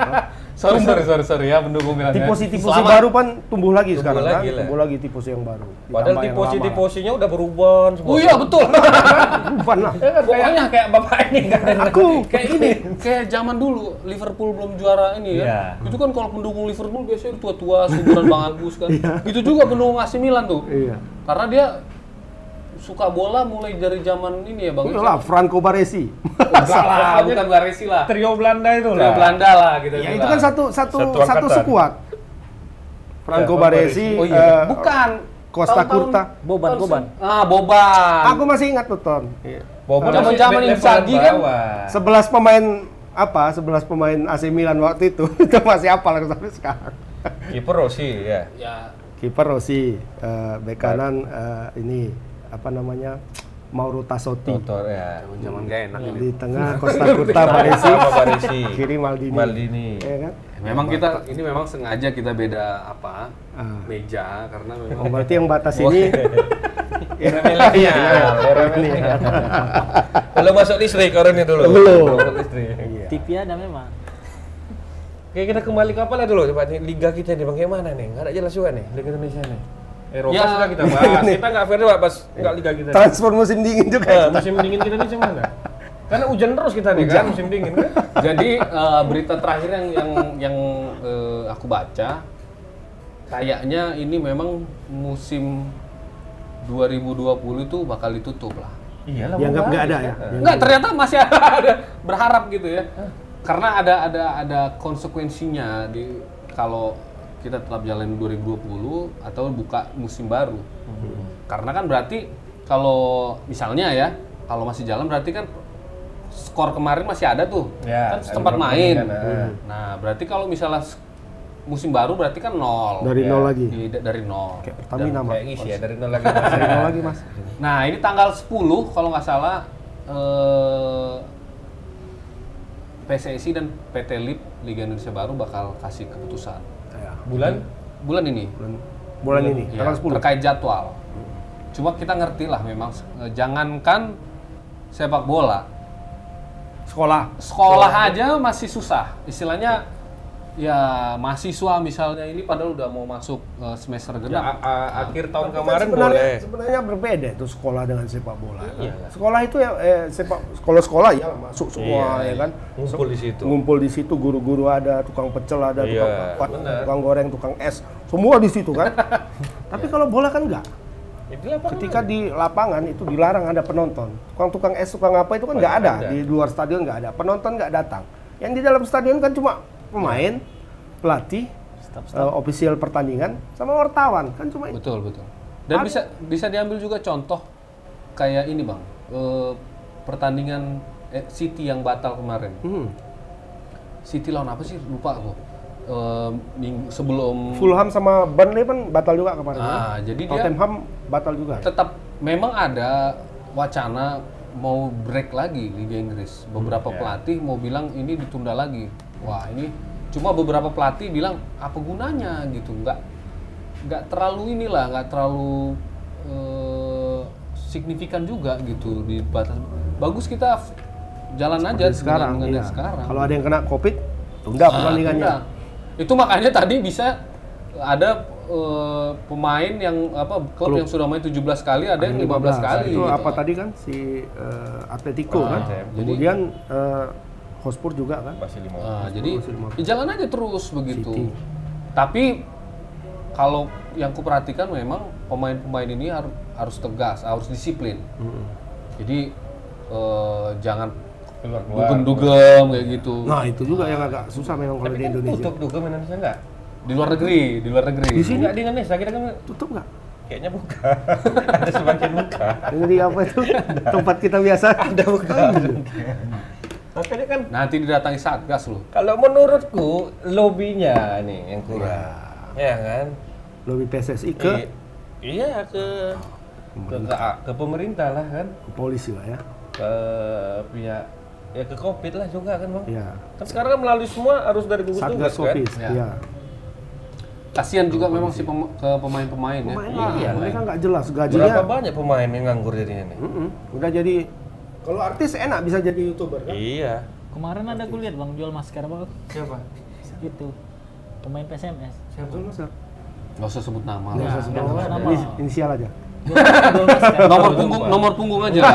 Speaker 3: [LAUGHS]
Speaker 2: Sorry, sorry, sorry, sorry ya mendukung Milan. ya.
Speaker 1: tiposi tiposi
Speaker 2: Selamat.
Speaker 1: baru kan tumbuh lagi
Speaker 2: Tumbuh
Speaker 1: sekarang
Speaker 2: lagi
Speaker 1: kan.
Speaker 2: lah.
Speaker 1: Tumbuh lagi tiposi yang baru.
Speaker 2: Padahal
Speaker 1: Ditambah yang
Speaker 2: [LAUGHS]
Speaker 1: lama.
Speaker 2: tiposi-tiposinya udah berubah semua.
Speaker 3: Oh iya betul. [LAUGHS]
Speaker 1: Bukan lah.
Speaker 2: Pokoknya kayak bapak ini kan.
Speaker 3: [LAUGHS]
Speaker 1: Aku
Speaker 3: kayak ini, kayak zaman dulu Liverpool belum juara ini
Speaker 2: Iya.
Speaker 3: ya. Itu kan kalau pendukung Liverpool biasanya tua-tua, seumuran Bang Agus kan. Gitu juga pendukung AC Milan tuh.
Speaker 1: Iya.
Speaker 3: Karena dia suka bola mulai dari zaman ini ya Bang.
Speaker 1: Udah lah Franco Baresi.
Speaker 3: Enggak lah,
Speaker 1: kan
Speaker 3: bukan Baresi lah.
Speaker 2: Trio Belanda itu
Speaker 3: Trio Belanda lah gitu.
Speaker 1: ya Iya. itu kan satu satu
Speaker 2: Satu
Speaker 1: satu,
Speaker 2: angkatan.
Speaker 1: sekuat. Franco
Speaker 2: Ya,
Speaker 1: Baresi,
Speaker 3: Oh iya,
Speaker 1: eh,
Speaker 3: bukan.
Speaker 1: Costa
Speaker 3: Tahun-tahun-
Speaker 1: Curta.
Speaker 4: Boban,
Speaker 3: tahun-
Speaker 4: Boban.
Speaker 3: Ah, Boban.
Speaker 1: Aku masih ingat tuh Ton.
Speaker 2: Boban
Speaker 3: Zaman-zaman
Speaker 2: masih
Speaker 3: Inzaghi
Speaker 2: level
Speaker 3: kan?
Speaker 2: bawah.
Speaker 1: 11 pemain apa? 11 pemain AC Milan waktu itu [LAUGHS] itu masih apa lah sampai sekarang.
Speaker 2: Kiper Rossi ya.
Speaker 3: Ya,
Speaker 1: Kiper Rossi, eh, bek kanan eh, ini apa namanya? Mauro Tassotti.
Speaker 2: Tutor ya.
Speaker 3: zaman gak enak ini.
Speaker 1: Di tengah Costa Curta Baresi,
Speaker 2: Sama Baresi.
Speaker 1: kiri Maldini.
Speaker 2: Iya. Maldini.
Speaker 1: Ya kan?
Speaker 3: Memang kita ini memang sengaja kita beda apa?
Speaker 1: Ah.
Speaker 3: Meja karena memang
Speaker 1: Oh, berarti yang batas ini ya,
Speaker 2: Remelinya,
Speaker 1: [LAUGHS] iya, iya,
Speaker 2: remelinya.
Speaker 1: remelinya.
Speaker 2: Belum masuk listrik orangnya dulu.
Speaker 1: Belum.
Speaker 2: masuk listrik.
Speaker 1: [LAUGHS] Iya.
Speaker 4: TV ada memang.
Speaker 2: Oke kita kembali ke apa lah dulu coba nih, liga kita nih bagaimana nih nggak ada jelas juga nih liga Indonesia nih Eropa
Speaker 3: Ya.
Speaker 2: sudah kita bahas kita nggak fair juga bahas nggak liga kita nih.
Speaker 1: Transfer musim dingin juga. ya?
Speaker 2: Eh, musim dingin kita nih cuman karena hujan terus kita nih kan musim dingin kan
Speaker 3: Jadi eh, berita terakhir yang yang yang eh, aku baca kayaknya ini memang musim 2020 itu bakal ditutup lah.
Speaker 2: iyalah
Speaker 1: Dianggap nggak ada ya.
Speaker 2: Iya.
Speaker 3: Enggak, ternyata masih [LAUGHS] ada, ada berharap gitu ya. Karena ada ada ada konsekuensinya di kalau kita tetap jalan 2020 atau buka musim baru. Karena kan berarti kalau misalnya ya, kalau masih jalan berarti kan skor kemarin masih ada tuh. kan
Speaker 2: Ya, ada
Speaker 3: sempat
Speaker 2: berapa
Speaker 3: main.
Speaker 2: pertandingan,
Speaker 1: Hmm.
Speaker 2: ah.
Speaker 3: Nah, berarti kalau misalnya s- musim baru berarti kan nol.
Speaker 1: Dari
Speaker 3: Ya.
Speaker 2: Iya.
Speaker 1: nol lagi.
Speaker 3: Di- dari nol.
Speaker 1: Kayak Pertamina mah.
Speaker 2: kayak ngisi ya dari nol lagi
Speaker 1: Dari nol lagi mas.
Speaker 2: Iya.
Speaker 3: Nah, ini tanggal 10 kalau nggak salah eh, PSSI dan PT Lib Liga Indonesia Baru bakal kasih keputusan
Speaker 2: bulan
Speaker 3: bulan ini.
Speaker 1: Bulan, bulan
Speaker 2: Iya.
Speaker 1: ini
Speaker 3: Ya,
Speaker 1: Iya, tanggal 10.
Speaker 3: terkait jadwal. Cuma kita ngerti lah memang eh, jangankan sepak bola,
Speaker 1: Sekolah.
Speaker 3: sekolah aja masih susah. Istilahnya ya mahasiswa misalnya ini padahal udah mau masuk eh, semester
Speaker 2: Ya,
Speaker 3: genap.
Speaker 2: a- a- akhir tahun
Speaker 1: Kan
Speaker 2: kemarin
Speaker 1: sebenarnya,
Speaker 2: boleh Iya.
Speaker 1: sebenarnya berbeda itu sekolah dengan sepak bola. Sekolah itu ya eh, sepak sekolah-sekolah ya masuk semua
Speaker 2: Iya,
Speaker 1: ya kan.
Speaker 2: ngumpul di situ
Speaker 1: Ngumpul di situ guru-guru ada, tukang pecel ada,
Speaker 2: Iya,
Speaker 1: tukang papat,
Speaker 2: benar.
Speaker 1: tukang goreng, tukang es, semua di situ
Speaker 2: [LAUGHS]
Speaker 1: kan. Tapi kalau bola kan enggak.
Speaker 2: Jadi lapangan
Speaker 1: Ketika di lapangan itu dilarang ada penonton. Tukang tukang es, tukang apa itu kan nggak ada.
Speaker 2: ada.
Speaker 1: Di luar stadion nggak ada. Penonton nggak datang. Yang di dalam stadion kan cuma pemain, pelatih, eh, official pertandingan, sama wartawan kan cuma itu.
Speaker 3: Betul betul. Dan bisa bisa diambil juga contoh kayak ini bang Eh, pertandingan eh, City yang batal kemarin.
Speaker 1: Hmm.
Speaker 3: City lawan apa sih? Lupa aku. Eh, minggu- sebelum
Speaker 1: Fulham sama Burnley kan batal juga kemarin.
Speaker 3: ah jadi dia
Speaker 1: Tottenham batal juga.
Speaker 3: tetap memang ada wacana mau break lagi Liga Inggris.
Speaker 1: Hmm, ya.
Speaker 3: Beberapa pelatih mau bilang ini ditunda lagi. Wah ini cuma beberapa pelatih bilang apa gunanya gitu nggak nggak terlalu inilah nggak terlalu eh, signifikan juga gitu di batas. Bagus kita f- jalan aja dengan-
Speaker 1: sekarang,
Speaker 3: dengan
Speaker 1: iya.
Speaker 3: yang sekarang.
Speaker 1: Kalau ada yang kena Covid, tunda
Speaker 3: Ah,
Speaker 1: pertandingannya.
Speaker 3: tunda. Itu makanya tadi bisa ada eh, pemain yang apa klub, yang sudah main 17 kali ada yang 15, kali. gitu.
Speaker 1: Itu apa tadi kan si eh, Atletico
Speaker 2: Ah,
Speaker 1: kan.
Speaker 2: iya.
Speaker 1: Kemudian eh, Hotspur juga kan.
Speaker 2: masih lima
Speaker 3: Ah, jadi ya jalan aja terus begitu.
Speaker 1: City.
Speaker 3: Tapi kalau yang kuperhatikan memang pemain-pemain ini harus harus tegas, harus disiplin.
Speaker 1: Hmm.
Speaker 3: Jadi eh, jangan
Speaker 2: keluar keluar
Speaker 3: dugem-dugem kayak gitu.
Speaker 1: Nah, itu juga yang agak susah memang kalau
Speaker 2: tapi
Speaker 1: di
Speaker 2: kan
Speaker 1: Indonesia.
Speaker 2: tutup juga main Indonesia enggak
Speaker 3: Di luar negeri, di luar negeri.
Speaker 1: Di sini
Speaker 2: enggak di Indonesia kita kan
Speaker 1: tutup nggak?
Speaker 2: Kayaknya buka. [LAUGHS] ada sebagian buka.
Speaker 1: Yang di apa
Speaker 2: [LAUGHS]
Speaker 1: itu? Tempat kita biasa.
Speaker 2: Ada buka. Makanya kan
Speaker 3: Nanti didatangi Satgas loh.
Speaker 2: kalau menurutku lobinya nih yang kurang. Ya kan?
Speaker 1: Lobby PSSI Iya. ke
Speaker 2: I- iya ke ke, ke ke pemerintah lah kan.
Speaker 1: ke polisi lah ya.
Speaker 2: Ke pihak ya ke Covid lah juga kan, Bang.
Speaker 1: Iya.
Speaker 2: Kan sekarang kan melalui semua harus dari gugus tugas
Speaker 1: Satgas
Speaker 2: kan.
Speaker 1: Covid.
Speaker 3: Ya.
Speaker 1: Iya.
Speaker 3: Kasihan juga memang si pem- ke pemain-pemain ya.
Speaker 1: Pemain lah,
Speaker 2: Iya,
Speaker 1: mereka nggak jelas gajinya.
Speaker 2: Berapa banyak pemain yang nganggur jadinya nih?
Speaker 1: Mm-mm. Udah jadi kalau artis enak bisa jadi youtuber kan?
Speaker 2: Iya.
Speaker 4: Kemarin ada kulihat bang jual masker bang.
Speaker 2: Siapa?
Speaker 4: Itu pemain PSMS.
Speaker 2: Siapa?
Speaker 1: Betul, Sir.
Speaker 3: Nggak usah sebut nama
Speaker 1: Nggak
Speaker 3: lah.
Speaker 1: usah sebut
Speaker 4: nggak
Speaker 1: nama.
Speaker 4: usah nama.
Speaker 1: Ini- Inisial aja.
Speaker 4: Jual, jual masker.
Speaker 3: Nomor punggung, nomor punggung aja. lah.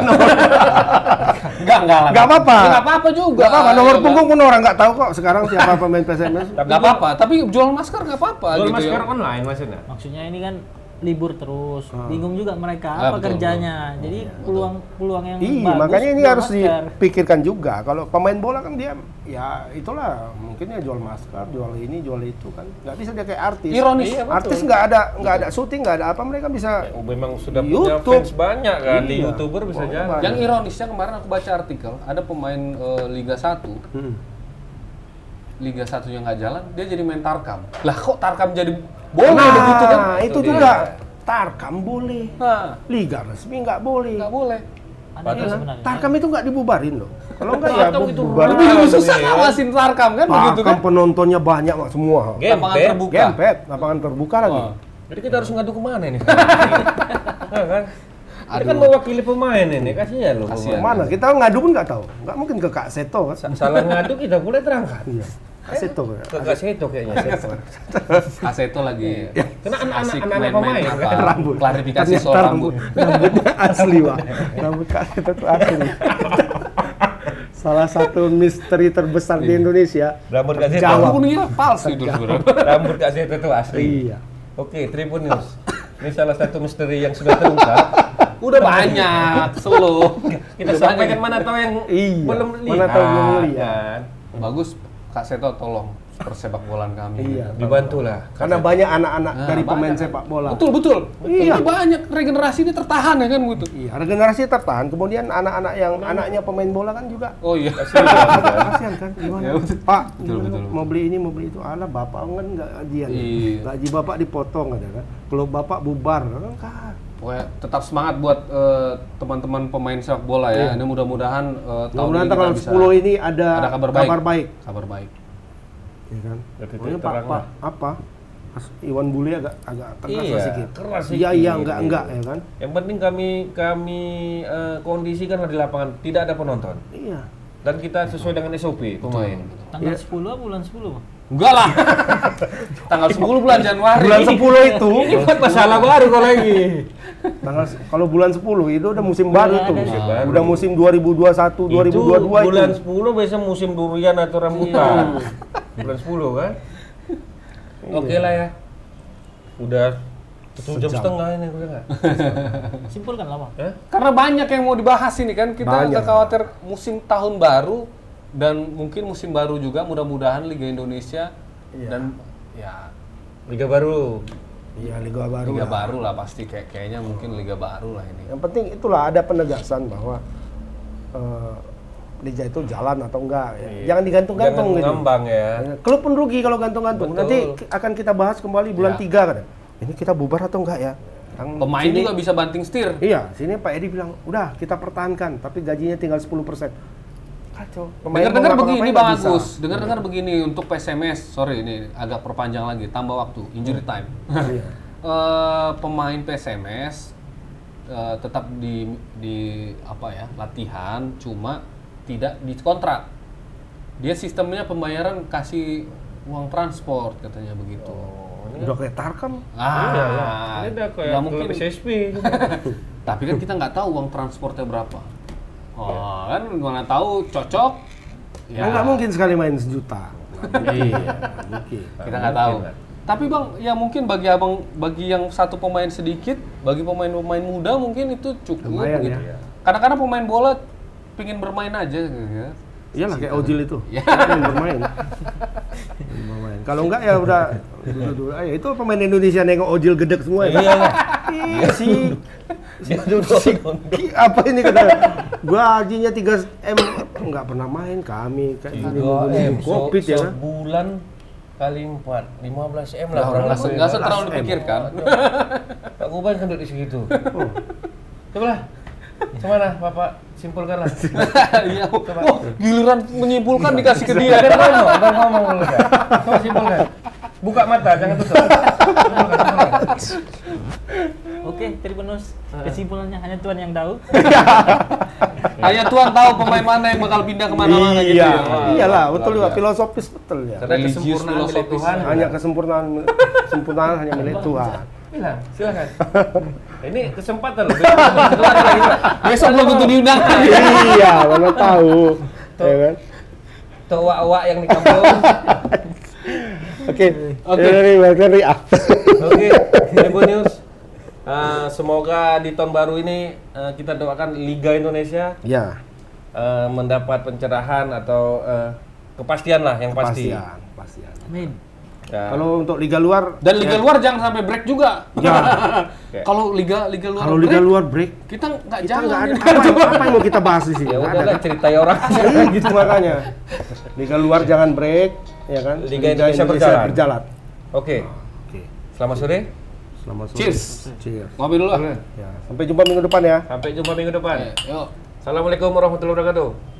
Speaker 3: Nggak, nggak lah. Ya,
Speaker 1: Nggak apa-apa.
Speaker 3: Nggak apa-apa juga.
Speaker 1: Gak apa-apa,
Speaker 3: Ayo,
Speaker 1: nomor
Speaker 3: kan.
Speaker 1: punggung pun orang nggak tahu kok sekarang siapa pemain PSMS.
Speaker 3: Nggak apa-apa, tapi jual masker nggak apa-apa
Speaker 2: Jual
Speaker 3: gitu
Speaker 2: masker kan-
Speaker 3: ya.
Speaker 2: online maksudnya?
Speaker 4: Maksudnya ini kan libur terus,
Speaker 1: Hmm.
Speaker 4: bingung juga mereka
Speaker 3: Ah, betul,
Speaker 4: apa
Speaker 3: Iya,
Speaker 4: kerjanya. Jadi peluang peluang yang
Speaker 1: Iya,
Speaker 4: bagus
Speaker 1: makanya ini
Speaker 4: jual
Speaker 1: harus
Speaker 4: masker.
Speaker 1: dipikirkan juga. Kalau pemain bola kan dia ya itulah mungkin ya jual masker, jual ini, jual itu kan. Nggak bisa dia kayak artis.
Speaker 3: Ironis.
Speaker 2: Iya, betul.
Speaker 1: artis nggak ada nggak ada syuting, nggak ada apa mereka bisa
Speaker 2: Oh, Memang sudah punya
Speaker 1: YouTube.
Speaker 2: fans banyak kan di
Speaker 1: Iya.
Speaker 2: YouTuber bisa
Speaker 1: Wah,
Speaker 2: jalan.
Speaker 1: banyak.
Speaker 3: Yang ironisnya kemarin aku baca artikel, ada pemain eh, Liga 1
Speaker 1: Hmm.
Speaker 3: Liga 1 yang nggak jalan, dia jadi main Tarkam. Lah kok Tarkam jadi bola
Speaker 1: Nah,
Speaker 3: begitu kan?
Speaker 1: itu
Speaker 2: Itu
Speaker 1: juga
Speaker 2: dia.
Speaker 1: Tarkam boleh.
Speaker 3: Nah,
Speaker 1: Liga resmi nggak boleh.
Speaker 3: nggak boleh.
Speaker 4: Ada
Speaker 2: Padahal
Speaker 4: nggak sebenarnya.
Speaker 1: Tarkam itu nggak dibubarin loh. Kalau nggak ya
Speaker 2: Tarkam itu
Speaker 1: bubarin.
Speaker 3: Lebih lebih
Speaker 2: Tarkam
Speaker 3: susah
Speaker 2: ya.
Speaker 3: ngawasin Tarkam kan begitu
Speaker 1: Tarkam
Speaker 3: kan?
Speaker 1: penontonnya banyak Mak, semua.
Speaker 2: Gempet.
Speaker 3: Lapangan terbuka.
Speaker 1: Gempet, lapangan terbuka lagi.
Speaker 3: Wah.
Speaker 2: Jadi kita harus ngadu kemana ini? [LAUGHS] sekarang? Nah, kan? Dia kan mewakili pemain ini, kasihan loh.
Speaker 3: Kasihan.
Speaker 2: pemain.
Speaker 1: Mana kita ngadu pun nggak tahu. Nggak mungkin ke Kak Seto kan?
Speaker 2: Sa- Salah ngadu kita boleh terangkat.
Speaker 1: Iya. Kak Seto. ya.
Speaker 2: Ke Kak Seto kayaknya. Seto.
Speaker 3: Aseto lagi
Speaker 2: Kena anak-anak-
Speaker 3: asik
Speaker 2: anak-anak
Speaker 3: main-main
Speaker 2: pemain,
Speaker 3: apa?
Speaker 2: kan?
Speaker 1: Iya. Rambut.
Speaker 3: Klarifikasi
Speaker 1: Ternyata
Speaker 3: soal rambut. [LAUGHS]
Speaker 1: Rambutnya asli, Pak. Rambut Kak Seto itu asli. Salah satu misteri terbesar
Speaker 3: Iya.
Speaker 1: di Indonesia.
Speaker 2: Rambut Kak Seto.
Speaker 1: Jawab.
Speaker 3: Aku ngira kan palsu itu sebenarnya.
Speaker 2: Rambut Kak Seto itu asli.
Speaker 1: Iya.
Speaker 2: Oke, Tribun News. Ini salah satu misteri yang sudah terungkap.
Speaker 3: Udah banyak, solo.
Speaker 2: Kita sampaikan mana tahu yang
Speaker 1: Iya.
Speaker 2: belum
Speaker 1: Mana tahu belum
Speaker 3: Ah, iya.
Speaker 1: lihat.
Speaker 2: Kan?
Speaker 3: Bagus, Kak Seto tolong persepak bolaan kami.
Speaker 1: Iya.
Speaker 2: Dibantulah.
Speaker 1: Karena banyak anak-anak
Speaker 3: Nah,
Speaker 1: dari pemain
Speaker 3: banyak.
Speaker 1: sepak bola.
Speaker 3: Betul, betul.
Speaker 1: Iya.
Speaker 3: Ini banyak regenerasi ini tertahan ya kan gitu.
Speaker 1: Iya, regenerasi tertahan. Kemudian anak-anak yang anaknya pemain bola kan juga
Speaker 3: Oh iya. Ya,
Speaker 1: kasihan kan gimana? Pak,
Speaker 3: Betul,
Speaker 1: gimana?
Speaker 3: betul, betul.
Speaker 1: mau beli ini, mau beli itu. Alah, bapak kan nggak dia.
Speaker 3: Iya.
Speaker 1: Gaji bapak dipotong ada kan. Kalau bapak bubar kan kan.
Speaker 3: Pokoknya tetap semangat buat eh, teman-teman pemain sepak bola ya. Ini mudah-mudahan eh, tahun
Speaker 1: Iya. Mudah-mudahan
Speaker 3: ini
Speaker 1: tanggal
Speaker 3: kita bisa
Speaker 1: 10 ini ada,
Speaker 3: ada kabar baik.
Speaker 1: baik.
Speaker 3: Kabar baik.
Speaker 1: Ya kan?
Speaker 2: Ya, titik
Speaker 1: Pokoknya Pak,
Speaker 2: terang
Speaker 1: Pak, apa? Mas Iwan Bule agak agak tegas
Speaker 2: Iya,
Speaker 1: lah sedikit.
Speaker 2: keras
Speaker 1: Iya,
Speaker 2: sedikit.
Speaker 1: iya, enggak, enggak ya kan?
Speaker 2: Yang penting kami kami eh, kondisikan di lapangan tidak ada penonton
Speaker 1: Iya.
Speaker 2: dan kita sesuai dengan SOP pemain.
Speaker 4: Tanggal 10 apa bulan 10 bang?
Speaker 1: [LAUGHS]
Speaker 3: Enggak lah. [LAUGHS] tanggal 10 bulan Januari.
Speaker 1: Bulan 10 itu,
Speaker 3: Iya.
Speaker 2: Ini buat masalah baru kalau lagi.
Speaker 1: tanggal se- kalau bulan 10 itu udah musim baru
Speaker 4: ada
Speaker 1: tuh.
Speaker 4: musim
Speaker 2: baru.
Speaker 1: Udah musim 2021, 2022
Speaker 2: itu bulan
Speaker 1: itu.
Speaker 2: 10 biasa musim durian atau rambutan. bulan 10 kan? Oke lah ya. Udah satu jam setengah ini udah enggak?
Speaker 4: Simpulkan lah bang.
Speaker 3: Karena banyak yang mau dibahas ini kan kita
Speaker 1: Banyak.
Speaker 3: nggak khawatir musim tahun baru dan mungkin musim baru juga mudah-mudahan Liga Indonesia dan ya
Speaker 2: Liga baru.
Speaker 1: Iya, liga baru.
Speaker 3: Liga
Speaker 1: lah. Iya.
Speaker 3: baru lah pasti kayak kayaknya mungkin Liga baru lah ini.
Speaker 1: Yang penting itulah ada penegasan bahwa eh, liga itu jalan atau enggak. ya. Jangan digantung-gantung
Speaker 2: Jangan
Speaker 1: gitu.
Speaker 2: ngambang ya.
Speaker 1: Klub pun rugi kalau gantung-gantung. Nanti ki- akan kita bahas kembali bulan
Speaker 3: Ya.
Speaker 1: 3 kan. Ini kita bubar atau enggak ya? Yang
Speaker 3: Pemain
Speaker 1: sini-
Speaker 3: juga bisa banting setir.
Speaker 1: Iya, sini Pak Edi bilang, "Udah, kita pertahankan, tapi gajinya tinggal 10%." Kacau. Pemain mau
Speaker 3: Dengar-dengar
Speaker 1: ngapa-ngapain
Speaker 3: begini
Speaker 1: nggak
Speaker 3: Bang
Speaker 1: bisa.
Speaker 3: Agus, dengar-dengar begini untuk PSMS, sorry ini agak perpanjang lagi, tambah waktu, injury time.
Speaker 1: Iya.
Speaker 3: [LAUGHS] Eh, pemain PSMS eh, tetap di di apa ya latihan, cuma tidak dikontrak. Dia sistemnya pembayaran kasih uang transport katanya begitu.
Speaker 1: Oh. Udah kayak Tarkam. Iya,
Speaker 3: Ah,
Speaker 2: Ini udah kayak
Speaker 3: nggak
Speaker 2: Nah, mungkin
Speaker 3: mungkin.
Speaker 2: SSP.
Speaker 3: Tapi kan kita nggak tahu uang transportnya berapa.
Speaker 1: Iya.
Speaker 3: Oh, kan mana tahu cocok?
Speaker 1: Ya enggak mungkin sekali main sejuta.
Speaker 2: Iya.
Speaker 1: Nggak mungkin.
Speaker 3: kita nggak tahu. Tapi bang, ya mungkin bagi abang, bagi yang satu pemain sedikit, bagi pemain-pemain muda mungkin itu cukup.
Speaker 1: Lumayan
Speaker 3: gitu.
Speaker 1: ya.
Speaker 3: Kadang-kadang pemain bola pingin bermain aja. gitu ya.
Speaker 1: Iyalah kayak Ojil itu.
Speaker 3: Iya.
Speaker 1: Main bermain. Main bermain. Kalau enggak ya udah dulu-dulu aja. Itu pemain Indonesia nengok Ojil gedek semua ya.
Speaker 2: Iya lah.
Speaker 1: Iya sih.
Speaker 2: Dia duduk
Speaker 1: Ki, Iya, apa ini kata gua hajinya 3 m nggak pernah main kami kayak gini gini, gini. covid ya kan
Speaker 2: Iya, Sebulan kali 4, 15 M lah
Speaker 3: Nggak
Speaker 2: orang
Speaker 3: nggak
Speaker 2: langsung.
Speaker 3: se- nggak se- terlalu
Speaker 1: Last M.
Speaker 3: dipikirkan. [LAUGHS]
Speaker 2: Pak Guban kan duduk di situ. Coba lah. Kemana Bapak? Simpulkanlah.
Speaker 3: Iya. Wah, giliran menyimpulkan
Speaker 1: Iya.
Speaker 3: dikasih ke
Speaker 1: [LAUGHS]
Speaker 3: dia.
Speaker 2: Dia kan ngomong, dia ngomong dulu kan. Coba simpulkan. Buka mata, jangan tutup. Simpulkan, simpulkan.
Speaker 4: Oke, Tribunus, kesimpulannya hanya Tuhan yang tahu.
Speaker 3: Hanya Tuhan tahu pemain mana yang bakal pindah kemana-mana gitu
Speaker 1: iya
Speaker 3: ya. Wah,
Speaker 1: iyalah
Speaker 3: luar
Speaker 1: betul juga
Speaker 3: biasa.
Speaker 1: filosofis betul ya
Speaker 2: Karena
Speaker 3: Religius,
Speaker 2: kesempurnaan milik
Speaker 3: filosofis.
Speaker 2: Tuhan.
Speaker 1: hanya kesempurnaan kesempurnaan hanya milik Tuhan
Speaker 2: Bilang, silakan. Ini kesempatan loh. Tuhan
Speaker 3: Besok belum tentu diundang.
Speaker 1: Nah, iya mana tahu
Speaker 2: Tuh.
Speaker 1: ya kan
Speaker 2: Tua-tua yang di kampung.
Speaker 1: oke
Speaker 3: Oke.
Speaker 1: oke dari balik dari ah.
Speaker 2: Oke, Ibu News. Eh, semoga di tahun baru ini eh, kita doakan Liga Indonesia
Speaker 1: ya
Speaker 2: eh, mendapat pencerahan atau eh, kepastian lah yang pasti.
Speaker 1: pastian pastian
Speaker 4: Amin.
Speaker 2: Ya.
Speaker 1: kalau untuk liga luar
Speaker 3: Dan liga luar jangan sampai break juga.
Speaker 1: Ya.
Speaker 3: Kalau liga liga luar
Speaker 1: kalau liga
Speaker 3: break,
Speaker 1: luar break
Speaker 3: kita nggak
Speaker 1: kita
Speaker 3: jalan.
Speaker 1: nggak ada
Speaker 3: ya.
Speaker 1: apa, yang- apa yang mau kita bahas di sini
Speaker 2: ya
Speaker 1: Nggak ada
Speaker 2: udahlah
Speaker 1: kan?
Speaker 2: ceritain
Speaker 1: [LAUGHS]
Speaker 2: orang.
Speaker 1: Iya, gitu makanya. Liga luar jangan break, ya kan?
Speaker 2: Liga Indonesia berjalan. Oke,
Speaker 1: Oke.
Speaker 2: selamat sore.
Speaker 1: Selamat sore.
Speaker 3: Cheers.
Speaker 1: Cheers.
Speaker 3: Ngopi dulu. lah. Eh,
Speaker 1: Ya, sampai jumpa minggu depan ya.
Speaker 2: Sampai jumpa minggu depan.
Speaker 3: Ayo.
Speaker 2: Assalamualaikum warahmatullahi wabarakatuh.